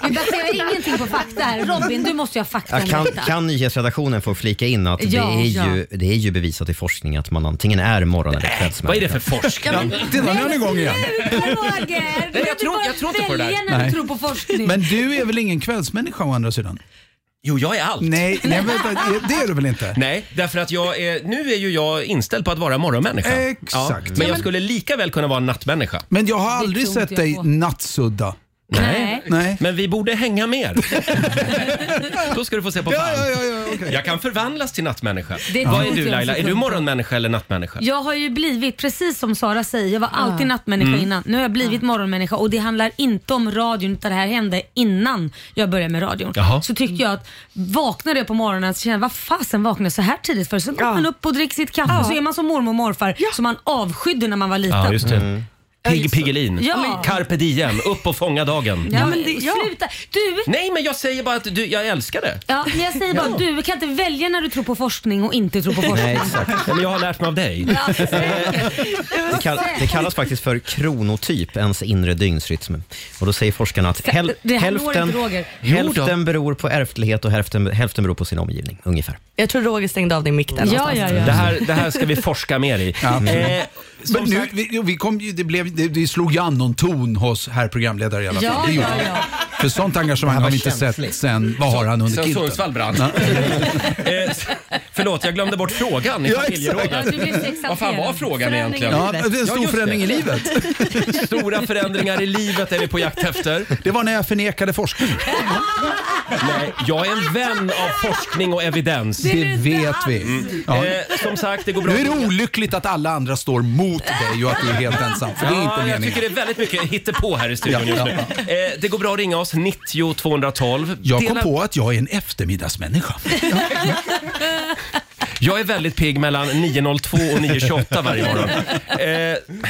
[SPEAKER 2] Vi baserar ingenting på fakta här. Robin, du måste ju ha fakta.
[SPEAKER 3] Ja,
[SPEAKER 2] om
[SPEAKER 3] kan,
[SPEAKER 2] detta.
[SPEAKER 3] kan nyhetsredaktionen få flika in att
[SPEAKER 2] Ja,
[SPEAKER 3] det, är
[SPEAKER 2] ja.
[SPEAKER 3] ju, det är ju bevisat i forskning att man antingen är morgon eller kvällsmänniska.
[SPEAKER 1] vad är det för forskning?
[SPEAKER 2] Ja, men-
[SPEAKER 4] Titta, nu är han igång igen.
[SPEAKER 2] Roger!
[SPEAKER 1] Nej, jag tror- jag tror inte på det där.
[SPEAKER 2] Välja när du
[SPEAKER 4] Nej.
[SPEAKER 2] tror på forskning.
[SPEAKER 4] Men du är väl ingen kvällsmänniska å andra sidan?
[SPEAKER 1] Jo, jag är allt.
[SPEAKER 4] Nej, nej men, vänta, det är du väl inte?
[SPEAKER 1] Nej, därför att jag är, nu är ju jag inställd på att vara morgonmänniska.
[SPEAKER 4] Exakt.
[SPEAKER 1] Ja,
[SPEAKER 4] Ja,
[SPEAKER 1] men jag
[SPEAKER 4] men-
[SPEAKER 1] skulle lika väl kunna vara en nattmänniska.
[SPEAKER 4] Men jag har
[SPEAKER 1] Det
[SPEAKER 4] aldrig
[SPEAKER 1] tror inte
[SPEAKER 4] sett
[SPEAKER 1] jag
[SPEAKER 4] dig
[SPEAKER 1] på.
[SPEAKER 4] nattsudda.
[SPEAKER 1] Nej.
[SPEAKER 4] Nej.
[SPEAKER 1] Men vi borde hänga mer. Då ska du få se på band. Jag kan förvandlas till nattmänniska.
[SPEAKER 2] Det
[SPEAKER 1] Vad är
[SPEAKER 2] tror
[SPEAKER 1] du
[SPEAKER 2] inte jag
[SPEAKER 1] Laila?
[SPEAKER 2] så
[SPEAKER 1] Är du
[SPEAKER 2] tungt.
[SPEAKER 1] morgonmänniska eller nattmänniska?
[SPEAKER 2] Jag har ju blivit, precis som Sara säger, jag var alltid nattmänniska
[SPEAKER 1] Mm.
[SPEAKER 2] innan. Nu har jag blivit morgonmänniska och det handlar inte om radion utan det här hände innan jag började med radion.
[SPEAKER 1] Jaha.
[SPEAKER 2] Så tyckte jag att vaknade jag på morgonen så kände jag, vad fasen vaknade jag så här tidigt för? Så går man upp och dricker sitt kaffe och så är man som mormor och morfar som man avskydde när man var liten.
[SPEAKER 1] Ja, just det.
[SPEAKER 4] Mm.
[SPEAKER 1] Pigg Piggelin. Mm.
[SPEAKER 2] Ja, men-
[SPEAKER 1] Carpe diem. Upp och fånga dagen.
[SPEAKER 2] Ja, men det, Sluta. Du,
[SPEAKER 1] Nej, men jag säger bara att du, jag älskar det.
[SPEAKER 2] ja, men jag säger bara,
[SPEAKER 1] Ja.
[SPEAKER 2] du kan inte välja när du tror på forskning och inte tror på forskning.
[SPEAKER 1] Ja, men jag har lärt mig av dig.
[SPEAKER 3] Det, kall, det kallas faktiskt för kronotyp, ens inre dygnsrytm. Och då säger forskarna att häl,
[SPEAKER 2] Det här når
[SPEAKER 3] hälften,
[SPEAKER 2] inte Roger.
[SPEAKER 7] Jo då.
[SPEAKER 3] hälften beror på ärftlighet och hälften, hälften beror på sin omgivning, ungefär.
[SPEAKER 7] Jag tror Roger stängde av din mick där någonstans.
[SPEAKER 1] Det, här, det här ska vi forska mer i. Eh,
[SPEAKER 4] Mm. Men nu, vi, vi kom ju, det, blev, det, det slog ju an någon ton hos herr programledare i alla fall.
[SPEAKER 1] Ja,
[SPEAKER 4] det gjorde
[SPEAKER 1] ja,
[SPEAKER 4] det.
[SPEAKER 1] ja.
[SPEAKER 4] För sånt engagemang
[SPEAKER 1] Det här
[SPEAKER 4] har vi
[SPEAKER 1] var
[SPEAKER 4] inte
[SPEAKER 1] känsligt.
[SPEAKER 4] sett sen, vad har han under
[SPEAKER 1] Sen
[SPEAKER 4] kilten?
[SPEAKER 1] Sundsvall brann. <laughs> Eh, Förlåt, jag glömde bort frågan i
[SPEAKER 4] Ja,
[SPEAKER 1] familjerådet.
[SPEAKER 4] exakt. Ja, du blev exalterad.
[SPEAKER 1] Vad fan var frågan
[SPEAKER 4] Förändring
[SPEAKER 1] egentligen?
[SPEAKER 4] i Ja, livet. det är en stor
[SPEAKER 1] just
[SPEAKER 4] förändring i livet.
[SPEAKER 1] <laughs> Stora förändringar i livet är vi på jakt efter.
[SPEAKER 4] Det var när jag förnekade forskning.
[SPEAKER 1] Nej, jag är en vän av forskning och evidens.
[SPEAKER 4] Det Det är du vet inte vi. alls. Ja.
[SPEAKER 1] Eh, som sagt, det går bra.
[SPEAKER 4] Nu är det olyckligt att alla andra står mot dig och att du är helt ensam, för det är
[SPEAKER 1] ja,
[SPEAKER 4] inte
[SPEAKER 1] jag tycker
[SPEAKER 4] meningen.
[SPEAKER 1] det är väldigt mycket hittepå här i studion
[SPEAKER 4] Ja,
[SPEAKER 1] just nu. Eh, det går bra att ringa oss, 90 212.
[SPEAKER 4] Jag kom
[SPEAKER 1] Dela-
[SPEAKER 4] på att jag är en eftermiddagsmänniska.
[SPEAKER 1] Jag är väldigt pigg mellan 9.02 och 9.28 varje morgon. Eh,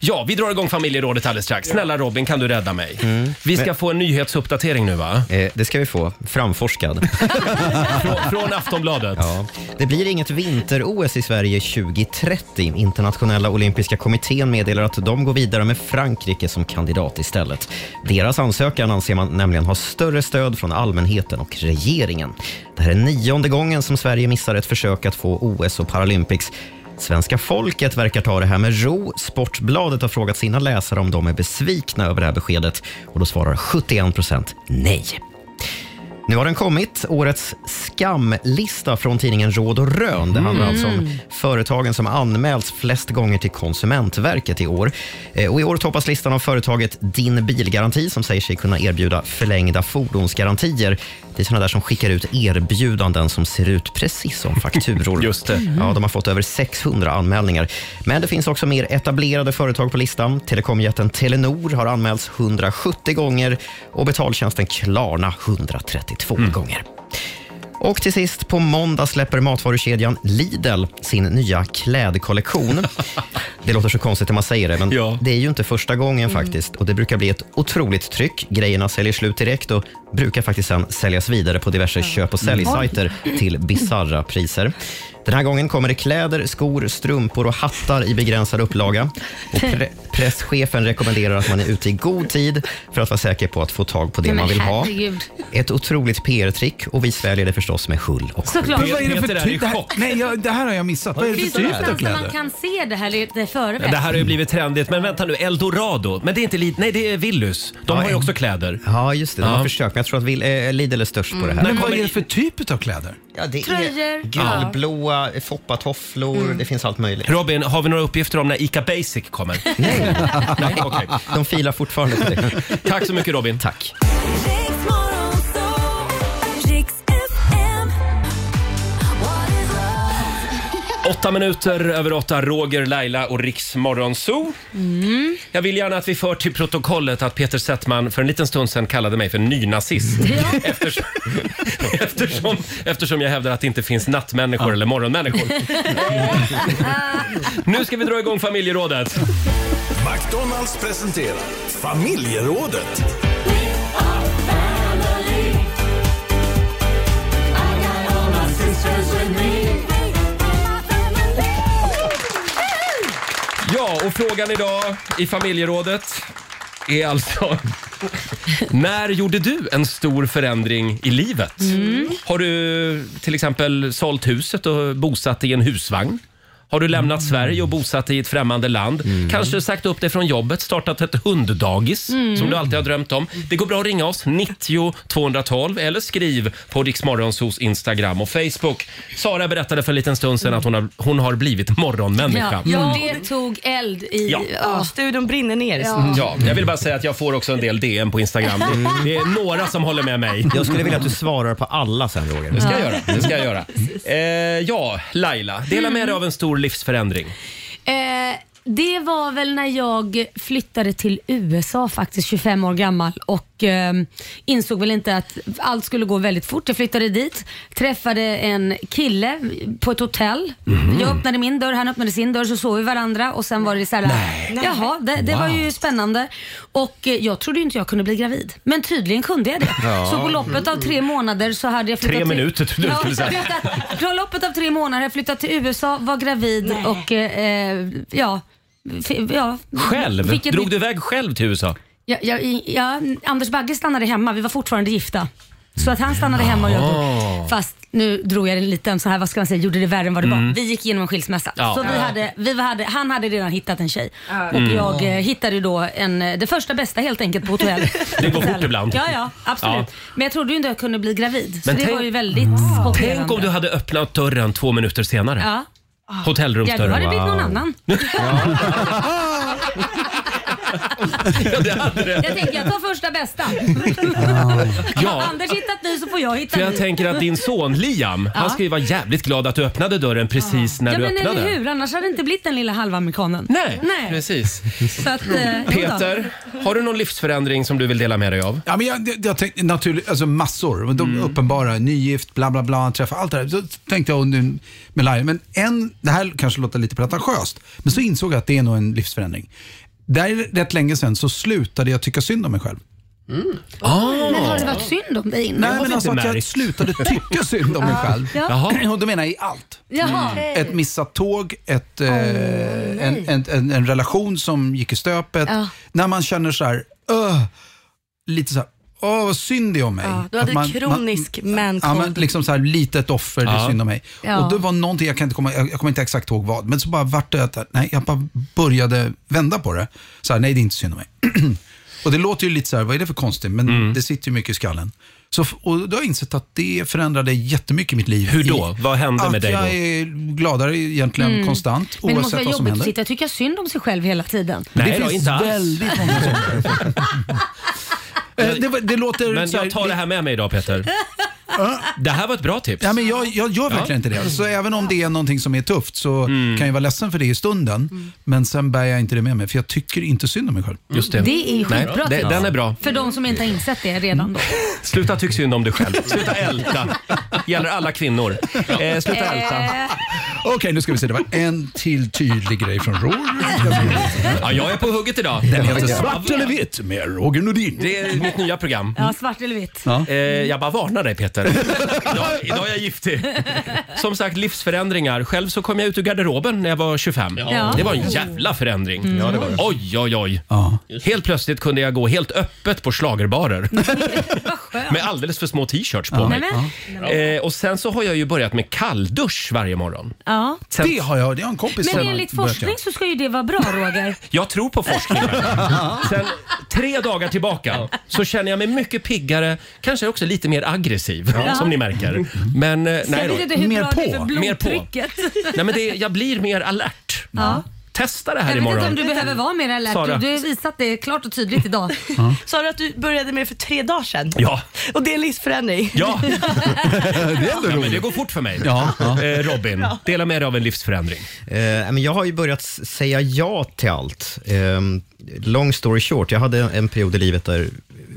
[SPEAKER 1] ja, vi drar igång familjerådet alldeles strax. Snälla Robin, kan du rädda mig? Vi ska
[SPEAKER 3] Mm. Men-
[SPEAKER 1] få en nyhetsuppdatering nu va?
[SPEAKER 3] Eh, det ska vi få, framforskad.
[SPEAKER 1] Frå- Från Aftonbladet.
[SPEAKER 3] Ja. Det blir inget vinter-OS i Sverige 2030. Internationella olympiska kommittén meddelar att de går vidare med Frankrike som kandidat istället. Deras ansökan anser man nämligen ha större stöd från allmänheten och regeringen. Det här är nionde gången som Sverige missar ett försök att få OS och Paralympics. Svenska folket verkar ta det här med ro. Sportbladet har frågat sina läsare om de är besvikna över det här beskedet och då svarar 71 procent nej. Nu har den kommit, årets skamlista från tidningen Råd och Rön. Det handlar
[SPEAKER 17] Mm.
[SPEAKER 3] alltså om företagen som anmälts flest gånger till Konsumentverket i år. Eh, Och I år toppas listan av företaget Din Bilgaranti som säger sig kunna erbjuda förlängda fordonsgarantier. Det är såna där som skickar ut erbjudanden som ser ut precis som fakturor. Just
[SPEAKER 1] det.
[SPEAKER 3] Ja, de har fått över 600 anmälningar. Men det finns också mer etablerade företag på listan. Telekomjätten Telenor har anmälts 170 gånger och betaltjänsten Klarna 132 gånger. Och till sist, på måndag släpper matvarukedjan Lidl sin nya
[SPEAKER 2] <laughs>
[SPEAKER 3] klädkollektion. Det låter så konstigt när man säger det, men det är ju inte första gången
[SPEAKER 2] Mm.
[SPEAKER 3] faktiskt. Och Det brukar bli ett otroligt tryck. Grejerna säljer slut direkt och brukar faktiskt sen säljas vidare på diverse
[SPEAKER 2] Mm.
[SPEAKER 3] köp och säljsajter
[SPEAKER 2] <clears throat>
[SPEAKER 3] till bizarra priser. Den här gången kommer det kläder, skor, strumpor och hattar i begränsad upplaga.
[SPEAKER 2] <laughs>
[SPEAKER 3] Och pre- presschefen rekommenderar att man är ute i god tid för att vara säker på att få tag på det
[SPEAKER 2] Nej, men
[SPEAKER 3] man vill ha.
[SPEAKER 2] herregud.
[SPEAKER 3] Ett otroligt PR-trick och vi sväljer det förstås med hull och
[SPEAKER 2] Såklart.
[SPEAKER 4] Men vad är det för
[SPEAKER 1] Peter är i
[SPEAKER 4] typ? Det här,
[SPEAKER 1] chock.
[SPEAKER 4] nej, jag, det här har jag missat. Vad är det
[SPEAKER 2] Finns
[SPEAKER 4] för
[SPEAKER 2] det
[SPEAKER 4] typ av
[SPEAKER 2] någonstans där man
[SPEAKER 4] kläder?
[SPEAKER 2] kan se det här lite före?
[SPEAKER 1] Det här har ju blivit trendigt, men vänta nu, Eldorado. Men det är inte lite, nej det är Willys. De
[SPEAKER 3] Ja,
[SPEAKER 1] har ju också kläder.
[SPEAKER 3] Ja, just det. De
[SPEAKER 1] Ja. Mm.
[SPEAKER 3] har försökt, men jag tror att Vil- eh, Lidl är störst på det här.
[SPEAKER 4] Men vad är det för typ av kläder?
[SPEAKER 3] Ja, det
[SPEAKER 2] Tröjor.
[SPEAKER 3] är gulblåa eh, foppatofflor, det finns allt möjligt.
[SPEAKER 1] Mm. Robin, har vi några uppgifter om när ICA Basic kommer? Nej. Nej okej.
[SPEAKER 3] De filar fortfarande på det.
[SPEAKER 1] Tack så mycket Robin.
[SPEAKER 3] Tack.
[SPEAKER 1] Åtta minuter över åtta, Roger, Laila och Riks Morgonzoo.
[SPEAKER 2] <laughs> Mm.
[SPEAKER 1] Jag vill gärna att vi för till protokollet att Peter Settman för en liten stund sedan kallade mig för nynazist. Eftersom, <laughs> eftersom, eftersom jag hävdar att det inte finns nattmänniskor eller morgonmänniskor. nu ska vi dra igång familjerådet.
[SPEAKER 17] McDonalds presenterar Familjerådet.
[SPEAKER 1] Ja, och frågan idag i familjerådet är alltså... När gjorde du en stor förändring i livet?
[SPEAKER 9] Mm.
[SPEAKER 1] Har du till exempel sålt huset och bosatt dig i en husvagn? Har du lämnat
[SPEAKER 2] Mm.
[SPEAKER 1] Sverige och bosatt dig i ett främmande land? Kanske sagt upp dig från jobbet, startat ett hunddagis
[SPEAKER 8] Mm.
[SPEAKER 1] som du alltid har drömt om. Det går bra att ringa oss, 90 212 eller skriv på Riksmorgonsos Instagram och Facebook. Sara berättade för en liten stund sedan att hon har, hon har blivit morgonmänniska.
[SPEAKER 2] Mm. Ja, ja,
[SPEAKER 7] Mm.
[SPEAKER 2] det tog eld i...
[SPEAKER 1] Ja.
[SPEAKER 2] studion brinner ner.
[SPEAKER 3] Mm.
[SPEAKER 1] Ja, jag vill bara säga att jag får också en del DM på Instagram. Det- Det är några som håller med mig.
[SPEAKER 3] Jag skulle vilja att du svarar på alla sen Roger.
[SPEAKER 1] Det ska jag göra. Det ska jag göra. Eh, ja, Laila, dela med dig av en stor livsförändring.
[SPEAKER 2] Eh, det var väl när jag flyttade till USA faktiskt, 25 år gammal och eh, insåg väl inte att allt skulle gå väldigt fort. Jag flyttade dit, träffade en kille på ett hotell.
[SPEAKER 9] Mhm.
[SPEAKER 2] Jag öppnade min dörr, han öppnade sin dörr, så såg vi varandra och sen var det så här, jaha, det, det var ju spännande. Och eh, jag trodde ju inte jag kunde bli gravid, men tydligen kunde jag det.
[SPEAKER 1] Ja.
[SPEAKER 2] Så på loppet av tre månader så hade jag flyttat
[SPEAKER 1] Tre
[SPEAKER 2] till-
[SPEAKER 1] minuter trodde jag
[SPEAKER 2] Ja,
[SPEAKER 1] skulle säga.
[SPEAKER 2] flyttat- På loppet av tre månader har jag flyttat till USA, var gravid och eh, ja, f- ja.
[SPEAKER 1] Själv?
[SPEAKER 2] Fick ett
[SPEAKER 1] Drog
[SPEAKER 2] nytt-
[SPEAKER 1] du iväg själv till USA?
[SPEAKER 2] Ja, ja, i- ja, Anders Bagge stannade hemma, vi var fortfarande gifta. Så att han stannade hemma och jag
[SPEAKER 1] Ah.
[SPEAKER 2] drog. Fast nu drog jag en liten så här, vad ska man säga, gjorde det värre än vad det
[SPEAKER 9] Mm.
[SPEAKER 2] var. Vi gick igenom en skilsmässa.
[SPEAKER 9] Ja.
[SPEAKER 2] Så vi
[SPEAKER 9] Ja.
[SPEAKER 2] hade, vi hade, han hade redan hittat en tjej. Och
[SPEAKER 1] Mm.
[SPEAKER 2] jag eh, hittade ju då en, eh, det första bästa helt enkelt på hotell.
[SPEAKER 1] <laughs> Det går
[SPEAKER 2] Hotell.
[SPEAKER 1] fort ibland.
[SPEAKER 2] Ja, ja, absolut.
[SPEAKER 1] Ja.
[SPEAKER 2] Men jag trodde ju inte jag kunde bli gravid. Så det
[SPEAKER 1] Men tänk- Mm.
[SPEAKER 2] var ju väldigt chockerande.
[SPEAKER 1] Tänk om du hade öppnat dörren två minuter senare.
[SPEAKER 2] Ja. Ja,
[SPEAKER 1] Hotellrumsdörren.
[SPEAKER 2] då hade det blivit någon annan.
[SPEAKER 1] Ja, det hade det.
[SPEAKER 2] Jag tänker jag tar första bästa. Har
[SPEAKER 1] <laughs>
[SPEAKER 2] <laughs>
[SPEAKER 1] Ja,
[SPEAKER 2] Anders hittat ny så får jag hitta
[SPEAKER 1] för jag
[SPEAKER 2] ny.
[SPEAKER 1] tänker att din son Liam,
[SPEAKER 2] Ja.
[SPEAKER 1] han ska ju vara jävligt glad att du öppnade dörren precis när
[SPEAKER 2] ja,
[SPEAKER 1] du
[SPEAKER 2] men
[SPEAKER 1] öppnade.
[SPEAKER 2] eller hur, annars hade det inte blivit den lilla halvamerikanen.
[SPEAKER 1] Nej.
[SPEAKER 2] Nej.
[SPEAKER 1] Precis.
[SPEAKER 2] Så att,
[SPEAKER 4] Mm.
[SPEAKER 2] eh, jo då.
[SPEAKER 1] Peter, har du någon livsförändring som du vill dela med dig av?
[SPEAKER 4] Ja, men jag, jag, jag tänkte naturligt, alltså massor. De uppenbara, nygift, bla bla bla, träffa allt det där. Så tänkte jag och nu med Laila, men en, det här kanske låter lite pretentiöst, men så insåg jag att det är nog en livsförändring. Där rätt länge sedan så slutade jag tycka synd om mig själv.
[SPEAKER 2] Mm. Men har
[SPEAKER 4] Ah.
[SPEAKER 2] det varit synd om dig innan?
[SPEAKER 4] Nej, men alltså att jag slutade tycka synd om mig själv.
[SPEAKER 2] <laughs> Ja.
[SPEAKER 4] Och då menar jag i allt.
[SPEAKER 2] Jaha.
[SPEAKER 4] Mm. Ett missat tåg, ett, eh, en, en, en, en relation som gick i stöpet.
[SPEAKER 7] Ja.
[SPEAKER 4] När man känner så här, "Öh", lite så här, åh vad synd det är om mig.
[SPEAKER 7] Ja, du
[SPEAKER 4] Att
[SPEAKER 7] hade
[SPEAKER 4] man-
[SPEAKER 7] kronisk
[SPEAKER 4] man, ja, men
[SPEAKER 7] mancold.
[SPEAKER 4] liksom så här, lite ett offer, det
[SPEAKER 7] Ja.
[SPEAKER 4] är synd om mig.
[SPEAKER 7] Ja.
[SPEAKER 4] Och då var någonting, jag, kan inte komma, jag, jag kommer inte exakt ihåg vad, men så bara vart det att, nej, jag bara började vända på det. Så här, nej det är inte synd om mig. <clears throat> Och det låter ju lite så här, vad är det för konstigt? Men
[SPEAKER 1] Mm.
[SPEAKER 4] det sitter ju mycket i skallen. Så, f- och då har jag insett att det förändrade jättemycket mitt liv.
[SPEAKER 1] Hur då?
[SPEAKER 4] I,
[SPEAKER 1] Vad hände
[SPEAKER 4] att
[SPEAKER 1] med dig då?
[SPEAKER 4] jag är gladare egentligen
[SPEAKER 2] Mm.
[SPEAKER 4] konstant,
[SPEAKER 2] Men det
[SPEAKER 4] oavsett
[SPEAKER 2] måste vara
[SPEAKER 4] vad som
[SPEAKER 2] jobbigt att
[SPEAKER 4] händer.
[SPEAKER 2] sitta och tycka synd om sig själv hela tiden.
[SPEAKER 4] Men det Nej då, finns inte alls. väldigt
[SPEAKER 1] <laughs>
[SPEAKER 2] många
[SPEAKER 4] Eh, Det, var- det låter
[SPEAKER 1] Men
[SPEAKER 4] så här,
[SPEAKER 1] jag tar det här med mig idag Peter.
[SPEAKER 4] Äh?
[SPEAKER 1] Det här var ett bra tips.
[SPEAKER 4] Ja, men jag, jag gör
[SPEAKER 1] Ja. Mm.
[SPEAKER 4] verkligen inte det. Så även om det är någonting som är tufft så kan jag vara ledsen för det i stunden. Men sen bär jag inte det med mig för jag tycker inte synd om mig själv.
[SPEAKER 1] Just det.
[SPEAKER 2] Det är ju
[SPEAKER 1] Nej,
[SPEAKER 2] skitbra
[SPEAKER 1] det-
[SPEAKER 2] tips.
[SPEAKER 1] den är bra.
[SPEAKER 2] För de som inte har insett det redan
[SPEAKER 4] <laughs>
[SPEAKER 2] då.
[SPEAKER 1] Sluta tycka synd om dig själv. Sluta älta. Gäller alla kvinnor. Eh, sluta älta.
[SPEAKER 4] Okej, nu ska vi se. Det var en till tydlig grej från Roger.
[SPEAKER 1] Ja, jag är på hugget idag.
[SPEAKER 4] Den heter Svart eller vitt med Roger Nordin.
[SPEAKER 1] Det är mitt nya program.
[SPEAKER 2] Ja, svart eller vitt.
[SPEAKER 1] Eh, jag bara varnar
[SPEAKER 4] <laughs>
[SPEAKER 1] dig Peter. Idag, idag är jag giftig. Som sagt, livsförändringar. Själv så kom jag ut ur garderoben när jag var 25.
[SPEAKER 8] Ja.
[SPEAKER 1] Det var en jävla förändring.
[SPEAKER 8] Mm. Ja, det var det.
[SPEAKER 1] Oj, oj, oj. Helt plötsligt kunde jag gå helt öppet
[SPEAKER 8] <laughs>
[SPEAKER 1] på schlagerbarer. med alldeles för små t-shirts på
[SPEAKER 2] Ja.
[SPEAKER 1] mig.
[SPEAKER 2] Nej, men.
[SPEAKER 1] Eh, och sen så har jag ju börjat med kalldusch varje morgon.
[SPEAKER 2] Ja. Ja.
[SPEAKER 4] Det har jag, det har en kompis som
[SPEAKER 2] Men
[SPEAKER 4] har
[SPEAKER 2] enligt
[SPEAKER 4] börjat
[SPEAKER 2] forskning
[SPEAKER 4] göra.
[SPEAKER 2] så ska ju det vara bra
[SPEAKER 1] <laughs>
[SPEAKER 2] Roger.
[SPEAKER 1] Jag tror
[SPEAKER 2] <laughs>
[SPEAKER 1] på forskningen. Sen tre dagar tillbaka så känner jag mig mycket piggare, kanske också lite mer aggressiv
[SPEAKER 2] Ja.
[SPEAKER 1] som ni märker. Men eh,
[SPEAKER 2] Sen
[SPEAKER 1] nej
[SPEAKER 2] vet jag inte hur
[SPEAKER 1] då.
[SPEAKER 2] bra det är för
[SPEAKER 1] Mer på.
[SPEAKER 2] blodtrycket.
[SPEAKER 1] Nej, men det, jag blir mer alert.
[SPEAKER 2] Ja.
[SPEAKER 1] Testa det
[SPEAKER 2] Jag
[SPEAKER 1] här
[SPEAKER 2] vet
[SPEAKER 1] imorgon.
[SPEAKER 2] inte om du behöver vara mer alert.
[SPEAKER 1] Sara.
[SPEAKER 2] Du, du har visat det klart och tydligt idag.
[SPEAKER 1] Ja.
[SPEAKER 7] <laughs> Sa du att du började med det för tre dagar sedan?
[SPEAKER 1] Ja.
[SPEAKER 7] Och det är en livsförändring? <laughs>
[SPEAKER 1] Ja.
[SPEAKER 7] är
[SPEAKER 1] <laughs> ja, men det går fort för mig. Eh, Robin, dela med dig av en livsförändring.
[SPEAKER 3] Eh, men jag har ju börjat s- säga ja till allt. Eh, long story short, jag hade en period i livet där,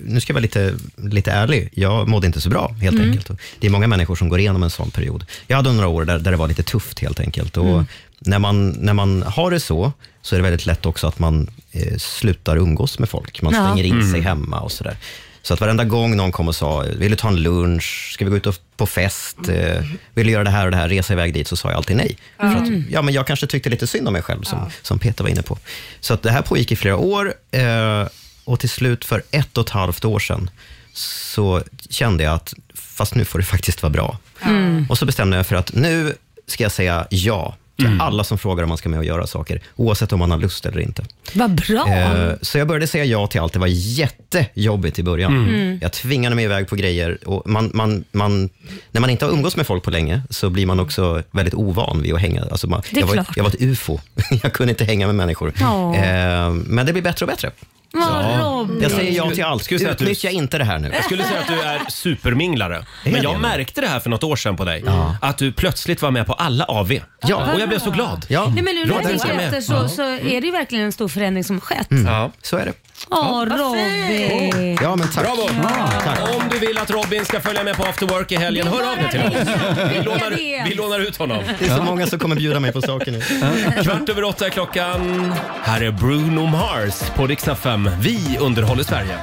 [SPEAKER 3] nu ska jag vara lite, lite ärlig, jag mådde inte så bra helt
[SPEAKER 18] Mm.
[SPEAKER 3] enkelt. Och Det är många människor som går igenom en sån period. Jag hade några år där, där det var lite tufft helt enkelt. Och
[SPEAKER 18] Mm.
[SPEAKER 3] när, man, när man har det så, så är det väldigt lätt också att man eh, slutar umgås med folk. Man
[SPEAKER 18] Ja.
[SPEAKER 3] stänger in
[SPEAKER 18] Mm.
[SPEAKER 3] sig hemma och sådär. Så att varenda gång någon kom och sa, vill du ta en lunch, ska vi gå ut och på fest, eh, vill du göra det här och det här, resa iväg dit, så sa jag alltid nej.
[SPEAKER 18] Mm.
[SPEAKER 3] För att, ja, men jag kanske tyckte lite synd om mig själv, som, som Peter var inne på. Så att det här pågick i flera år eh, och till slut för ett och ett halvt år sedan så kände jag att, fast nu får det faktiskt vara bra.
[SPEAKER 18] Mm.
[SPEAKER 3] Och så bestämde jag mig för att nu ska jag säga ja till alla som frågar om man ska med och göra saker, oavsett om man har lust eller inte.
[SPEAKER 2] Vad bra.
[SPEAKER 3] Eh, Så jag började säga ja till allt. Det var jättejobbigt i början.
[SPEAKER 2] Mm. Mm.
[SPEAKER 3] Jag tvingade mig iväg på grejer. Och man, man, man, när man inte har umgåtts med folk på länge så blir man också väldigt ovan vid att hänga. Alltså man,
[SPEAKER 18] Det är
[SPEAKER 3] jag, var,
[SPEAKER 18] klart.
[SPEAKER 3] jag var ett ufo. <laughs> jag kunde inte hänga med människor.
[SPEAKER 18] Ja.
[SPEAKER 3] Eh, Men det blir bättre och bättre.
[SPEAKER 18] Vad
[SPEAKER 3] Ja.
[SPEAKER 18] roligt.
[SPEAKER 3] Jag säger ja
[SPEAKER 1] Skulle-
[SPEAKER 3] till allt.
[SPEAKER 1] skulle säga att du-
[SPEAKER 3] Utnyttja inte det här nu.
[SPEAKER 1] Jag skulle säga att du är superminglare.
[SPEAKER 3] Är
[SPEAKER 1] Men
[SPEAKER 3] det
[SPEAKER 1] jag
[SPEAKER 3] det?
[SPEAKER 1] märkte det här för något år sedan på dig. Att du plötsligt var med på alla AV.
[SPEAKER 3] Ja.
[SPEAKER 1] Och jag blev så glad.
[SPEAKER 2] Nej, men nu när jag
[SPEAKER 1] Robin
[SPEAKER 2] tänker
[SPEAKER 1] ska med.
[SPEAKER 2] efter så, så är det ju verkligen en stor förändring som har skett.
[SPEAKER 1] Mm. Ja.
[SPEAKER 3] Så är det.
[SPEAKER 2] Åh, Robin.
[SPEAKER 3] Ja, men tack.
[SPEAKER 1] Bravo! Om du vill att Robin ska följa med på after work i helgen, hör av dig till oss. Vi lånar, vi lånar ut honom.
[SPEAKER 3] Det är så många som kommer bjuda mig på
[SPEAKER 18] <laughs>
[SPEAKER 3] saker nu.
[SPEAKER 1] Kvart över åtta är klockan. Här är Bruno Mars på riksdag 5. Vi underhåller Sverige.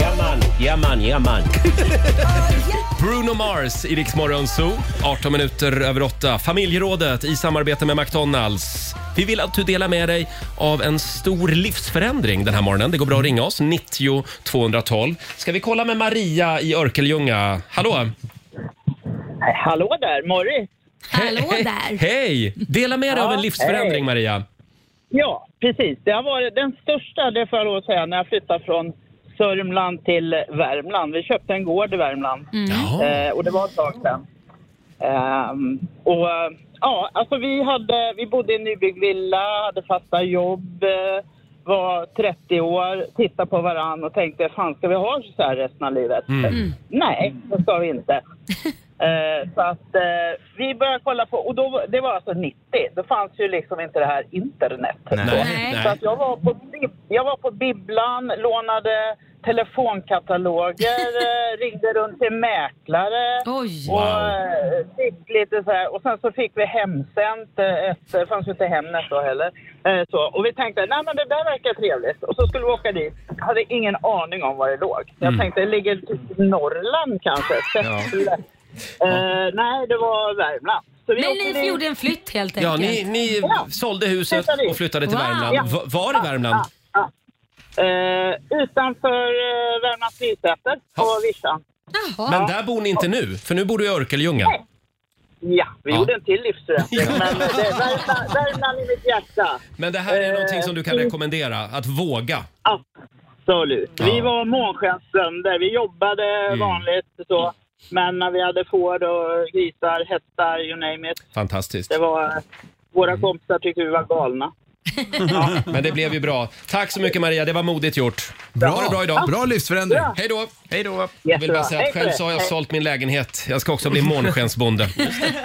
[SPEAKER 1] Jaman, jaman, jaman. <laughs> Bruno Mars i Rix Morgon Zoo. 18 minuter över 8. Familjerådet i samarbete med McDonalds. Vi vill att du delar med dig av en stor livsförändring den här morgonen. Det går bra att ringa oss, 90 212. Ska vi kolla med Maria i Örkelljunga? Hallå!
[SPEAKER 19] Hallå där, Morris.
[SPEAKER 2] Hallå
[SPEAKER 19] där.
[SPEAKER 1] Hej! Dela med dig av
[SPEAKER 19] Ja,
[SPEAKER 1] en livsförändring
[SPEAKER 19] hej.
[SPEAKER 1] Maria.
[SPEAKER 19] Ja, precis. Det har varit den största, det får jag lov att säga, när jag flyttade från Sörmland till Värmland. Vi köpte en gård i Värmland eh, och det var ett tag sedan. Ehm, och eh, ja, alltså vi, hade, vi bodde i en nybyggd villa, hade fasta jobb, eh, var 30 år, tittade på varann och tänkte fan ska vi ha så här resten av livet?
[SPEAKER 18] Mm.
[SPEAKER 19] Nej, det ska vi inte. Eh, så att eh, vi började kolla på, och då, var- det var alltså 90, då fanns ju liksom inte det här internet.
[SPEAKER 18] Nej.
[SPEAKER 19] Så.
[SPEAKER 18] Nej.
[SPEAKER 19] Så att jag, var på, bib- jag var på bibblan, lånade
[SPEAKER 18] <laughs>
[SPEAKER 19] telefonkataloger, eh, ringde runt till mäklare och <laughs>
[SPEAKER 18] Wow.
[SPEAKER 19] eh, fick lite så här, och sen så fick vi hemsänt, eh, ett, det fanns ju inte Hemnet då heller. Eh, Så, och vi tänkte, nej men det där verkar trevligt. Och så skulle vi åka dit, hade ingen aning om var det låg. Jag
[SPEAKER 18] Mm.
[SPEAKER 19] tänkte, det ligger typ i Norrland kanske? Säffle. Eh, nej, det var Värmland. Så vi åkte
[SPEAKER 2] Men ni
[SPEAKER 19] dit.
[SPEAKER 2] gjorde en flytt helt
[SPEAKER 1] Ja,
[SPEAKER 2] enkelt.
[SPEAKER 1] ni, ni sålde huset
[SPEAKER 19] Flyttade dit.
[SPEAKER 1] och flyttade till
[SPEAKER 19] Wow.
[SPEAKER 1] Värmland.
[SPEAKER 19] Ja.
[SPEAKER 1] Va- Var i Värmland?
[SPEAKER 19] Eh, utanför eh, Värmlands flygsäte på vischan.
[SPEAKER 1] Men där bor ni inte nu, för nu bor du i Örkelljunga.
[SPEAKER 19] Ja, vi
[SPEAKER 1] Ja.
[SPEAKER 19] gjorde en till
[SPEAKER 1] <laughs>
[SPEAKER 19] livsförändring. men eh, det är Värmland, Värmland i mitt hjärta.
[SPEAKER 1] Men det här är
[SPEAKER 19] Eh,
[SPEAKER 1] någonting som du kan
[SPEAKER 19] vi-
[SPEAKER 1] rekommendera, att våga.
[SPEAKER 19] Absolut.
[SPEAKER 1] Ja.
[SPEAKER 19] Vi var månskensbönder. Vi jobbade vanligt så. Men när vi hade får och grisar, hästar, you name it.
[SPEAKER 1] Fantastiskt.
[SPEAKER 19] Det var, våra kompisar tyckte vi var galna.
[SPEAKER 1] Men det blev ju bra. Tack så mycket Maria, det var modigt gjort. Bra. Ha det bra idag.
[SPEAKER 4] Bra livsförändring. Bra.
[SPEAKER 1] Hej då. Hej då. Jag vill
[SPEAKER 4] Jättebra.
[SPEAKER 1] bara säga
[SPEAKER 4] Hej
[SPEAKER 1] att
[SPEAKER 4] på
[SPEAKER 1] själv
[SPEAKER 4] dig.
[SPEAKER 1] så har jag
[SPEAKER 4] Hej.
[SPEAKER 1] sålt min lägenhet. Jag ska också bli månskensbonde.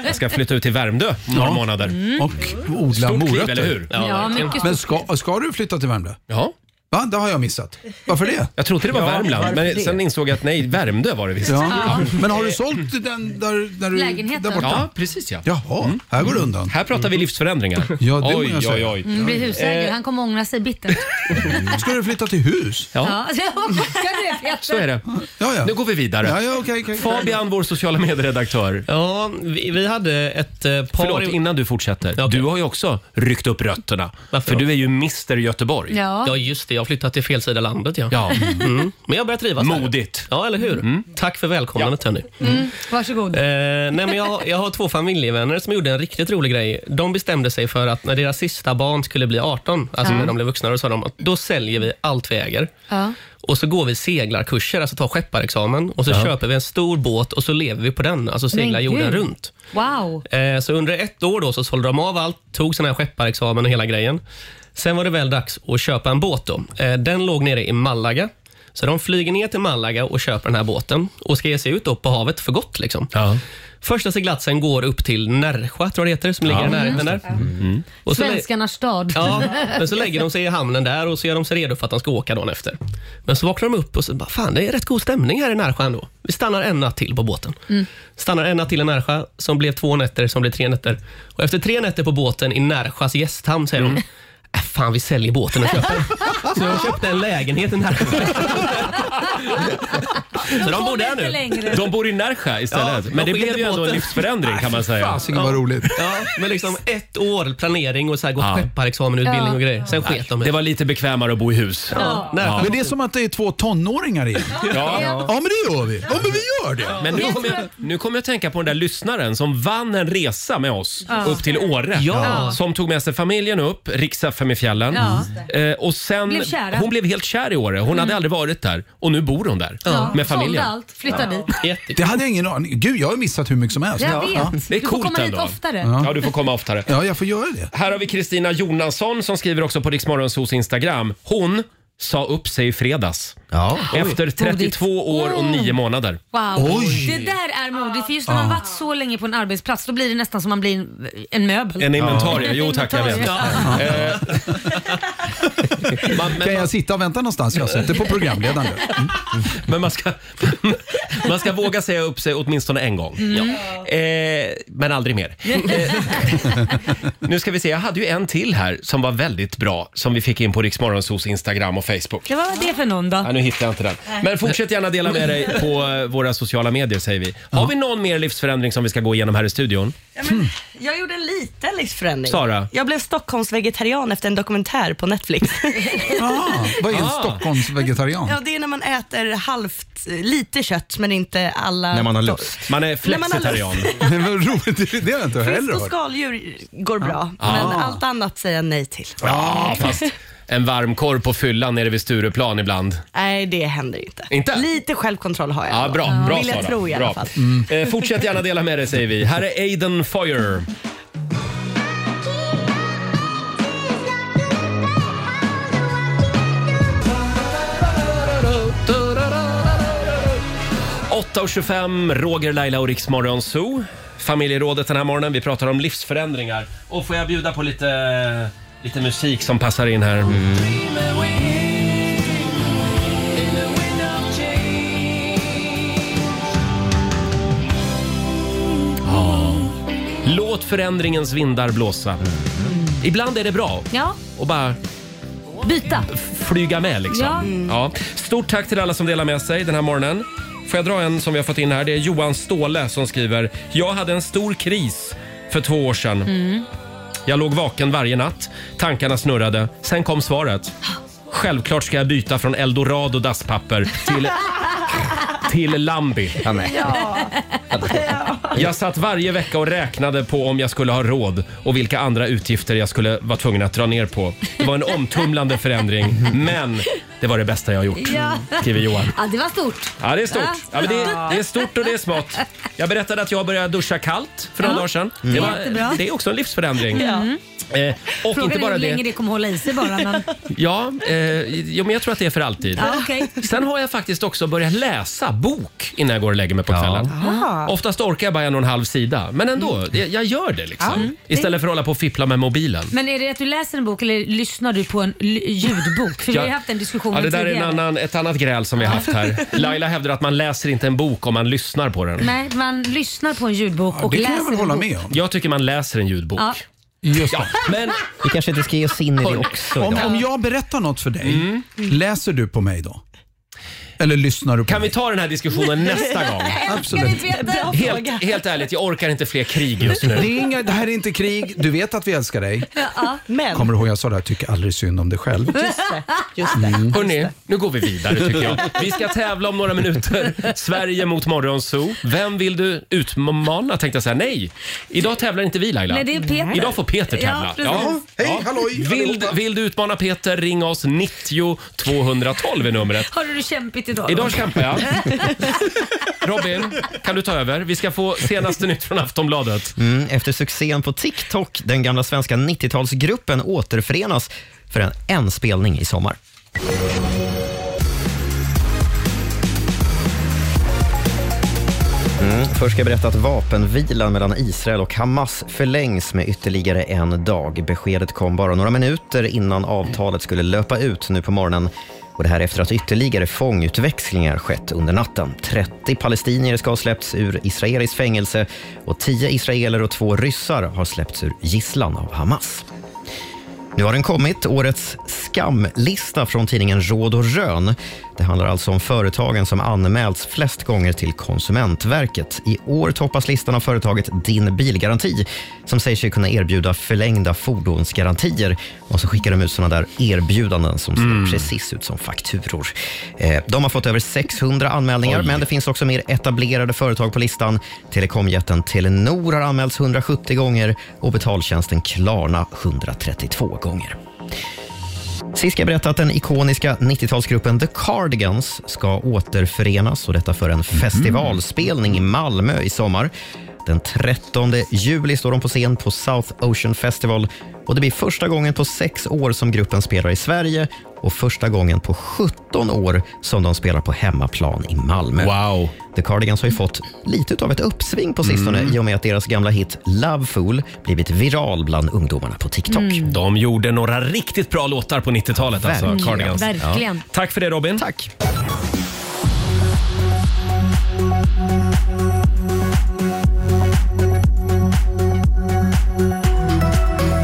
[SPEAKER 1] Jag ska flytta ut till Värmdö om några månader.
[SPEAKER 4] Mm. Och odla
[SPEAKER 1] Mm. Stort kliv,
[SPEAKER 4] morötter.
[SPEAKER 1] eller hur? Ja, Ja, verkligen. mycket
[SPEAKER 4] Men
[SPEAKER 1] stort
[SPEAKER 4] ska, ska du flytta till Värmdö?
[SPEAKER 1] Ja.
[SPEAKER 4] Va? Det har jag missat. Varför
[SPEAKER 1] <laughs>
[SPEAKER 4] det?
[SPEAKER 1] Jag trodde det var Värmland, men sen insåg jag att nej, Värmdö var det visst.
[SPEAKER 4] Ja. Men har du sålt den där, där, du,
[SPEAKER 2] Lägenheten.
[SPEAKER 4] där borta?
[SPEAKER 1] Ja, precis ja. Mm.
[SPEAKER 4] Jaha, här går det undan. Mm.
[SPEAKER 1] Här pratar vi livsförändringar.
[SPEAKER 4] Ja, det
[SPEAKER 1] oj,
[SPEAKER 4] må jag
[SPEAKER 1] oj,
[SPEAKER 4] säga. Eh,
[SPEAKER 1] oj.
[SPEAKER 2] Mm, blir husägare.
[SPEAKER 1] Eh,
[SPEAKER 2] Han kommer ångra sig bittert.
[SPEAKER 4] Ska du flytta till hus?
[SPEAKER 2] Ja. <laughs> Ja.
[SPEAKER 1] Så är det. Nu går vi vidare.
[SPEAKER 4] Ja, ja, okej, okej.
[SPEAKER 1] Fabian, vår sociala medieredaktör.
[SPEAKER 8] Ja, vi, vi hade ett eh, par...
[SPEAKER 1] Förlåt, innan du fortsätter. Du har ju också ryckt upp rötterna.
[SPEAKER 8] Varför
[SPEAKER 1] för
[SPEAKER 8] då?
[SPEAKER 1] du är ju Mr Göteborg.
[SPEAKER 8] Ja. just det. Jag har flyttat till fel sida landet. Ja. Mm. Men jag börjar trivas
[SPEAKER 1] Modigt.
[SPEAKER 8] Här. Ja, eller hur? Tack för välkomnandet, Henry.
[SPEAKER 2] Mm, varsågod.
[SPEAKER 8] Eh, nej, men jag, har- jag har två familjevänner som gjorde en riktigt rolig grej. De bestämde sig för att när deras sista barn skulle bli 18, alltså
[SPEAKER 2] Ja.
[SPEAKER 8] när de blev vuxna, då sa de att då säljer vi allt vi äger.
[SPEAKER 2] Ja.
[SPEAKER 8] Och så går vi seglarkurser, alltså tar skepparexamen och så
[SPEAKER 2] Ja.
[SPEAKER 8] köper vi en stor båt och så lever vi på den, alltså seglar
[SPEAKER 2] Men
[SPEAKER 8] jorden
[SPEAKER 2] gud.
[SPEAKER 8] runt.
[SPEAKER 2] Wow.
[SPEAKER 8] Eh, Så under ett år då så sålde de av allt, tog sån här skepparexamen och hela grejen. Sen var det väl dags att köpa en båt. Då. Eh, Den låg nere i Malaga. Så de flyger ner till Malaga och köper den här båten och ska ge sig ut då på havet för gott. Liksom. Första seglatsen går upp till Närsjö, tror jag det heter, som ligger i närheten där. Mm. Och så lä-
[SPEAKER 2] Svenskarnas stad.
[SPEAKER 8] Ja, men så lägger de sig i hamnen där och så gör de sig redo för att de ska åka dagen efter. Men så vaknar de upp och så bara, fan det är rätt god stämning här i Närsjö ändå. Vi stannar en natt till på båten.
[SPEAKER 9] Mm.
[SPEAKER 8] Stannar en natt till i Närsjö, som blev två nätter, som blev tre nätter. Och efter tre nätter på båten i Närsjös gästhamn säger de, äh, fan vi säljer båten och köper
[SPEAKER 4] <laughs>
[SPEAKER 8] den." Så de köpte en lägenhet i Närsjö. Så de bor där nu.
[SPEAKER 1] De bor i Närsjö istället. men det blev ju ändå en livsförändring kan man säga.
[SPEAKER 8] Ja.
[SPEAKER 4] roligt.
[SPEAKER 8] Ja, men liksom ett år planering och så här gått
[SPEAKER 1] Ja.
[SPEAKER 8] skepparexamen, utbildning och grejer. Sen sket de i
[SPEAKER 1] Det var lite bekvämare att bo i hus.
[SPEAKER 8] Ja.
[SPEAKER 4] Men det är som att det är två tonåringar igen.
[SPEAKER 1] Ja.
[SPEAKER 4] ja men det gör vi. Ja, men vi gör det.
[SPEAKER 1] Men nu kommer, jag, nu kommer jag tänka på den där lyssnaren som vann en resa med oss
[SPEAKER 4] Ja.
[SPEAKER 1] upp till Åre.
[SPEAKER 4] Ja.
[SPEAKER 1] Som tog med sig familjen upp, riks FM i fjällen.
[SPEAKER 2] Ja.
[SPEAKER 1] Eh, och sen,
[SPEAKER 2] Blev kära. Mm.
[SPEAKER 1] hon blev helt kär i Åre. Hon hade aldrig varit där och nu bor hon där
[SPEAKER 2] Ja.
[SPEAKER 1] med
[SPEAKER 2] Sålde
[SPEAKER 1] familjen.
[SPEAKER 2] allt, flyttade dit.
[SPEAKER 4] Det hade jag ingen aning Gud, jag har missat hur mycket som helst.
[SPEAKER 2] Jag vet.
[SPEAKER 1] Det är
[SPEAKER 2] Du får
[SPEAKER 1] coolt
[SPEAKER 2] komma hit
[SPEAKER 1] ändå.
[SPEAKER 2] oftare.
[SPEAKER 1] Ja. du får komma oftare.
[SPEAKER 4] Ja, jag får göra det.
[SPEAKER 1] Här har vi Kristina Jonasson som skriver också på Riksmorgonsos Instagram. Hon sa upp sig i fredags. Efter 32 år och 9 månader.
[SPEAKER 2] Wow. Det där är modigt. För just när man
[SPEAKER 8] Ah.
[SPEAKER 1] Ja.
[SPEAKER 2] varit så länge på en arbetsplats då blir det nästan som man blir en, en möbel.
[SPEAKER 1] En inventarie. Jo tack, jag vet.
[SPEAKER 2] Ja.
[SPEAKER 1] Eh,
[SPEAKER 4] kan jag sitta och vänta någonstans? Jag sitter på
[SPEAKER 1] <laughs>
[SPEAKER 4] programledaren.
[SPEAKER 1] Mm. Men man ska, <laughs> man ska våga säga upp sig åtminstone en gång.
[SPEAKER 9] Mm.
[SPEAKER 1] Eh, men aldrig mer. Eh, nu ska vi se, jag hade ju en till här som var väldigt bra som vi fick in på Riksmorgonsos Instagram och Facebook.
[SPEAKER 2] Det var det för någon då?
[SPEAKER 1] Ja, nu hittar jag inte den. Men fortsätt gärna dela med dig på eh, våra sociala medier säger vi. Har vi någon mer livsförändring som vi ska gå igenom här i studion?
[SPEAKER 7] Jag gjorde en liten livsförändring.
[SPEAKER 1] Sara?
[SPEAKER 7] Jag blev Stockholmsvegetarian efter en dokumentär på
[SPEAKER 1] <laughs>
[SPEAKER 7] Netflix.
[SPEAKER 4] Vad är en
[SPEAKER 7] Ah.
[SPEAKER 4] Stockholmsvegetarian?
[SPEAKER 7] Ja, det är när man äter halvt, eh, lite kött men inte alla...
[SPEAKER 1] Man är
[SPEAKER 7] När man har
[SPEAKER 1] flexitarian.
[SPEAKER 7] lust.
[SPEAKER 4] <laughs> Det var roligt. Det har jag inte
[SPEAKER 7] Fisk
[SPEAKER 4] heller
[SPEAKER 7] och
[SPEAKER 4] hört.
[SPEAKER 7] skaldjur går bra,
[SPEAKER 1] Ah.
[SPEAKER 7] men allt annat säger jag nej till.
[SPEAKER 1] Ja, fast en varmkorv på fyllan nere vid Stureplan ibland.
[SPEAKER 7] Nej, det händer inte.
[SPEAKER 1] Inte?
[SPEAKER 7] Lite självkontroll har jag.
[SPEAKER 1] Ja,
[SPEAKER 7] ändå.
[SPEAKER 1] bra, bra
[SPEAKER 7] Vill jag
[SPEAKER 1] Sara.
[SPEAKER 7] tro i
[SPEAKER 1] bra.
[SPEAKER 7] alla fall.
[SPEAKER 1] Eh, fortsätt gärna dela med dig säger vi. Här är Aiden Foyer. och 25, Roger, Laila och Riksmorgon Zoo. Familjerådet den här morgonen. Vi pratar om livsförändringar. Och får jag bjuda på lite, lite musik som passar in här? Ja. Låt förändringens vindar blåsa. Ibland är det bra
[SPEAKER 2] Ja,
[SPEAKER 1] att bara
[SPEAKER 2] byta.
[SPEAKER 1] flyga med liksom.
[SPEAKER 2] Ja.
[SPEAKER 1] Ja.
[SPEAKER 2] Mm.
[SPEAKER 1] Stort tack till alla som delar med sig den här morgonen. Får jag dra en som vi har fått in här? Det är Johan Ståhle som skriver. Jag hade en stor kris för två år sedan.
[SPEAKER 9] Mm.
[SPEAKER 1] Jag låg vaken varje natt. Tankarna snurrade. Sen kom svaret. Självklart ska jag byta från eldorado dasspapper
[SPEAKER 2] <laughs>
[SPEAKER 1] till, till Lambi. Jag satt varje vecka och räknade på om jag skulle ha råd och vilka andra utgifter jag skulle vara tvungen att dra ner på. Det var en omtumlande förändring,
[SPEAKER 2] <laughs>
[SPEAKER 1] men det var det bästa jag har gjort.
[SPEAKER 2] Ja.
[SPEAKER 1] Skriver Johan.
[SPEAKER 2] Ja, det var stort.
[SPEAKER 1] Ja, det är stort. Ja, men det, det är stort och det är smått. Jag berättade att jag började duscha kallt för några
[SPEAKER 2] Ja.
[SPEAKER 1] dagar sedan.
[SPEAKER 2] Mm.
[SPEAKER 1] Det, var,
[SPEAKER 2] Jättebra.
[SPEAKER 1] det är också en livsförändring.
[SPEAKER 2] Ja.
[SPEAKER 1] Eh, och
[SPEAKER 2] Frågan
[SPEAKER 1] inte
[SPEAKER 2] är
[SPEAKER 1] bara
[SPEAKER 2] Mm. hur länge
[SPEAKER 1] det.
[SPEAKER 2] det kommer hålla i sig bara.
[SPEAKER 1] <laughs>
[SPEAKER 2] Men, Ah.
[SPEAKER 1] Ja, eh, jo, men jag tror att det är för alltid.
[SPEAKER 2] ja, okej.
[SPEAKER 1] Sen har jag faktiskt också börjat läsa bok innan jag går och lägger mig på kvällen.
[SPEAKER 2] Aha.
[SPEAKER 1] Oftast orkar jag bara en och en halv sida, men ändå. Jag, jag gör det liksom.
[SPEAKER 2] Mm. Ja. Mm.
[SPEAKER 1] Istället för att hålla på och fippla med mobilen.
[SPEAKER 2] Men är det att du läser en bok eller lyssnar du på en l- ljudbok? För vi har ju
[SPEAKER 1] Ja.
[SPEAKER 2] haft den diskussionen
[SPEAKER 1] Ja, det där är en
[SPEAKER 2] tidigare.
[SPEAKER 1] annan, ett annat gräl som vi har haft här.
[SPEAKER 2] <laughs>
[SPEAKER 1] Laila hävdar att man läser inte en bok om man lyssnar på den.
[SPEAKER 2] Nej, man lyssnar på en ljudbok och läser en bok.
[SPEAKER 1] Jag tycker man läser en ljudbok.
[SPEAKER 2] Ja.
[SPEAKER 1] Ja, men...
[SPEAKER 3] Vi kanske inte ska ge oss in i det också.
[SPEAKER 4] Om,
[SPEAKER 3] idag.
[SPEAKER 4] om jag berättar något för dig,
[SPEAKER 1] Mm.
[SPEAKER 4] läser du på mig då? Eller lyssnar du på
[SPEAKER 1] Kan vi ta den här diskussionen nästa gång?
[SPEAKER 4] Absolut.
[SPEAKER 1] Helt, helt ärligt, jag orkar inte fler krig just
[SPEAKER 4] Det,
[SPEAKER 1] nu.
[SPEAKER 4] är inga, det här är inte krig. Du vet att vi älskar dig.
[SPEAKER 7] Ja, men...
[SPEAKER 4] Kommer du ihåg jag sa det här, tycker aldrig synd om dig själv.
[SPEAKER 7] Just det. Just det.
[SPEAKER 4] Mm.
[SPEAKER 1] Hörni, nu går vi vidare tycker
[SPEAKER 2] <laughs>
[SPEAKER 1] jag. Vi ska tävla om några minuter. Sverige mot Morgonzoo. Vem vill du utmana tänkte jag säga. Nej, idag tävlar inte vi Laila.
[SPEAKER 2] Nej, det är Peter.
[SPEAKER 1] Idag får Peter
[SPEAKER 2] Ja,
[SPEAKER 1] tävla.
[SPEAKER 2] precis.
[SPEAKER 1] Hej, halloj, vill, vill du utmana Peter, ring oss 90 212 är numret.
[SPEAKER 2] Har du det kämpigt idag?
[SPEAKER 1] Idag kämpar jag.
[SPEAKER 2] <laughs>
[SPEAKER 1] Robin, kan du ta över? Vi ska få senaste nytt från Aftonbladet.
[SPEAKER 3] Mm, efter succén på TikTok, den gamla svenska 90-talsgruppen återförenas för en, en spelning i sommar. Mm, först ska jag berätta att vapenvilan mellan Israel och Hamas förlängs med ytterligare en dag. Beskedet kom bara några minuter innan avtalet skulle löpa ut nu på morgonen. Och det här efter att ytterligare fångutväxlingar skett under natten. 30 palestinier ska ha släppts ur israeliskt fängelse och 10 israeler och två ryssar har släppts ur gisslan av Hamas. Nu har den kommit, årets skamlista från tidningen Råd och Rön. Det handlar alltså om företagen som anmälts flest gånger till Konsumentverket. I år toppas listan av företaget Din Bilgaranti som säger sig kunna erbjuda förlängda fordonsgarantier. Och så skickar de ut såna där erbjudanden som ser precis ut som fakturor. Eh, De har fått över 600 anmälningar, men det finns också mer etablerade företag på listan. Telekomjätten Telenor har anmälts 170 gånger och betaltjänsten Klarna 132 gånger. Sist ska jag berätta att den ikoniska 90-talsgruppen The Cardigans ska återförenas och detta för
[SPEAKER 1] Mhm.
[SPEAKER 3] en festivalspelning i Malmö i sommar. Den 13 juli står de på scen på South Ocean Festival och det blir första gången på sex år som gruppen spelar i Sverige och första gången på 17 år som de spelar på hemmaplan i Malmö.
[SPEAKER 1] Wow.
[SPEAKER 3] The Cardigans har ju fått lite av ett uppsving på sistone
[SPEAKER 1] Mm.
[SPEAKER 3] i och med att deras gamla hit Love Fool blivit viral bland ungdomarna på TikTok.
[SPEAKER 2] Mm.
[SPEAKER 1] De gjorde några riktigt bra låtar på 90-talet alltså,
[SPEAKER 2] Verkligen.
[SPEAKER 1] Cardigans.
[SPEAKER 2] Verkligen.
[SPEAKER 1] Ja. Tack för det Robin.
[SPEAKER 3] Tack.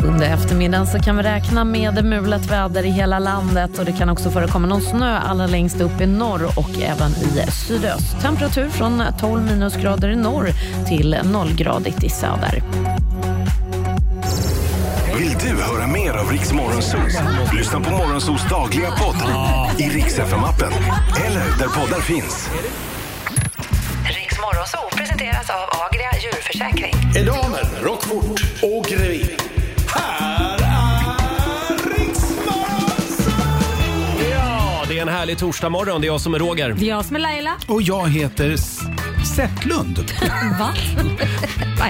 [SPEAKER 18] Under eftermiddagen så kan vi räkna med mulet väder i hela landet och det kan också förekomma någon snö allra längst upp i norr och även i sydöst. Temperatur från 12 minusgrader i norr till nollgradigt i söder.
[SPEAKER 17] Vill du höra mer av Riks Morgonzoo? Lyssna på Morgonzoos dagliga podd i Riks FM-appen eller där poddar finns.
[SPEAKER 20] Riks Morgonzoo presenteras av Agria djurförsäkring.
[SPEAKER 17] Edamer, Rockfort och Grevin.
[SPEAKER 1] Ja, det är en härlig torsdagmorgon. Det är jag som är Roger.
[SPEAKER 2] Det är jag som
[SPEAKER 18] <laughs>
[SPEAKER 2] är Laila.
[SPEAKER 1] Och jag heter Settlund.
[SPEAKER 2] Va? Vad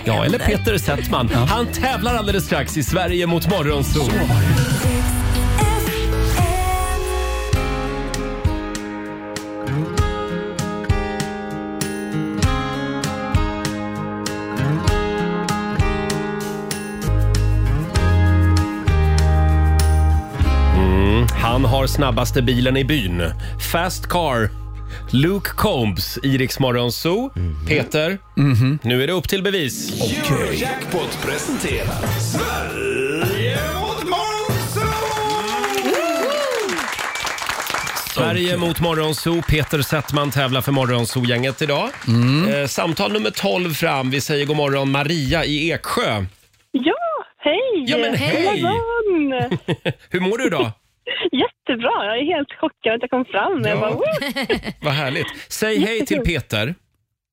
[SPEAKER 1] Ja, eller
[SPEAKER 2] händer?
[SPEAKER 1] <laughs> Peter Settman. Han tävlar alldeles strax i Sverige mot Morgonzoo. Mm, han har snabbaste bilen i byn. Fast Car. Luke Combs, Iriks Morgonzoo. Peter, nu är det upp till bevis.
[SPEAKER 17] Eurojackpot presenterar Sverige mot
[SPEAKER 1] Sverige mot Morgonzoo. Peter Settman tävlar för Morgonzoo-gänget idag. Eh, samtal nummer 12 fram. Vi säger god morgon Maria i Eksjö. <laughs>
[SPEAKER 21] Ja, hej!
[SPEAKER 1] Ja, men hej!
[SPEAKER 21] God morgon!
[SPEAKER 1] Hur mår du idag?
[SPEAKER 21] Jättebra, jag är helt chockad att jag kom fram.
[SPEAKER 1] Ja.
[SPEAKER 21] Jag bara, "Woo!"
[SPEAKER 1] Vad härligt. Säg hej till Peter.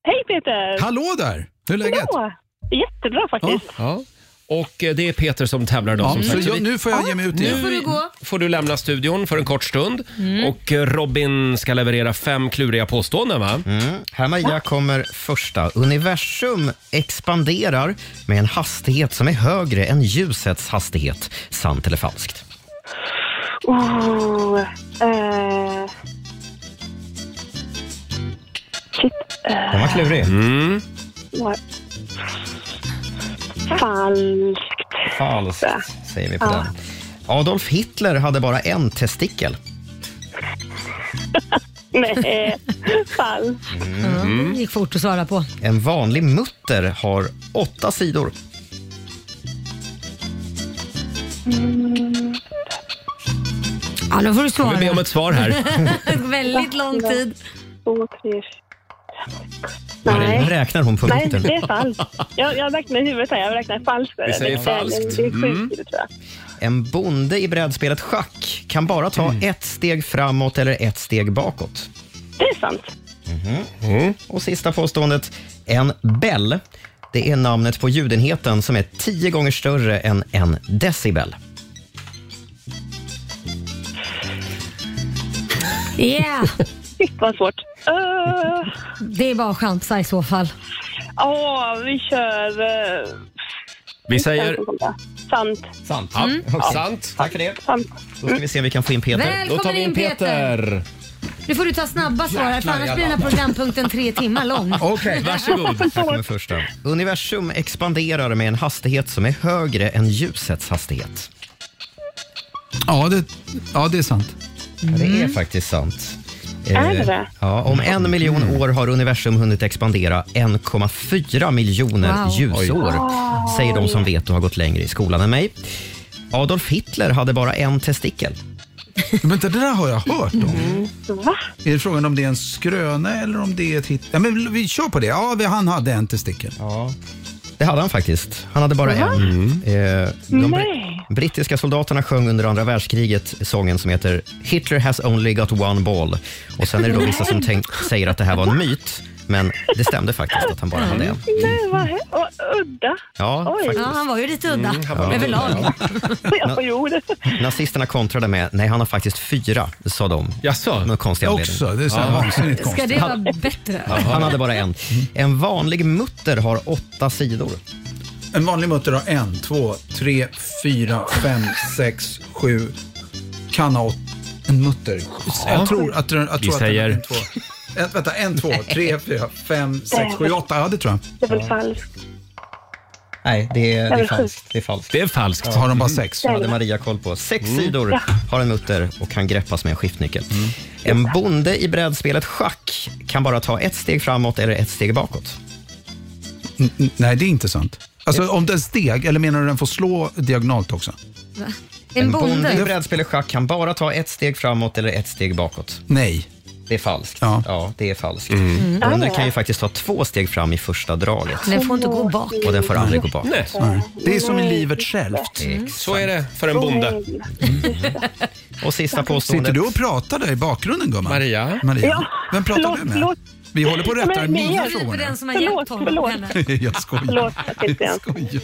[SPEAKER 21] hej Peter!
[SPEAKER 1] Hallå där! Hur är läget?
[SPEAKER 21] Hallå! Jättebra faktiskt.
[SPEAKER 1] Ja. Och eh, det är Peter som tävlar idag
[SPEAKER 4] Ja,
[SPEAKER 1] som
[SPEAKER 4] så jag-
[SPEAKER 1] vi-
[SPEAKER 4] nu får jag ge mig ut
[SPEAKER 1] nu
[SPEAKER 4] igen. får du gå.
[SPEAKER 1] får du lämna studion för en kort stund.
[SPEAKER 4] Mm.
[SPEAKER 1] Och eh, Robin ska leverera fem kluriga påståenden va?
[SPEAKER 3] Mm. Här Maja kommer första. Universum expanderar med en hastighet som är högre än ljusets hastighet. Sant eller falskt?
[SPEAKER 13] Oh, eh,
[SPEAKER 3] Den var klurig.
[SPEAKER 1] Mm.
[SPEAKER 21] eh,
[SPEAKER 13] vad- falskt.
[SPEAKER 3] Falskt, säger vi på
[SPEAKER 13] Ja.
[SPEAKER 3] den. Adolf Hitler hade bara en testikel.
[SPEAKER 13] Nej, falskt.
[SPEAKER 2] Mm. gick fort att svara på.
[SPEAKER 3] En vanlig mutter har åtta sidor.
[SPEAKER 13] Mm.
[SPEAKER 2] Ja, då får du svara.
[SPEAKER 1] Får vi be om ett svar här?
[SPEAKER 2] <laughs> Väldigt lång tid.
[SPEAKER 13] Två, tre,
[SPEAKER 3] Nu räknar hon på
[SPEAKER 21] Nej,
[SPEAKER 3] muttern.
[SPEAKER 21] det är falskt. Jag, jag räknar i huvudet här. Jag räknar falskt.
[SPEAKER 3] Vi säger
[SPEAKER 21] Det är-
[SPEAKER 3] falskt.
[SPEAKER 21] Det är sjukt,
[SPEAKER 3] Mm.
[SPEAKER 21] tror jag.
[SPEAKER 3] En bonde i brädspelet schack kan bara ta
[SPEAKER 2] Mm.
[SPEAKER 3] ett steg framåt eller ett steg bakåt.
[SPEAKER 21] Det är sant.
[SPEAKER 3] Mhm.
[SPEAKER 2] Mm-hmm.
[SPEAKER 3] Och sista påståendet. En bell, det är namnet på ljudenheten som är tio gånger större än en decibel.
[SPEAKER 2] Yeah!
[SPEAKER 21] Shit <laughs> vad svårt. Eh,
[SPEAKER 2] <laughs> Det är bara att chansa i så fall.
[SPEAKER 21] Åh, vi kör... eh,
[SPEAKER 1] Vi säger...
[SPEAKER 21] Sant.
[SPEAKER 3] Sant.
[SPEAKER 1] Ja,
[SPEAKER 21] Mm.
[SPEAKER 3] okej.
[SPEAKER 1] sant.
[SPEAKER 3] Tack för det.
[SPEAKER 21] Sant.
[SPEAKER 3] Då ska vi se om vi kan få in Peter.
[SPEAKER 2] Välkommen Då tar vi in in, Peter. Nu får du ta snabba svar här, för
[SPEAKER 3] Jäklar,
[SPEAKER 2] annars blir den
[SPEAKER 3] jävlar.
[SPEAKER 2] här programpunkten tre timmar
[SPEAKER 3] <laughs>
[SPEAKER 2] lång. <laughs>
[SPEAKER 3] Här kommer första. Universum expanderar med en hastighet som är högre än ljusets hastighet.
[SPEAKER 4] Ja, det, ja, det är sant.
[SPEAKER 3] Ja, Det
[SPEAKER 4] Mm.
[SPEAKER 3] är faktiskt sant.
[SPEAKER 4] Är
[SPEAKER 3] Eh,
[SPEAKER 4] det det?
[SPEAKER 3] Ja, om en
[SPEAKER 4] Mm.
[SPEAKER 3] miljon år har universum hunnit expandera 1,4 miljoner
[SPEAKER 4] Wow.
[SPEAKER 3] ljusår,
[SPEAKER 4] Oj. Wow.
[SPEAKER 3] säger de som vet och har gått längre i skolan än mig. Adolf Hitler hade bara en testikel.
[SPEAKER 4] Men det där har jag hört om. Är det frågan om det är en skröna eller om det är ett hit? Ja, men vi kör på det. Ja, vi, han hade en testikel.
[SPEAKER 3] Ja. Det hade han faktiskt. Han hade bara
[SPEAKER 4] Va?
[SPEAKER 3] en. Eh, de
[SPEAKER 21] Nej.
[SPEAKER 3] br- brittiska soldaterna sjöng under andra världskriget sången som heter “Hitler has only got one ball”. Och Sen är det då vissa som tänk- säger att det här var en myt, men det stämde faktiskt att han bara hade en.
[SPEAKER 21] Nej, vad hä- vad udda.
[SPEAKER 3] Ja,
[SPEAKER 21] Oj.
[SPEAKER 3] faktiskt.
[SPEAKER 2] Ja, han var ju lite udda.
[SPEAKER 3] Mm, han var lite
[SPEAKER 2] Överlag. <laughs>
[SPEAKER 21] Ja, jo, det...
[SPEAKER 3] Nazisterna kontrade med “Nej, han har faktiskt fyra”, sa de.
[SPEAKER 1] Jaså?
[SPEAKER 3] Med konstig anledning.
[SPEAKER 4] Också? Det är så här vansinnigt
[SPEAKER 2] Ska det vara
[SPEAKER 3] Han,
[SPEAKER 2] bättre?
[SPEAKER 3] han hade bara en. En vanlig mutter har åtta sidor.
[SPEAKER 4] En vanlig mutter har en, två, tre, fyra, fem, sex, sju. Kan ha åt- en mutter.
[SPEAKER 1] Ja.
[SPEAKER 4] Jag tror att, den- jag
[SPEAKER 1] Vi
[SPEAKER 4] tror att
[SPEAKER 1] säger-
[SPEAKER 4] den är en, två. En, vänta, en, två, tre, fyra, fem, sex, sju, åtta. Ja, det tror jag.
[SPEAKER 21] Det är väl falskt.
[SPEAKER 3] Nej, det är, det är
[SPEAKER 21] Eller
[SPEAKER 3] falskt. Det är falskt.
[SPEAKER 1] Det är falskt.
[SPEAKER 4] Har de bara sex?
[SPEAKER 3] Så hade Maria koll på. Sex
[SPEAKER 21] Mm.
[SPEAKER 3] sidor
[SPEAKER 21] Ja.
[SPEAKER 3] har en mutter och kan greppas med en skiftnyckel.
[SPEAKER 4] Mm.
[SPEAKER 3] En bonde i brädspelet schack kan bara ta ett steg framåt eller ett steg bakåt.
[SPEAKER 4] N- n- Nej, det är inte sant. Alltså om den steg, eller menar du den får slå diagonalt också?
[SPEAKER 2] Va? En bonde?
[SPEAKER 3] i brädspelet schack kan bara ta ett steg framåt eller ett steg bakåt.
[SPEAKER 4] Nej.
[SPEAKER 3] Det är falskt. Ja, det är falskt.
[SPEAKER 2] Mm.
[SPEAKER 3] Bonden kan ju faktiskt ta två steg fram i första draget.
[SPEAKER 2] Den får inte gå bak.
[SPEAKER 3] Och den får aldrig gå bakåt.
[SPEAKER 1] Nej.
[SPEAKER 4] Det är som i livet självt.
[SPEAKER 1] Mm. Så är det för en bonde.
[SPEAKER 3] Och sista påståendet.
[SPEAKER 4] Sitter du och pratar där i bakgrunden gumman?
[SPEAKER 1] Maria.
[SPEAKER 4] Maria.
[SPEAKER 21] Ja,
[SPEAKER 4] Vem pratar
[SPEAKER 21] förlåt,
[SPEAKER 4] du med?
[SPEAKER 21] förlåt.
[SPEAKER 4] Vi håller på att rätta
[SPEAKER 21] Men- men
[SPEAKER 4] mina
[SPEAKER 21] jag-
[SPEAKER 4] frågor. nu.
[SPEAKER 2] som har
[SPEAKER 21] förlåt,
[SPEAKER 2] hjälpt honom.
[SPEAKER 21] förlåt.
[SPEAKER 4] <laughs> Jag skojar.
[SPEAKER 21] Förlåt, jag tittade igen.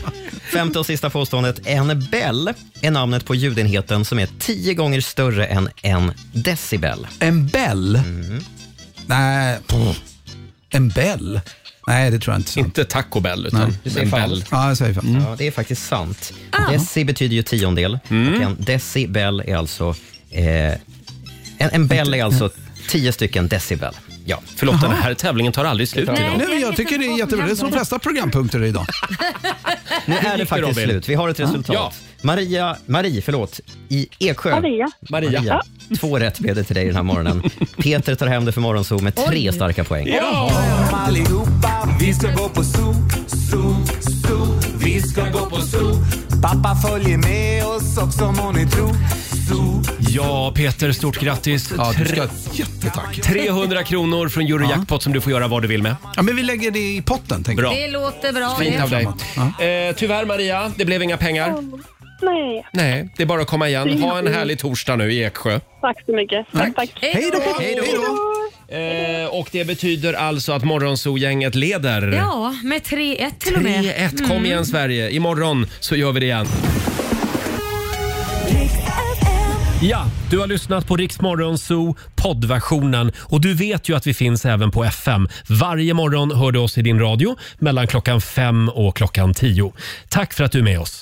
[SPEAKER 3] Femte och sista påståendet. En bell är namnet på ljudenheten som är tio gånger större än en decibel. Mm.
[SPEAKER 4] En bell? Nej, pff. en bell? Nej, det tror jag inte är sant.
[SPEAKER 1] Inte taco bell,
[SPEAKER 3] utan Du säger en falskt. bell.
[SPEAKER 4] bell. Ja, jag säger falskt.
[SPEAKER 3] Ja, det är faktiskt sant.
[SPEAKER 4] Ah.
[SPEAKER 3] Deci betyder ju tiondel
[SPEAKER 1] Mm.
[SPEAKER 3] och en decibel är alltså... Eh, en, en bell är alltså tio stycken decibel. Ja.
[SPEAKER 1] Förlåt, den här tävlingen tar aldrig slut
[SPEAKER 4] Nej,
[SPEAKER 1] idag.
[SPEAKER 4] men jag tycker det är jättebra. Det är som de flesta programpunkter idag.
[SPEAKER 3] Nu är det faktiskt
[SPEAKER 1] Robin?
[SPEAKER 3] slut. Vi har ett
[SPEAKER 1] Ja.
[SPEAKER 3] resultat.
[SPEAKER 1] Ja.
[SPEAKER 3] Maria, Marie, förlåt, i Eksjö.
[SPEAKER 21] Maria.
[SPEAKER 1] Maria.
[SPEAKER 3] Två rätt blev det till dig den här morgonen. Peter tar hem det för morgonzoo med tre starka poäng.
[SPEAKER 10] Allihopa, vi ska gå på zoo, zoo, zoo. Vi ska gå på zoo. Pappa följer med oss också må ni tro.
[SPEAKER 1] Ja, Peter, stort grattis.
[SPEAKER 4] Ja, du ska...
[SPEAKER 1] Tre- 300 kronor från Eurojackpot som du får göra vad du vill med.
[SPEAKER 4] Ja, men vi lägger det i potten, tänker
[SPEAKER 1] Bra.
[SPEAKER 2] Det låter bra.
[SPEAKER 1] Fint
[SPEAKER 2] det.
[SPEAKER 1] av dig. Eh, tyvärr, Maria, det blev inga pengar.
[SPEAKER 21] Nej,
[SPEAKER 1] Nej, det är bara att komma igen. Ha en härlig torsdag nu i Eksjö.
[SPEAKER 21] tack så mycket. Tack, tack.
[SPEAKER 2] Hej
[SPEAKER 21] då!
[SPEAKER 1] Hej då! Eh, och det betyder alltså att Morgonzoo-gänget leder.
[SPEAKER 2] Ja, med 3-1 till och med. Mm.
[SPEAKER 1] 3-1. Kom igen Sverige, imorgon så gör vi det igen. Ja, du har lyssnat på Rix Morgonzoo poddversionen och du vet ju att vi finns även på FM. Varje morgon hör du oss i din radio mellan klockan fem och klockan tio. Tack för att du är med oss.